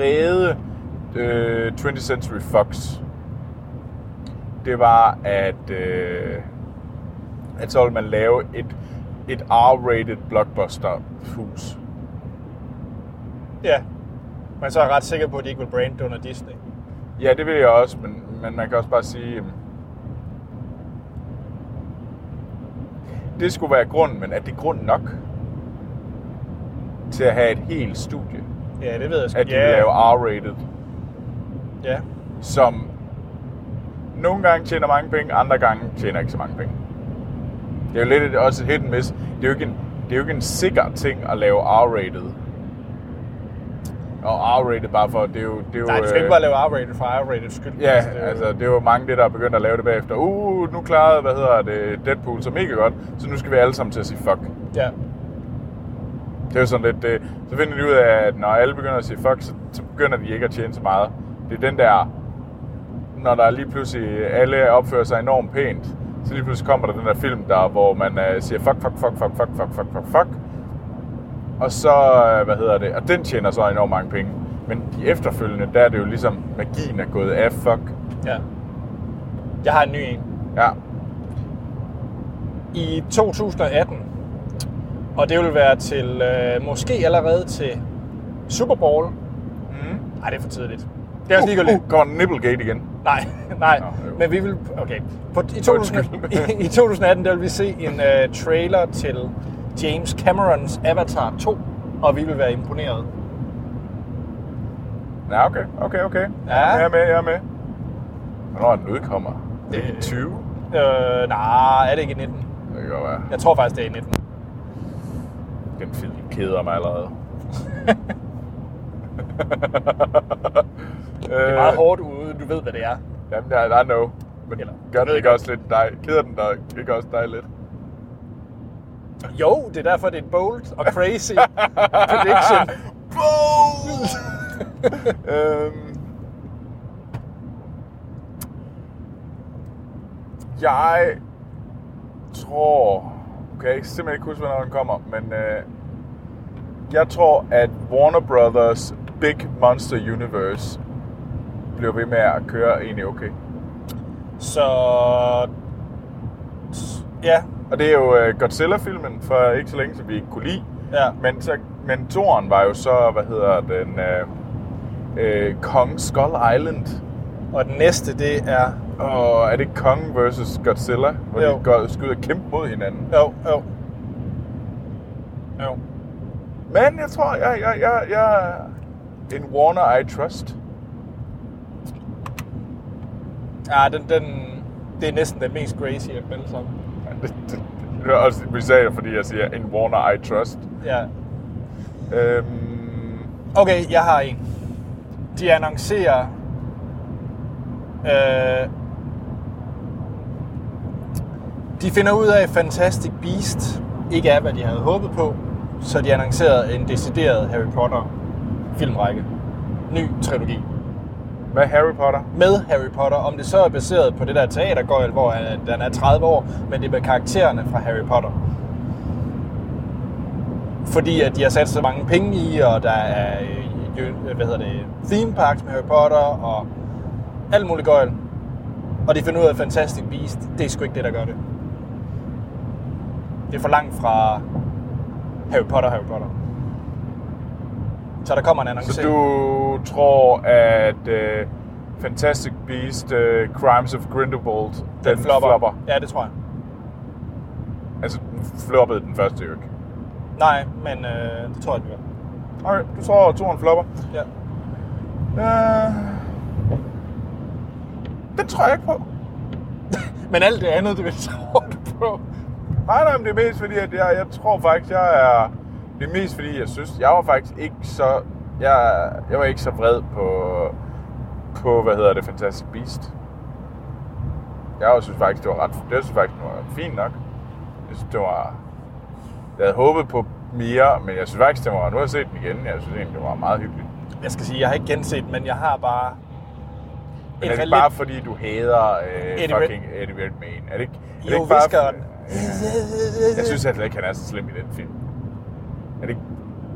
Speaker 1: redde øh, 20th Century Fox, det var, at, øh, at så ville man lave et, et R-rated blockbuster-hus.
Speaker 2: Ja. Men så er jeg ret sikker på, at de ikke vil brande under Disney.
Speaker 1: Ja, det vil jeg også, men, men man kan også bare sige, jamen, det skulle være grunden, men er det grund nok til at have et helt studie,
Speaker 2: Ja, det ved jeg sgu.
Speaker 1: at de
Speaker 2: ja.
Speaker 1: yeah. laver R-rated,
Speaker 2: ja.
Speaker 1: som nogle gange tjener mange penge, andre gange tjener ikke så mange penge. Det er jo lidt et, også et hit and miss. Det er jo ikke en, det er jo ikke en sikker ting at lave R-rated. Og R-rated bare for, det er jo... Det er jo
Speaker 2: Nej, du skal
Speaker 1: øh,
Speaker 2: ikke bare lave R-rated for R-rated skyld.
Speaker 1: Ja,
Speaker 2: det er jo-
Speaker 1: altså det er jo mange det, der er begyndt at lave det bagefter. Uh, nu klarede, hvad hedder det, Deadpool så mega godt, så nu skal vi alle sammen til at sige fuck.
Speaker 2: Ja.
Speaker 1: Det er jo sådan lidt, det, så finder de ud af, at når alle begynder at sige fuck, så, så begynder de ikke at tjene så meget. Det er den der, når der lige pludselig alle opfører sig enormt pænt, så lige pludselig kommer der den der film, der, hvor man uh, siger fuck, fuck, fuck, fuck, fuck, fuck, fuck, fuck, fuck. Og så, øh, hvad hedder det, og den tjener så enormt mange penge. Men de efterfølgende, der er det jo ligesom, magien er gået af fuck.
Speaker 2: ja. Jeg har en ny en.
Speaker 1: Ja,
Speaker 2: i 2018. Og det vil være til, øh, måske allerede til Super Bowl. Mm. Nej, det er for tidligt. Det er også ligegyldigt.
Speaker 1: Uh, uh, kommer Nipplegate igen.
Speaker 2: Nej, nej.
Speaker 1: Nå, jo.
Speaker 2: men vi vil... Okay. På, i, 2000, i, I 2018, der vil vi se en øh, trailer til James Camerons Avatar 2, og vi vil være imponeret.
Speaker 1: Ja, okay, okay, okay.
Speaker 2: Ja.
Speaker 1: Jeg er med, jeg er med. Hvornår er den udkommer? Er det
Speaker 2: Øh.
Speaker 1: 20?
Speaker 2: Øh, nej, er det ikke i 19?
Speaker 1: Det kan godt være.
Speaker 2: Jeg tror faktisk, det er i 19.
Speaker 1: Den film keder mig allerede.
Speaker 2: Det er meget hårdt ude, du ved, hvad det er.
Speaker 1: Øh, Jamen, der, der er no. Men
Speaker 2: Eller-
Speaker 1: Eller, gør den
Speaker 2: ved
Speaker 1: ikke
Speaker 2: jeg
Speaker 1: også lidt dig? Keder den dig ikke også dig lidt?
Speaker 2: Jo, det er derfor, det er en bold og crazy prediction.
Speaker 1: Ah, Boom! øhm, jeg tror... Okay, jeg kan simpelthen ikke huske, hvornår den kommer, men øh, jeg tror, at Warner Brothers Big Monster Universe bliver ved med at køre egentlig okay.
Speaker 2: Så... Ja,
Speaker 1: Og det er jo øh, Godzilla-filmen for ikke så længe, som vi ikke kunne lide.
Speaker 2: Ja.
Speaker 1: Men, så, men toren var jo så, hvad hedder den, øh, øh, Kong Skull Island.
Speaker 2: og den næste, det er...
Speaker 1: Og er det Kong versus Godzilla, hvor
Speaker 2: Jo.
Speaker 1: jo. de går, skal ud og kæmpe mod hinanden?
Speaker 2: Jo, jo. Jo.
Speaker 1: Men jeg tror, jeg, jeg, jeg, jeg en Warner I trust.
Speaker 2: Ja, den, den, det er næsten den mest crazy af dem alle sammen.
Speaker 1: Det, det, det er også bizarre, fordi jeg siger en Warner I trust.
Speaker 2: Ja.
Speaker 1: Øhm,
Speaker 2: Okay, jeg har en. De annoncerer... Øh, de finder ud af, at Fantastic Beast ikke er, hvad de havde håbet på, så de annoncerede en decideret Harry Potter filmrække. Ny trilogi.
Speaker 1: hvad Harry Potter?
Speaker 2: med Harry Potter, om det så er baseret på det der teatergøjl, hvor han den er 30 år, men det er med karaktererne fra Harry Potter. Fordi at de har sat så mange penge i, og der er øh, jø- hvad hedder det, theme parks med Harry Potter, og alt muligt gøjl. Og de finder ud af at Fantastic Beast, det er sgu ikke det, der gør det. Det er for langt fra Harry Potter, Harry Potter. Så der kommer en annonce.
Speaker 1: Så du tror, at øh, Fantastic Beast, øh, Crimes of Grindelwald, den, den flopper. flopper?
Speaker 2: Ja, det tror jeg.
Speaker 1: Altså, den floppede den første jo ikke.
Speaker 2: Nej, men øh, det tror jeg, det gør.
Speaker 1: Okay, du tror, at toren flopper.
Speaker 2: Ja.
Speaker 1: Øh, den tror jeg ikke på.
Speaker 2: Men alt det andet, det vil tror du på.
Speaker 1: Nej, nej, men det er mest fordi, at jeg, jeg tror faktisk, jeg er... Det er mest fordi, jeg synes, jeg var faktisk ikke så... Jeg, jeg var ikke så vred på, på, hvad hedder det, Fantastic Beast. Jeg synes faktisk, det var ret... Det synes faktisk, det var fint nok. Jeg synes, det var... Jeg havde håbet på mere, men jeg synes faktisk, det var... Nu har jeg set den igen, jeg synes egentlig, det var meget hyggeligt.
Speaker 2: Jeg skal sige, jeg har ikke genset, men jeg har bare...
Speaker 1: Men
Speaker 2: et
Speaker 1: er det ikke
Speaker 2: relit-
Speaker 1: bare fordi, du hader øh,
Speaker 2: Eddie Red-
Speaker 1: fucking Eddie Redmayne? Er det ikke, er det
Speaker 2: Jo,
Speaker 1: ikke bare...
Speaker 2: viskeren.
Speaker 1: Jeg synes altså ikke, han er så slem i den film. Er det ikke...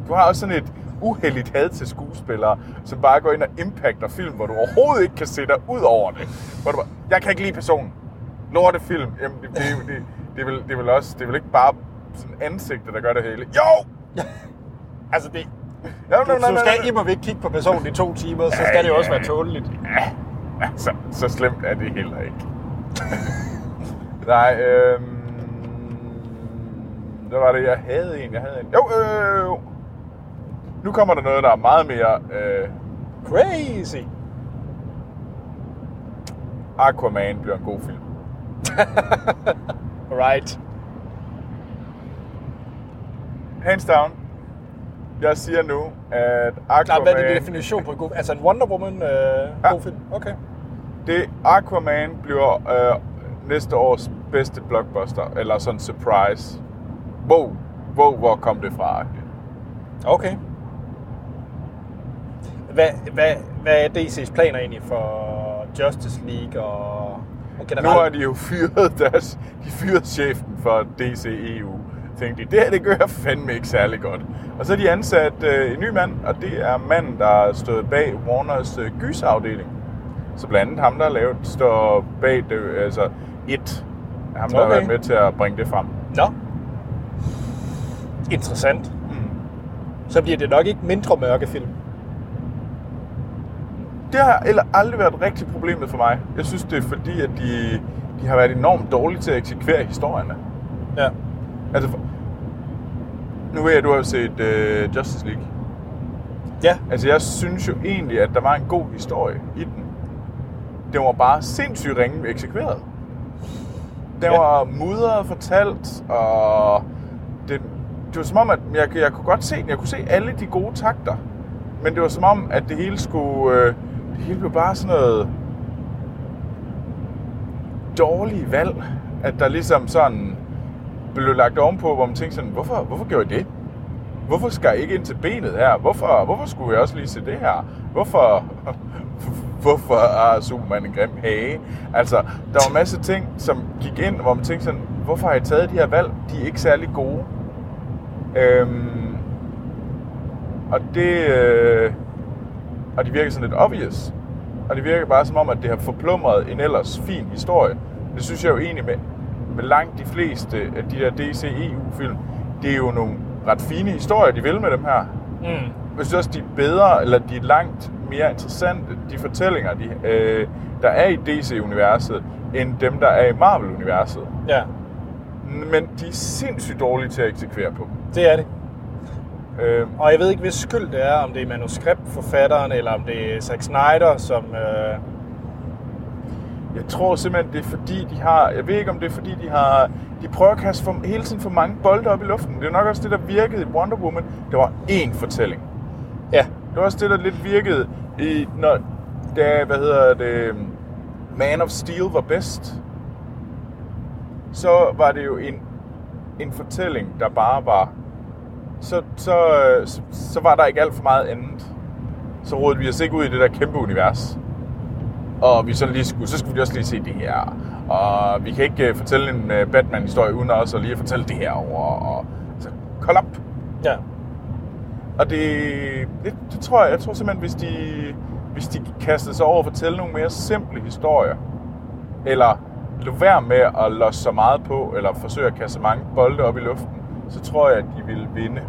Speaker 1: Du har også sådan et uheldigt had til skuespillere, som bare går ind og impacter film, hvor du overhovedet ikke kan se dig ud over det. Hvor du bare, jeg kan ikke lide personen. Lorte film. Jamen, det, det, det, det, er vel, det, er vel også, det er vel ikke bare sådan ansigtet, der gør det hele. Jo!
Speaker 2: Altså, det...
Speaker 1: Ja,
Speaker 2: Du, du skal imod ikke kigge på personen i to timer, så skal det jo også være tåleligt.
Speaker 1: Altså, så slemt er det heller ikke. Nej, øhm... der var det, jeg havde en, jeg havde en. Jo, øh, jo. Nu kommer der noget, der er meget mere øh,
Speaker 2: Crazy!
Speaker 1: Aquaman bliver en god film.
Speaker 2: Alright.
Speaker 1: Hands down. Jeg siger nu, at
Speaker 2: Nej,
Speaker 1: Aquaman...
Speaker 2: hvad er det definition på en god Altså en Wonder Woman øh, ja. god film? Okay.
Speaker 1: det Aquaman bliver øh, næste års bedste blockbuster, eller sådan surprise. Wow, wow, hvor kom det fra?
Speaker 2: Okay. Hvad, hvad, hvad er DC's planer egentlig for Justice League og, og
Speaker 1: Nu
Speaker 2: generelt?
Speaker 1: har de jo fyret deres, de fyrede chefen for DCEU. Tænkte de, det her det gør fandme ikke særlig godt. Og så har de ansat øh, en ny mand, og det er manden, der stod bag Warners øh, gysafdeling. Så blandt andet ham, der har lavet, står bag det, altså et. Ham, der har
Speaker 2: Okay.
Speaker 1: været med til at bringe det frem.
Speaker 2: Nå. Interessant. Så bliver det nok ikke mindre mørke film.
Speaker 1: Det har eller aldrig været rigtig problemet for mig. Jeg synes, det er fordi, at de, de har været enormt dårlige til at eksekvere historierne.
Speaker 2: Ja.
Speaker 1: Altså, for- nu ved jeg, at du har set øh, Justice League.
Speaker 2: Ja.
Speaker 1: Altså, jeg synes jo egentlig, at der var en god historie i den. Den var bare sindssygt ringe eksekveret. Den
Speaker 2: Ja.
Speaker 1: ja. var mudret fortalt, og det, det var som om, at jeg, jeg kunne godt se den. Jeg kunne se alle de gode takter. Men det var som om, at det hele skulle... Øh, det hele blev bare sådan noget dårlige valg, at der ligesom sådan blev lagt ovenpå, hvor man tænkte sådan, hvorfor, hvorfor gjorde I det? Hvorfor skal jeg ikke ind til benet her? Hvorfor, hvorfor skulle jeg også lige se det her? Hvorfor, hvorfor har Superman en grim hage? Altså, der var en masse ting, som gik ind, hvor man tænkte sådan, hvorfor har jeg taget de her valg? De er ikke særlig gode. Øhm, og det... Øh, og de virker sådan lidt obvious. Og det virker bare som om, at det har forplumret en ellers fin historie. Det synes jeg jo egentlig med, med langt de fleste af de der DC-EU-film, det er jo nogle ret fine historier, de vil med dem her.
Speaker 2: Mm.
Speaker 1: Jeg synes også, de er bedre, eller de er langt mere interessante, de fortællinger, de, øh, der er i DC-universet, end dem, der er i Marvel-universet.
Speaker 2: Ja,
Speaker 1: Men de er sindssygt dårlige til at eksekvere på.
Speaker 2: det er det.
Speaker 1: Øh,
Speaker 2: Og jeg ved ikke, hvis skyld det er, om det er manuskriptforfatteren, eller om det er Zack Snyder, som... Øh,
Speaker 1: Jeg tror simpelthen, det er fordi, de har... Jeg ved ikke, om det er fordi, de har... De prøver at kaste for, hele tiden for mange bolde op i luften. Det er nok også det, der virkede i Wonder Woman. Det var én fortælling.
Speaker 2: ja,
Speaker 1: Det var også det, der lidt virkede i... Når, da, hvad hedder det... Man of Steel var bedst. Så var det jo en, en fortælling, der bare var... Så, så, øh, så, så var der ikke alt for meget andet. Så rodede vi os ikke ud i det der kæmpe univers og vi sådan lige skulle, så skulle vi også lige se det her. Og vi kan ikke uh, fortælle en uh, Batman-historie uden også at lige at fortælle det her over. Og, så hold op!
Speaker 2: ja.
Speaker 1: Og det, det, det, tror jeg, jeg tror simpelthen, hvis de, hvis de kastede sig over at fortælle nogle mere simple historier, eller lå være med at losse så meget på, eller forsøge at kaste så mange bolde op i luften, så tror jeg, at de ville vinde.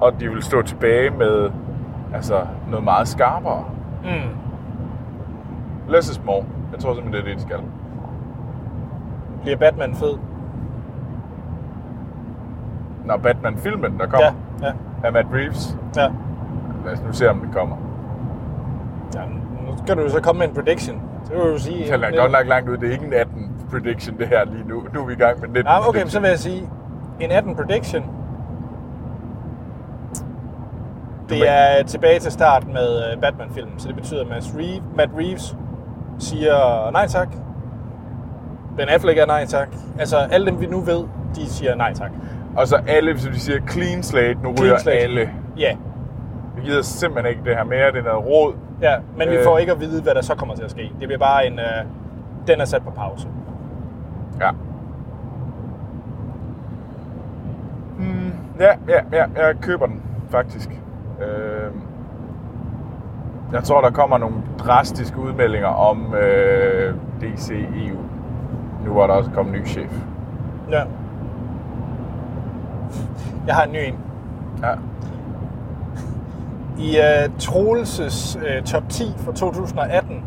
Speaker 1: Og de ville stå tilbage med altså, noget meget skarpere.
Speaker 2: Mm.
Speaker 1: Less is more. Jeg tror simpelthen, det er det, de skal.
Speaker 2: Bliver Batman fed?
Speaker 1: når Batman-filmen, der kommer,
Speaker 2: Ja,
Speaker 1: ja. af Matt Reeves.
Speaker 2: ja, ja.
Speaker 1: Lad os nu se, om den kommer.
Speaker 2: ja. Nu skal du jo så komme med en prediction. Det vil du sige... øh,
Speaker 1: Jeg har godt lagt langt ud. Det er ikke en 18 prediction, det her lige nu. Nu er vi i gang med 19
Speaker 2: Nej, Ah, okay, men så
Speaker 1: prediction.
Speaker 2: vil jeg sige, en 18 prediction, det er tilbage til start med øh, Batman-filmen, så det betyder, at Matt Reeves, Matt Reeves siger nej tak. Ben Affleck er nej tak. Altså, alle dem, vi nu ved, de siger nej tak.
Speaker 1: Og så alle, hvis vi siger clean slate, nu ryger
Speaker 2: slate.
Speaker 1: alle.
Speaker 2: Ja,
Speaker 1: Vi gider simpelthen ikke det her mere. Det er noget råd.
Speaker 2: ja men vi
Speaker 1: Øh.
Speaker 2: får ikke at vide, hvad der så kommer til at ske. Det bliver bare en... Øh, den er sat på pause.
Speaker 1: Ja. Hmm, ja, ja, ja, jeg køber den, faktisk. Øh, jeg tror, der kommer nogle drastiske udmeldinger om øh, DCEU. Nu var der også kommet en ny chef.
Speaker 2: Ja. Jeg har en ny en.
Speaker 1: Ja.
Speaker 2: I uh, Troelses uh, top 10 for 2018,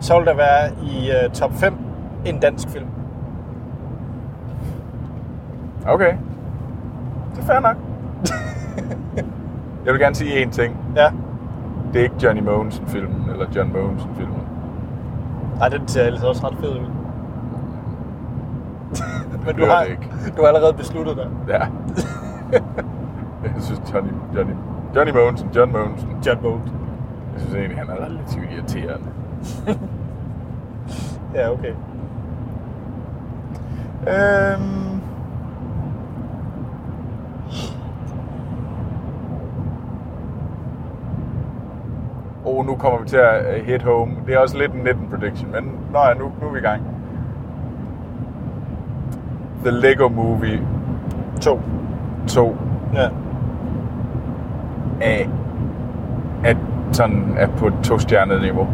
Speaker 2: så vil der være i uh, top 5 en dansk film.
Speaker 1: Okay. det er fair nok. jeg vil gerne sige én ting.
Speaker 2: Ja.
Speaker 1: Det er ikke Johnny Mogensen-filmen, eller John Mogensen-filmen.
Speaker 2: Nej, den ser altså også ret fed ud. Men du
Speaker 1: bliver
Speaker 2: har,
Speaker 1: det ikke.
Speaker 2: du har allerede besluttet dig.
Speaker 1: Ja. jeg synes, Johnny, Johnny, Johnny Mogensen, John Mogensen,
Speaker 2: John Boat.
Speaker 1: jeg synes egentlig, han er relativt irriterende.
Speaker 2: Ja, okay.
Speaker 1: Øhm... Oh, nu kommer vi til at øh, hit home. Det er også lidt en 19 prediction, men nej, nu, nu er vi i gang. The Lego Movie
Speaker 2: To.
Speaker 1: 2
Speaker 2: Ja.
Speaker 1: af, at sådan er på et tostjernet niveau.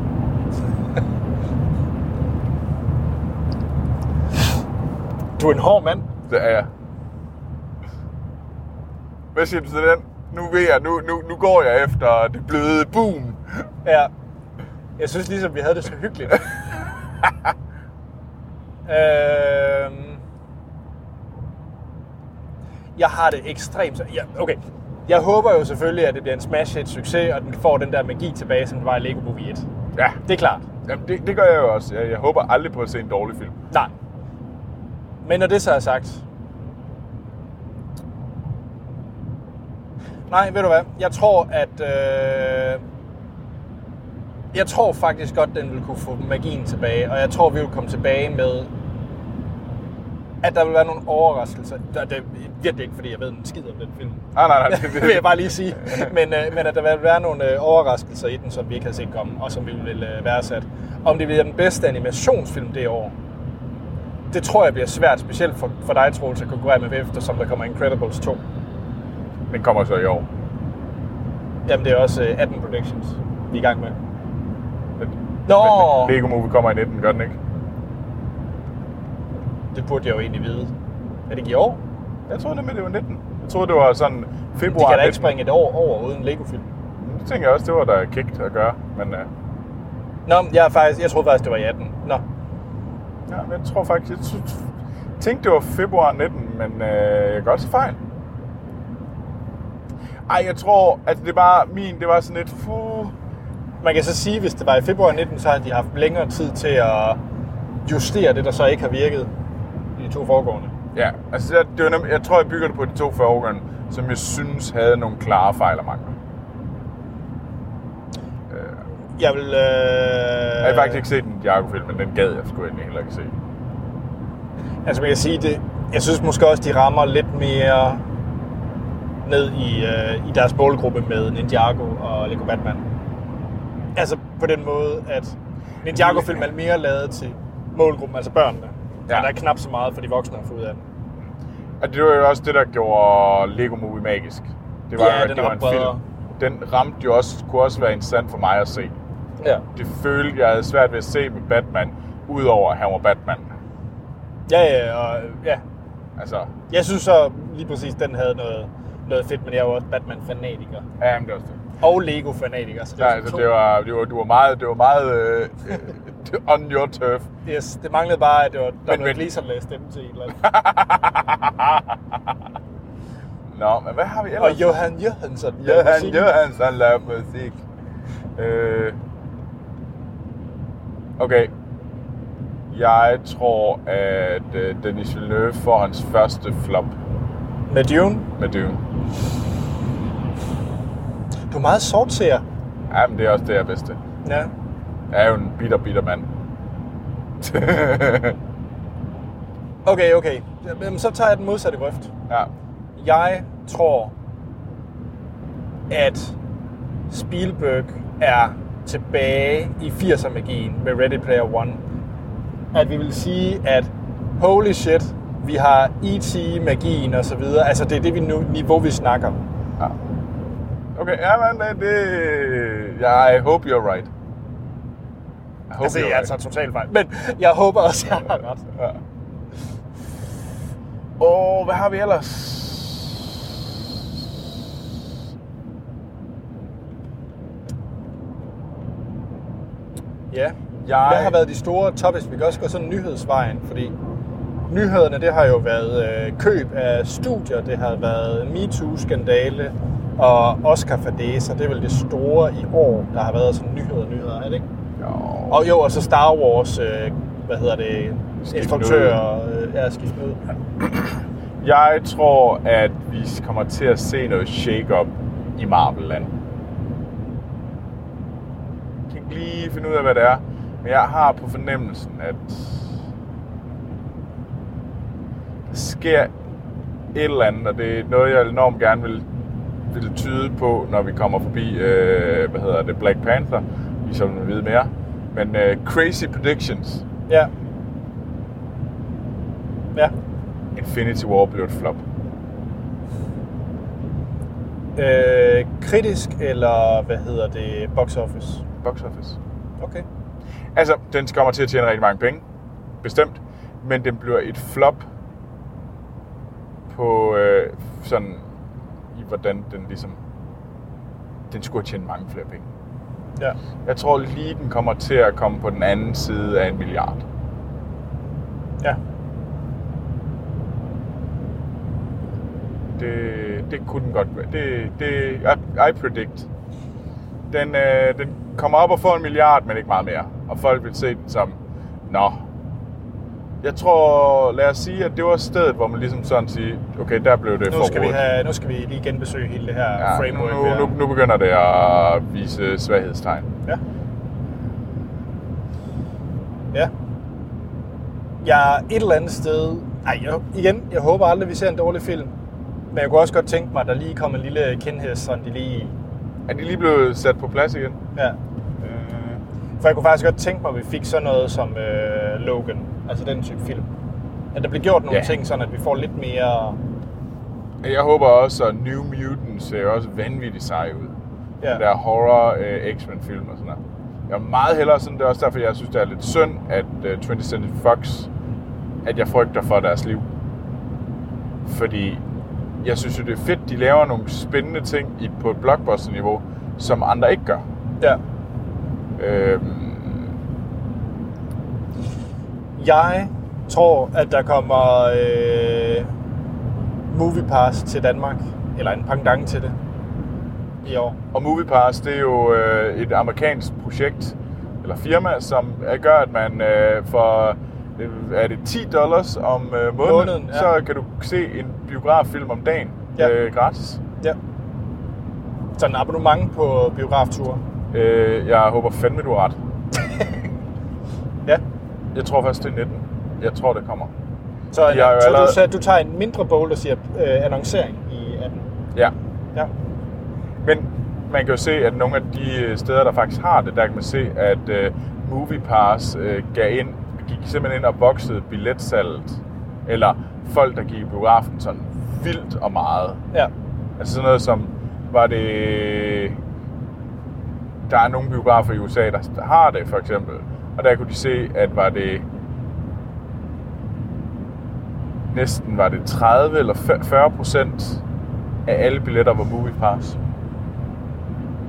Speaker 2: Du er en hård mand.
Speaker 1: Det er jeg. Hvad siger du til den? Nu ved jeg, nu, nu, nu går jeg efter det bløde boom.
Speaker 2: Ja. Jeg synes ligesom, vi havde det så hyggeligt. øhm, jeg har det ekstremt... så- Ja, okay. Jeg håber jo selvfølgelig, at det bliver en smash hit succes, og den får den der magi tilbage, som den var i Lego Movie 1.
Speaker 1: Ja,
Speaker 2: Det er klart.
Speaker 1: Jamen, det, det gør jeg jo også. Jeg, jeg håber aldrig på at se en dårlig film.
Speaker 2: Nej. Men når det så er sagt... Nej, ved du hvad? Jeg tror, at... Øh... Jeg tror faktisk godt, den vil kunne få magien tilbage, og jeg tror, vi vil komme tilbage med at der vil være nogle overraskelser. Der, det er virkelig ikke, fordi jeg ved en skid om den film.
Speaker 1: Nej, nej, nej.
Speaker 2: det vil jeg bare lige sige. Men, øh, men at der vil være nogle øh, overraskelser i den, som vi ikke havde set komme, og som vi vil øh, værdsætte. Om det bliver den bedste animationsfilm det år, det tror jeg bliver svært, specielt for, for dig, Troels, at konkurrere med, eftersom der kommer Incredibles 2.
Speaker 1: Den kommer så i år.
Speaker 2: Jamen, det er også øh, 18 Productions, vi er i gang med.
Speaker 1: Den,
Speaker 2: Nå!
Speaker 1: den- Lego Movie kommer i 19, gør den ikke?
Speaker 2: Det burde jeg jo egentlig vide. Er det ikke i år?
Speaker 1: Jeg troede nemlig, det var 19. Jeg troede, det var sådan
Speaker 2: De
Speaker 1: februar
Speaker 2: kan da
Speaker 1: 19.
Speaker 2: ikke springe et år over uden Lego-film.
Speaker 1: Det tænker jeg også, det var da kægt at gøre. Men uh,
Speaker 2: Nå, men jeg, er faktisk, jeg troede faktisk, det var i 18. Nå,
Speaker 1: ja, men jeg tror faktisk, jeg synes- tænkte, det var februar 19, men uh, jeg gør også fejl. Ej, jeg tror, at det var min, det var sådan lidt, fuh,
Speaker 2: Man kan så sige, at hvis det var i februar 19, så har de haft længere tid til at justere det, der så ikke har virket i de to foregående.
Speaker 1: Ja, altså jeg, det var nem, jeg tror, jeg bygger det på de to foregående, som jeg synes havde nogle klare fejl og mangler.
Speaker 2: Jeg vil... Øh...
Speaker 1: Jeg har faktisk ikke set den Diago-film, men den gad jeg sgu egentlig heller ikke se.
Speaker 2: Altså, man kan sige det... Jeg synes måske også, de rammer lidt mere ned i, øh, i deres målgruppe med Ninjago og Lego Batman. Altså på den måde, at Ninjago-film er mere lavet til målgruppen, altså børnene. Ja.
Speaker 1: Ja.
Speaker 2: Men der er knap så meget for de voksne at få ud af den.
Speaker 1: Og det var jo også det, der gjorde Lego Movie magisk. Det var
Speaker 2: Ja,
Speaker 1: jo, at
Speaker 2: den
Speaker 1: det var en
Speaker 2: opbreder.
Speaker 1: film. Den ramte jo også, kunne også være interessant for mig at se.
Speaker 2: Ja.
Speaker 1: Det følte jeg havde svært ved at se med Batman, udover at han var Batman.
Speaker 2: Ja, ja, og, ja,
Speaker 1: Altså,
Speaker 2: Jeg synes så lige præcis, den havde noget, noget fedt, men jeg er jo også Batman-fanatiker.
Speaker 1: ja, men det var også det.
Speaker 2: Og Lego-fanatiker. Så det,
Speaker 1: Ja,
Speaker 2: var
Speaker 1: altså,
Speaker 2: to-
Speaker 1: det var, det var, du var meget, det var meget øh, øh, on your turf.
Speaker 2: Yes, det manglede bare, at det var Donald
Speaker 1: men-
Speaker 2: Gleeson, der lagde stemme til en eller anden.
Speaker 1: Nå, men hvad har vi ellers?
Speaker 2: Og Johan Johansson. der er
Speaker 1: Johan
Speaker 2: musikken.
Speaker 1: Johansson laver musik. Øh. Okay. Jeg tror, at øh, Denis Villeneuve får hans første flop
Speaker 2: Med Dune.
Speaker 1: med Dune.
Speaker 2: Du er meget sortseer.
Speaker 1: Ja, men det er også det, jeg bedste.
Speaker 2: Ja.
Speaker 1: Jeg er jo en bitter, bitter mand.
Speaker 2: Okay, okay. Jamen, så tager jeg den modsatte grøft.
Speaker 1: ja.
Speaker 2: Jeg tror, at Spielberg er tilbage i 80'er-magien med Ready Player One. At vi vil sige, at holy shit, vi har E.T.-magien og så videre. Altså, det er det vi nu, niveau, vi snakker.
Speaker 1: ja. Ah. Okay, ja, men det... det jeg I hope you're right. I hope
Speaker 2: Altså, jeg er altså totalt fejl. Men jeg håber også, jeg har ret.
Speaker 1: Ja. Og hvad har vi ellers?
Speaker 2: Ja.
Speaker 1: Jeg-
Speaker 2: Hvad har været de store topics? Vi kan også gå sådan nyhedsvejen, fordi nyhederne, det har jo været øh, køb af studier, det har været MeToo-skandale og Oscar Fadesa, det er vel det store i år, der har været sådan nyheder og nyheder, er det ikke?
Speaker 1: Jo.
Speaker 2: Og jo, og så Star Wars, øh, hvad hedder det,
Speaker 1: Skift
Speaker 2: instruktør og øh, ja, skift ud.
Speaker 1: Jeg tror, at vi kommer til at se noget shake-up i Marvel-land. Jeg kan ikke lige finde ud af, hvad det er, men jeg har på fornemmelsen, at der sker et eller andet, og det er noget, jeg enormt gerne vil, vil tyde på, når vi kommer forbi, øh, hvad hedder det, Black Panther, ligesom vi ved mere. Men øh, crazy predictions.
Speaker 2: Ja. Ja.
Speaker 1: Infinity War blev et flop.
Speaker 2: Øh, kritisk eller, hvad hedder det, box office?
Speaker 1: Box office.
Speaker 2: Okay.
Speaker 1: Altså, den kommer til at tjene rigtig mange penge, bestemt, men den bliver et flop på øh, sådan, i hvordan den ligesom, den skulle have tjent mange flere penge.
Speaker 2: Ja.
Speaker 1: Jeg tror lige, den kommer til at komme på den anden side af en milliard.
Speaker 2: Ja.
Speaker 1: Det, det kunne den godt være. Det, det, I, I predict. Den, øh, den kommer op og får en milliard, men ikke meget mere. Og folk vil se den som, nå. Jeg tror, lad os sige, at det var stedet, hvor man ligesom sådan siger, okay, der blev det
Speaker 2: Nu skal, vi
Speaker 1: forrådt.
Speaker 2: have, nu skal vi lige genbesøge hele det her ja,
Speaker 1: Ja,
Speaker 2: framework.
Speaker 1: nu,
Speaker 2: her.
Speaker 1: nu, nu, nu begynder det at vise svaghedstegn.
Speaker 2: Ja. Ja. Jeg er et eller andet sted... Ej, jeg, igen, jeg håber aldrig, vi ser en dårlig film. Men jeg kunne også godt tænke mig, at der lige kom en lille kendhest, sådan de lige...
Speaker 1: Er de lige blevet sat på plads igen?
Speaker 2: Ja.
Speaker 1: Øh,
Speaker 2: For jeg kunne faktisk godt tænke mig, at vi fik sådan noget som øh, Logan. Altså den type film. At der bliver gjort nogle
Speaker 1: Ja.
Speaker 2: ting, sådan at vi får lidt mere...
Speaker 1: Jeg håber også, at New Mutants ser også vanvittigt sej ud.
Speaker 2: Ja.
Speaker 1: Ja. Den der horror øh, X-Men film og sådan noget. Jeg er meget hellere sådan, det er også derfor, jeg synes, det er lidt synd, at øh, 20th Century Fox, at jeg frygter for deres liv. Fordi jeg synes jo, det er fedt, de laver nogle spændende ting i, på et blockbuster-niveau, som andre ikke gør.
Speaker 2: Ja.
Speaker 1: Øhm,
Speaker 2: Jeg tror, at der kommer øh, MoviePass til Danmark. Eller en pangdang til det. I år.
Speaker 1: Og MoviePass, det er jo øh, et amerikansk projekt, eller firma, som øh, gør, at man øh, for øh, er det 10 dollars om øh, måneden,
Speaker 2: Måneden, ja.
Speaker 1: så kan du se en biograffilm om dagen
Speaker 2: Ja.
Speaker 1: ja. øh, gratis.
Speaker 2: Ja. Sådan en abonnement på biografture.
Speaker 1: Øh, jeg håber fandme, du har ret.
Speaker 2: Ja.
Speaker 1: Jeg tror først, det er 19. Jeg tror, det kommer.
Speaker 2: Så,
Speaker 1: Jeg er jo
Speaker 2: så du,
Speaker 1: allerede-
Speaker 2: så du tager en mindre bold og siger øh, annoncering i 18.
Speaker 1: Ja.
Speaker 2: Ja.
Speaker 1: Men man kan jo se, at nogle af de øh, steder, der faktisk har det, der kan man se, at øh, MoviePass øh, gav ind, gik simpelthen ind og voksede billetsalget. Eller folk, der gik i biografen sådan vildt og meget.
Speaker 2: Ja.
Speaker 1: Altså sådan noget som, var det... Der er nogle biografer i USA, der har det, for eksempel. Og der kunne de se, at var det... Næsten var det 30 eller 40 procent af alle billetter var MoviePass.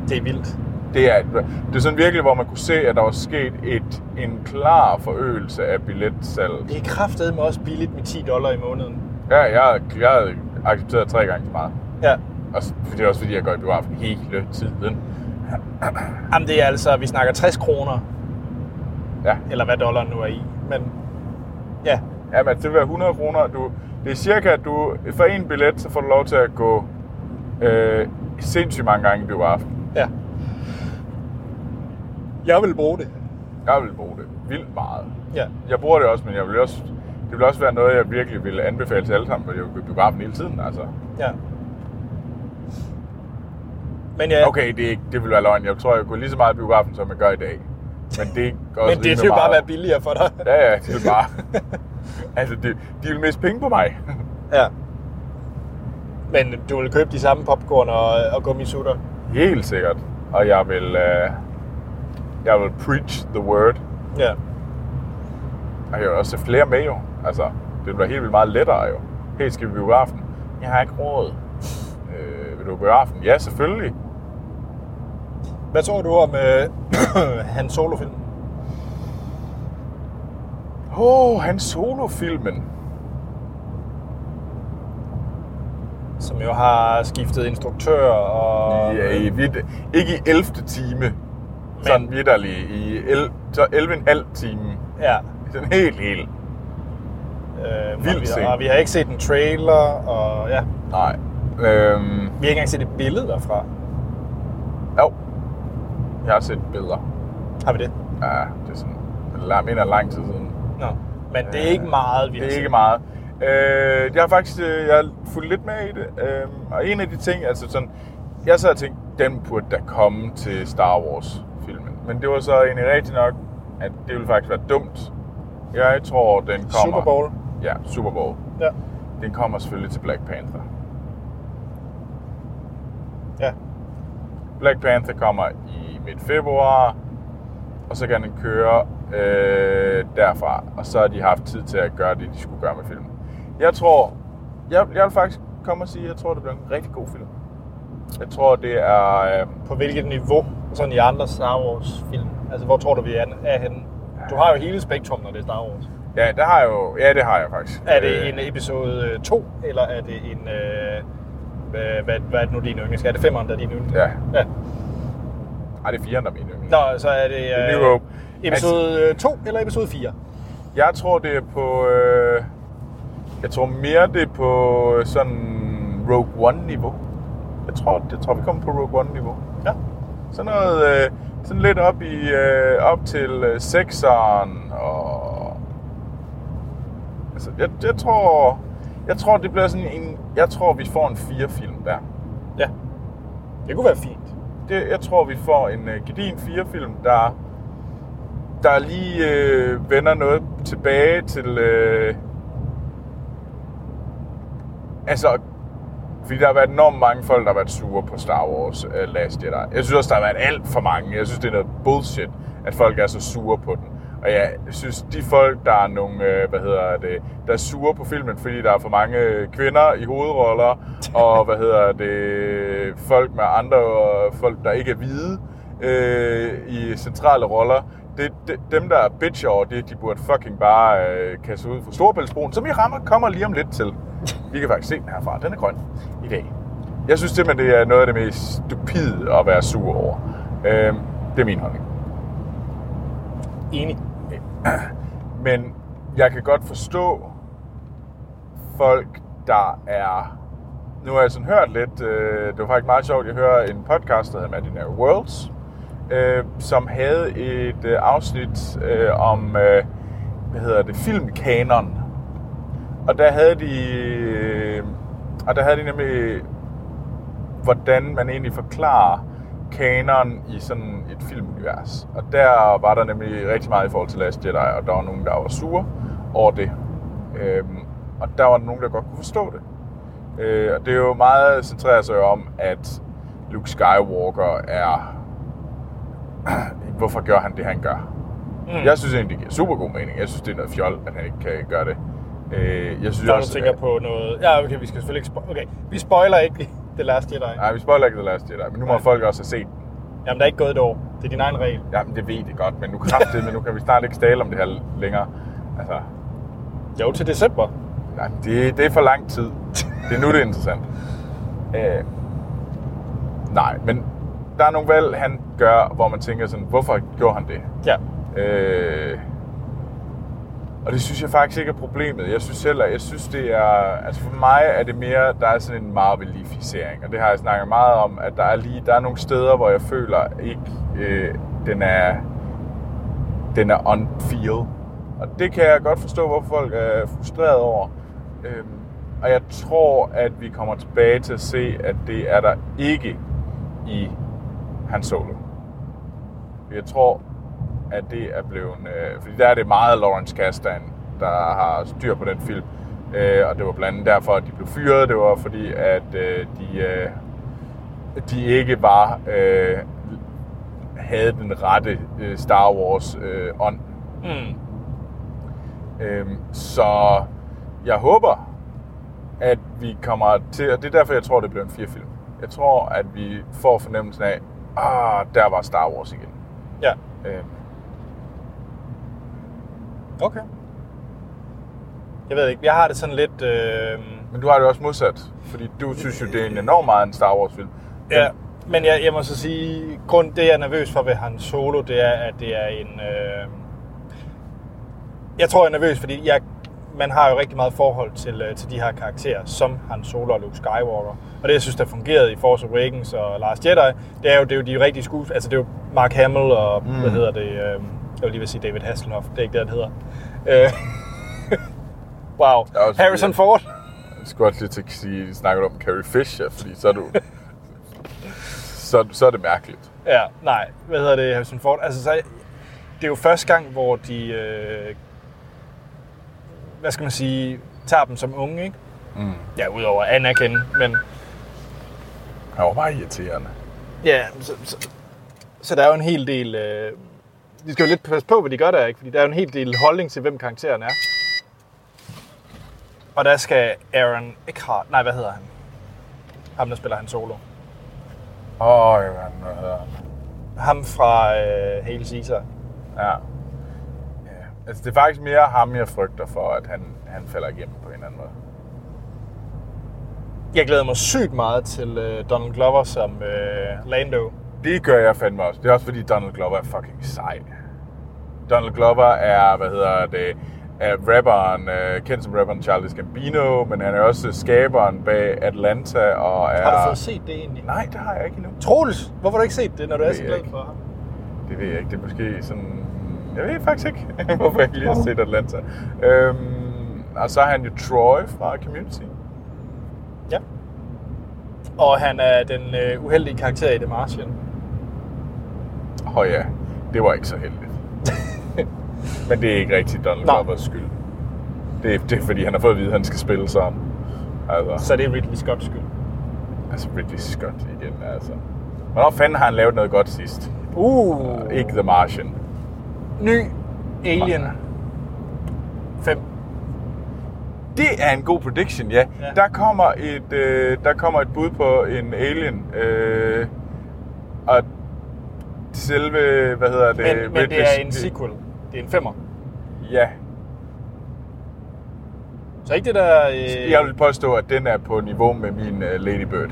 Speaker 2: Det er vildt.
Speaker 1: Det er, det er sådan virkelig, hvor man kunne se, at der var sket et, en klar forøgelse af billetsalget.
Speaker 2: Det er kraftedeme også billigt med 10 dollar i måneden.
Speaker 1: Ja, jeg, jeg havde accepteret tre gange så meget.
Speaker 2: Ja.
Speaker 1: Og s- det er også fordi, jeg går i biografen hele tiden.
Speaker 2: Jamen det er altså, vi snakker 60 kroner,
Speaker 1: Ja,
Speaker 2: eller hvad dollaren nu er i. Men ja,
Speaker 1: ja men det vil være 100 kroner. Du, det er cirka, at du for en billet, så får du lov til at gå øh, sindssygt mange gange i biografen.
Speaker 2: ja. Jeg vil bruge det.
Speaker 1: Jeg vil bruge det vildt meget.
Speaker 2: Ja.
Speaker 1: Jeg bruger det også, men jeg vil også, det vil også være noget, jeg virkelig vil anbefale til alle sammen, fordi jeg vil gå i biografen hele tiden. Altså.
Speaker 2: Ja. Men ja,
Speaker 1: Okay, det, er ikke, det vil være løgn. Jeg tror, jeg går lige så meget i biografen, som jeg gør i dag. Men det er ikke også
Speaker 2: men det
Speaker 1: rimelig
Speaker 2: skal jo bare være
Speaker 1: meget.
Speaker 2: billigere for dig.
Speaker 1: Ja, ja, det vil bare... altså, det, de vil miste penge på mig.
Speaker 2: Ja. Men du vil købe de samme popcorn og, og gummisutter?
Speaker 1: Helt sikkert. Og jeg vil... Øh, jeg vil preach the word.
Speaker 2: Ja.
Speaker 1: Og jeg vil også se flere med, jo. Altså, det vil være helt vildt meget lettere, jo. Helt skal vi i biografen. Jeg har ikke råd. Øh, vil du i biografen? Ja, selvfølgelig.
Speaker 2: Hvad tror du om øh, hans solofilm?
Speaker 1: Åh, oh, han solofilmen.
Speaker 2: som jo har skiftet instruktør og... øh,
Speaker 1: Ja, i vidt, ikke i 11. time, sådan vidderlig, i el, så 11,5 time.
Speaker 2: ja
Speaker 1: Sådan helt, helt.
Speaker 2: øh,
Speaker 1: Vild
Speaker 2: og, vi,
Speaker 1: scene.
Speaker 2: og vi har ikke set en trailer, og ja,
Speaker 1: Nej. Øhm,
Speaker 2: vi har ikke engang set et billede derfra.
Speaker 1: jo. Jeg har set billeder.
Speaker 2: Har vi det?
Speaker 1: Ja, det er sådan, det er lang- mener lang tid siden.
Speaker 2: Nå. Men det er ikke meget, vi
Speaker 1: Det
Speaker 2: har
Speaker 1: er
Speaker 2: set.
Speaker 1: ikke meget. Øh, jeg har faktisk øh, jeg har fulgt lidt med i det, øh, og en af de ting, altså sådan, jeg sad og tænkte, den burde da komme til Star Wars-filmen. Men det var så egentlig rigtigt nok, at det ville faktisk være dumt. Jeg tror, den kommer...
Speaker 2: Super Bowl.
Speaker 1: Ja, Super Bowl.
Speaker 2: Ja.
Speaker 1: Den kommer selvfølgelig til Black Panther.
Speaker 2: ja.
Speaker 1: Black Panther kommer i midt februar, og så kan den køre øh, derfra. Og så har de haft tid til at gøre det, de skulle gøre med filmen. Jeg tror, jeg, jeg vil faktisk komme og sige, at jeg tror, det bliver en rigtig god film. Jeg tror, det er... Øh,
Speaker 2: På hvilket niveau, sådan i andre Star Wars-film? Altså, hvor tror du, vi er, er henne? Du har jo hele spektrum, når det er Star Wars.
Speaker 1: ja, det har jeg jo, ja, det har jeg faktisk.
Speaker 2: Er det
Speaker 1: Øh,
Speaker 2: en episode 2, eller er det en... Øh, hvad, hvad, hvad er det nu, din yndlings? Er det femeren, der er din yndlings?
Speaker 1: Ja.
Speaker 2: ja.
Speaker 1: Ej, det er fireren, der er min yndling.
Speaker 2: Nå, så er det... øh,
Speaker 1: The New Hope. Altså-
Speaker 2: Episode 2 eller episode 4?
Speaker 1: Jeg tror, det er på... Øh, jeg tror mere, det er på øh, sådan Rogue One-niveau. Jeg tror, det tror, vi kommer på Rogue One-niveau.
Speaker 2: Ja.
Speaker 1: Sådan noget, øh, sådan lidt op, i, øh, op til øh, sekseren og... Altså, jeg, jeg, tror, jeg tror, det bliver sådan en... Jeg tror, vi får en fire film der.
Speaker 2: Ja. Det kunne være fint.
Speaker 1: Det, jeg tror, vi får en øh, gedin fire film der, der lige øh, vender noget tilbage til... Øh, altså, fordi der har været enormt mange folk, der har været sure på Star Wars uh, Last Jedi. Jeg synes også, der har været alt for mange. Jeg synes, det er noget bullshit, at folk er så sure på den. Og jeg synes, de folk, der er nogle, øh, hvad hedder det, der er sure på filmen, fordi der er for mange øh, kvinder i hovedroller, og hvad hedder det, folk med andre, og folk, der ikke er hvide øh, i centrale roller, det, det, dem, der er bitch over det, de burde fucking bare øh, kaste ud fra Storebæltsbroen, som I rammer, kommer lige om lidt til. Vi kan faktisk se den herfra. Den er grøn i dag. Jeg synes simpelthen, det er noget af det mest stupide at være sur over. Øh, det er min holdning.
Speaker 2: Enig.
Speaker 1: Men jeg kan godt forstå folk, der er... Nu har jeg sådan hørt lidt, øh, det var faktisk meget sjovt, jeg hører en podcast, der hedder Imaginary Worlds, øh, som havde et øh, afsnit øh, om, øh, hvad hedder det, filmkanon. Og der havde de, øh, og der havde de nemlig, hvordan man egentlig forklarer kanon i sådan et filmunivers. Og der var der nemlig rigtig meget i forhold til Last Jedi, og der var nogen, der var sure over det. Øhm, og der var nogen, der godt kunne forstå det. Øh, og det er jo meget centreret sig om, at Luke Skywalker er... Hvorfor gør han det, han gør? Mm. Jeg synes egentlig, det giver super god mening. Jeg synes, det er noget fjol, at han ikke kan gøre det. Øh, jeg synes
Speaker 2: Når du
Speaker 1: også,
Speaker 2: tænker på noget... Ja, okay, vi skal selvfølgelig ikke... Spo- okay, vi spoiler ikke The Last Jedi.
Speaker 1: Nej, vi spoiler ikke The Last Jedi, men nu må
Speaker 2: Nej.
Speaker 1: folk også have set den.
Speaker 2: Jamen, der er ikke gået et år. Det er din egen regel.
Speaker 1: Jamen, det ved det godt, men nu kraftigt, men nu kan vi snart ikke tale om det her længere. Altså,
Speaker 2: Jo, til december.
Speaker 1: nej, det, det er for lang tid. Det er nu, det er interessant. Øh, nej, men der er nogle valg, han gør, hvor man tænker sådan, hvorfor gjorde han det?
Speaker 2: Ja.
Speaker 1: Øh, og det synes jeg faktisk ikke er problemet. Jeg synes heller, jeg synes det er, altså for mig er det mere, der er sådan en marvelificering, og det har jeg snakket meget om, at der er lige, der er nogle steder, hvor jeg føler ikke, øh, den er, den er on feel. Og det kan jeg godt forstå, hvorfor folk er frustreret over. Øhm, og jeg tror, at vi kommer tilbage til at se, at det er der ikke i Han Solo. Jeg tror, at det er blevet... Øh, fordi der er det meget Lawrence Kasdan, der har styr på den film. Øh, og det var blandt andet derfor, at de blev fyret. Det var fordi, at øh, de, øh, de ikke var... Øh, havde den rette øh, Star Wars øh, ånd.
Speaker 2: Mm.
Speaker 1: Øhm, så jeg håber, at vi kommer til, og det er derfor, jeg tror, det bliver en fire film. Jeg tror, at vi får fornemmelsen af, ah, der var Star Wars igen.
Speaker 2: Ja.
Speaker 1: Øhm,
Speaker 2: Okay. Jeg ved ikke, jeg har det sådan lidt... Øh,
Speaker 1: Men du har det også modsat, fordi du synes jo, det er en enormt meget en Star Wars film.
Speaker 2: ja, men jeg, jeg må så sige, grund det, jeg er nervøs for ved Han Solo, det er, at det er en... Øh, jeg tror, jeg er nervøs, fordi jeg, man har jo rigtig meget forhold til, øh, til de her karakterer, som Han Solo og Luke Skywalker. Og det, jeg synes, der fungerede i Force Awakens og Last Jedi, det er jo, det er jo de rigtige skuespillere. Altså, det er jo Mark Hamill og, mm. hvad hedder det... Øh, jeg vil lige ved at sige David Hasselhoff. Det er ikke det, han hedder. Øh, wow.
Speaker 1: er også-
Speaker 2: Harrison Ford.
Speaker 1: Jeg skulle også lige til at sige, snakker du om Carrie Fisher, fordi så er, du, så, så er det mærkeligt.
Speaker 2: Ja, nej. Hvad hedder det, Harrison Ford? Altså, så, det er jo første gang, hvor de, øh, hvad skal man sige, tager dem som unge, ikke?
Speaker 1: Mm.
Speaker 2: Ja, udover Anakin, men
Speaker 1: Han var meget irriterende.
Speaker 2: ja, så, så, så der er jo en hel del, øh, de skal jo lidt passe på, hvad de gør der, ikke? Fordi der er jo en hel del holdning til, hvem karakteren er. Og der skal Aaron Eckhart, nej, hvad hedder han? Ham, der spiller han solo.
Speaker 1: Åh, oh, ja.
Speaker 2: Ham fra øh, Hail Caesar.
Speaker 1: ja. Altså, det er faktisk mere ham, jeg frygter for, at han, han falder igennem på en eller anden måde.
Speaker 2: Jeg glæder mig sygt meget til øh, Donald Glover som øh, Lando.
Speaker 1: Det gør jeg fandme også. Det er også fordi Donald Glover er fucking sej. Donald Glover er, hvad hedder det, er rapperen, øh, kendt som rapperen Charles Gambino, men han er også skaberen bag Atlanta og er...
Speaker 2: Har du fået set det egentlig?
Speaker 1: Nej, det har jeg ikke endnu.
Speaker 2: Troels, hvorfor har du ikke set det, når du er
Speaker 1: Ved
Speaker 2: så
Speaker 1: jeg
Speaker 2: glad
Speaker 1: ikke.
Speaker 2: for ham?
Speaker 1: Det ved jeg ikke. Det er måske sådan... Jeg ved faktisk ikke, hvorfor jeg ikke lige har set Atlanta. Øhm, og så er han jo Troy fra Community.
Speaker 2: Ja. Og han er den øh, uheldige karakter i The Martian.
Speaker 1: Åh oh, ja, det var ikke så heldigt. men det er ikke rigtig Donald
Speaker 2: Nej.
Speaker 1: Glovers skyld. Det er, det er fordi, han har fået at vide, at han skal spille sammen. Altså.
Speaker 2: Så det er Ridley Scotts skyld.
Speaker 1: Altså Ridley Scott igen, altså. Hvornår fanden har han lavet noget godt sidst?
Speaker 2: Uh,
Speaker 1: Ikke The Martian.
Speaker 2: Ny Alien 5.
Speaker 1: Det er en god prediction, ja.
Speaker 2: Ja.
Speaker 1: ja. Der, kommer et, øh, der kommer et bud på en alien. Øh, og selve, hvad hedder det?
Speaker 2: Men, øh, men det
Speaker 1: Ridley-
Speaker 2: er en sequel. Det er en femmer.
Speaker 1: Ja.
Speaker 2: Så ikke det der... Øh,
Speaker 1: Jeg vil påstå, at den er på niveau med min øh, Lady Bird.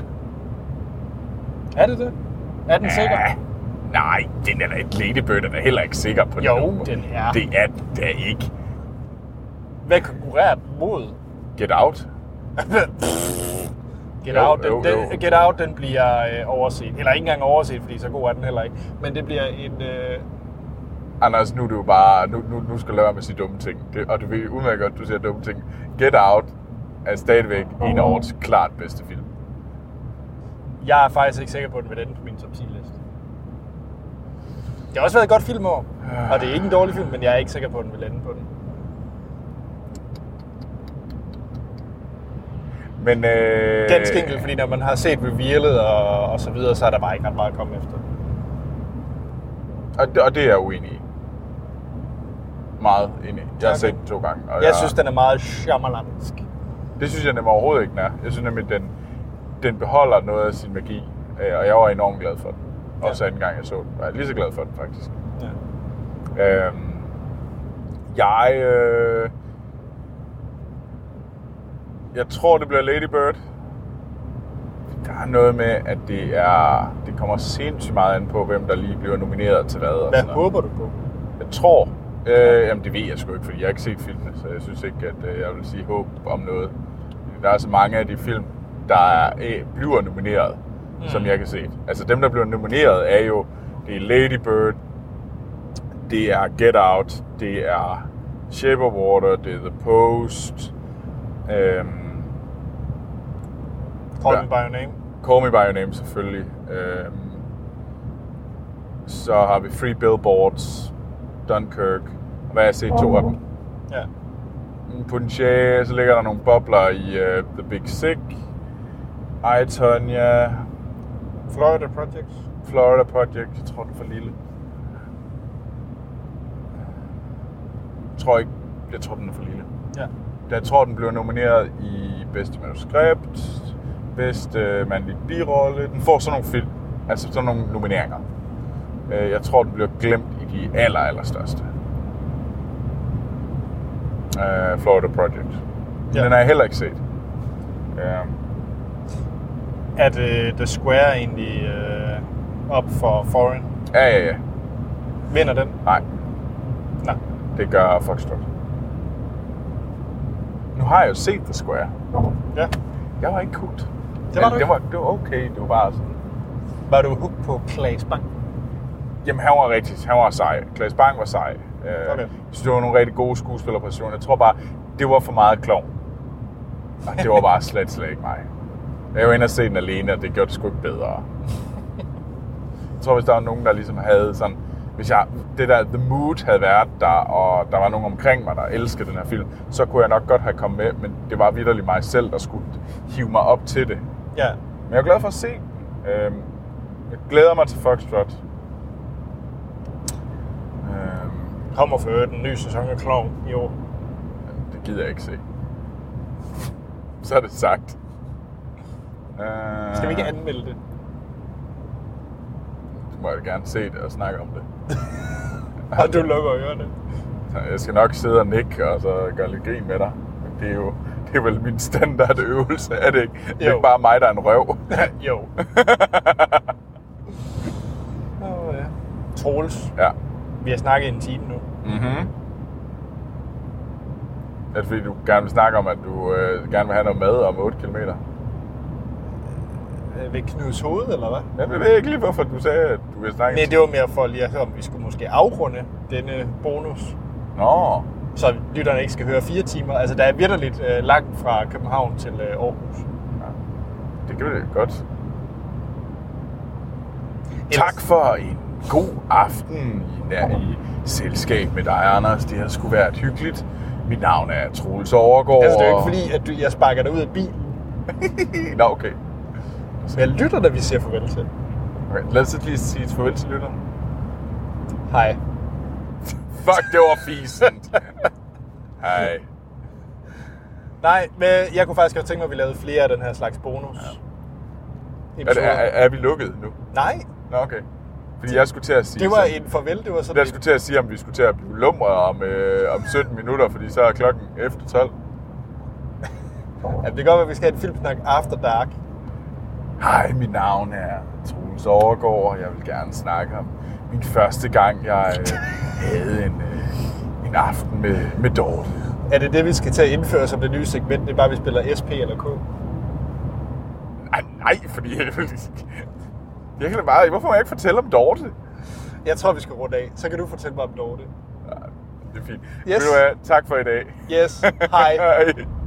Speaker 2: Er det det? Er den sikker?
Speaker 1: Ja. Ah, Nej, den er da ikke Lady Bird, er da heller ikke sikker på
Speaker 2: Jo,
Speaker 1: den.
Speaker 2: den er.
Speaker 1: Det er den da ikke.
Speaker 2: Hvad konkurrerer den mod?
Speaker 1: Get Out.
Speaker 2: Get,
Speaker 1: Jo,
Speaker 2: out, den,
Speaker 1: jo, jo.
Speaker 2: Den, Get Out, den bliver øh, overset. Eller ikke engang overset, fordi så god er den heller ikke. Men det bliver en... Øh,
Speaker 1: Anders, nu er du jo bare, nu, nu, nu skal du lade være med at sige dumme ting. Det, og du ved udmærket godt, du siger dumme ting. Get Out er stadigvæk en af
Speaker 2: Uh.
Speaker 1: årets klart bedste film.
Speaker 2: jeg er faktisk ikke sikker på, at den vil ende på min top 10 liste. Det har også været et godt filmår.
Speaker 1: Ah.
Speaker 2: Og det er ikke en dårlig film, men jeg er ikke sikker på, at den vil ende på den.
Speaker 1: Men, øh,
Speaker 2: Ganske enkelt, fordi når man har set Revealed og, og så videre, så er der bare ikke ret meget at komme efter.
Speaker 1: Og, det- og det er jeg uenig i. Meget enig. Jeg har
Speaker 2: Tak.
Speaker 1: set den to gange. Og
Speaker 2: Jeg synes, den er meget Shyamalansk.
Speaker 1: Det synes jeg nemlig overhovedet ikke, den er. Jeg synes nemlig, at den, den beholder noget af sin magi. øh, Og jeg var enormt glad for den. Også anden gang, jeg så den. Jeg er lige så glad for den, faktisk.
Speaker 2: Ja.
Speaker 1: Øhm, jeg... Øh, jeg tror, det bliver Lady Bird. Der er noget med, at det er... Det kommer sindssygt meget an på, hvem der lige bliver nomineret til hvad. Og
Speaker 2: Hvad
Speaker 1: sådan noget.
Speaker 2: håber du på?
Speaker 1: Jeg tror... Øh, jamen, det ved jeg sgu ikke, fordi jeg har ikke set filmene, så jeg synes ikke, at øh, jeg vil sige håb om noget. Der er så mange af de film, der er, øh, bliver nomineret, mm. som jeg kan se. Altså, dem, der bliver nomineret, er jo... Det er Lady Bird, det er Get Out, det er Shape of Water, det er The Post, øhm,
Speaker 2: Call
Speaker 1: Ja.
Speaker 2: me by your name.
Speaker 1: Call Me By Your Name selvfølgelig. Øhm, så har vi Free Billboards, Dunkirk, og hvad har jeg set to af dem.
Speaker 2: Ja.
Speaker 1: Mm, På den sjæ, så ligger der nogle bobler i uh, The Big Sick, I, Tonya,
Speaker 2: Florida Projects.
Speaker 1: Florida Project, jeg tror den er for lille. Jeg tror ikke, jeg tror den er for lille.
Speaker 2: Ja.
Speaker 1: Jeg tror, den blev nomineret i bedste manuskript, bedste mandlig birolle. Den får sådan nogle film, altså sådan nogle nomineringer. Øh, Jeg tror, den bliver glemt i de aller, aller største. Øh, Florida Project. Ja.
Speaker 2: Ja.
Speaker 1: Den har jeg heller ikke set. Øhm,
Speaker 2: At øh, The Square egentlig øh, op for Foreign
Speaker 1: Ja, ja, ja.
Speaker 2: vinder den?
Speaker 1: Nej,
Speaker 2: Nej.
Speaker 1: det gør Foxtrot. Nu har jeg jo set The Square.
Speaker 2: Ja.
Speaker 1: Jeg var ikke hooked.
Speaker 2: Det var du
Speaker 1: Men det
Speaker 2: ikke.
Speaker 1: var, det var okay. Det var bare sådan.
Speaker 2: Var du hooked på Claes Bang?
Speaker 1: Jamen, han var rigtig, han var sej. Klaas Bang var sej. Øh,
Speaker 2: Okay.
Speaker 1: Jeg synes, det var nogle rigtig gode skuespillerpræstationer. Jeg tror bare, det var for meget klovn. Og det var bare slet, slet ikke mig. Jeg var inde og se den alene, og det gjorde det sgu ikke bedre. Jeg tror, hvis der var nogen, der ligesom havde sådan... Hvis jeg, det der The Mood havde været der, og der var nogen omkring mig, der elskede den her film, så kunne jeg nok godt have kommet med, men det var vidderligt mig selv, der skulle hive mig op til det.
Speaker 2: Ja.
Speaker 1: Men jeg er glad for at se. den. Øhm, jeg glæder mig til Foxtrot. Øhm,
Speaker 2: Kommer for øvrigt en ny sæson af Clown i år.
Speaker 1: det gider jeg ikke se. Så er det sagt. Øh,
Speaker 2: Skal vi ikke anmelde det?
Speaker 1: Du Øh, må jeg gerne se det og snakke om det.
Speaker 2: Og du lukker ørerne.
Speaker 1: Jeg skal nok sidde og nikke og så gøre lidt grin med dig. Men det er jo det er vel min standardøvelse, er det ikke? Det er
Speaker 2: Jo.
Speaker 1: ikke bare mig, der er en røv.
Speaker 2: jo. Åh, ja. Troels,
Speaker 1: ja.
Speaker 2: vi har snakket en time nu.
Speaker 1: Mhm. Er det fordi, du gerne vil snakke om, at du øh, gerne vil have noget mad om 8 km?
Speaker 2: Øh, Ved Knuds hoved, eller hvad?
Speaker 1: Jeg ved ikke lige, hvorfor du sagde, at du vil snakke
Speaker 2: Nej, det var mere for lige at høre, om vi skulle måske afrunde denne bonus.
Speaker 1: Nå,
Speaker 2: Så lytterne ikke skal høre fire timer. Altså, der er virkelig øh, langt fra København til øh, Aarhus.
Speaker 1: det kan vi da godt.
Speaker 2: Ellers-
Speaker 1: Tak for en god aften i, ja, i selskab med dig, Anders. Det har sgu været hyggeligt. Mit navn er Troels Overgaard.
Speaker 2: Altså, det er jo ikke fordi, at du, jeg sparker dig ud af bilen.
Speaker 1: fordi... Nå, okay.
Speaker 2: Men jeg lytter, da vi siger farvel til.
Speaker 1: okay. Lad os så lige sige et farvel til lytterne.
Speaker 2: Hej.
Speaker 1: Fuck, det var fisen. Hej.
Speaker 2: Nej, men jeg kunne faktisk godt tænke mig, at vi lavede flere af den her slags bonus. Ja.
Speaker 1: Er, det- er, er vi lukket nu?
Speaker 2: Nej,
Speaker 1: Nå, okay. Fordi jeg skulle til at sige...
Speaker 2: det var
Speaker 1: sådan-
Speaker 2: en farvel. Det var sådan
Speaker 1: Jeg skulle til at sige, om vi skulle til at blive lumre om, øh, om 17 minutter, fordi så er klokken efter 12.
Speaker 2: Ja, det kan godt være, at vi skal have en filmsnak after dark.
Speaker 1: Hej, mit navn er Troels Overgaard, og jeg vil gerne snakke om min første gang, jeg øh, havde en, øh, en aften med, med Dorte.
Speaker 2: Er det det, vi skal til at indføre som det nye segment? Det er bare, at vi spiller SP eller K.
Speaker 1: Ej, nej, fordi jeg, jeg kan da bare... Hvorfor må jeg ikke fortælle om Dorte?
Speaker 2: Jeg tror, vi skal runde af. Så kan du fortælle mig om Dorte.
Speaker 1: Det er fint.
Speaker 2: Yes.
Speaker 1: Ved du hvad, tak for i dag.
Speaker 2: Yes, hej.
Speaker 1: Hej.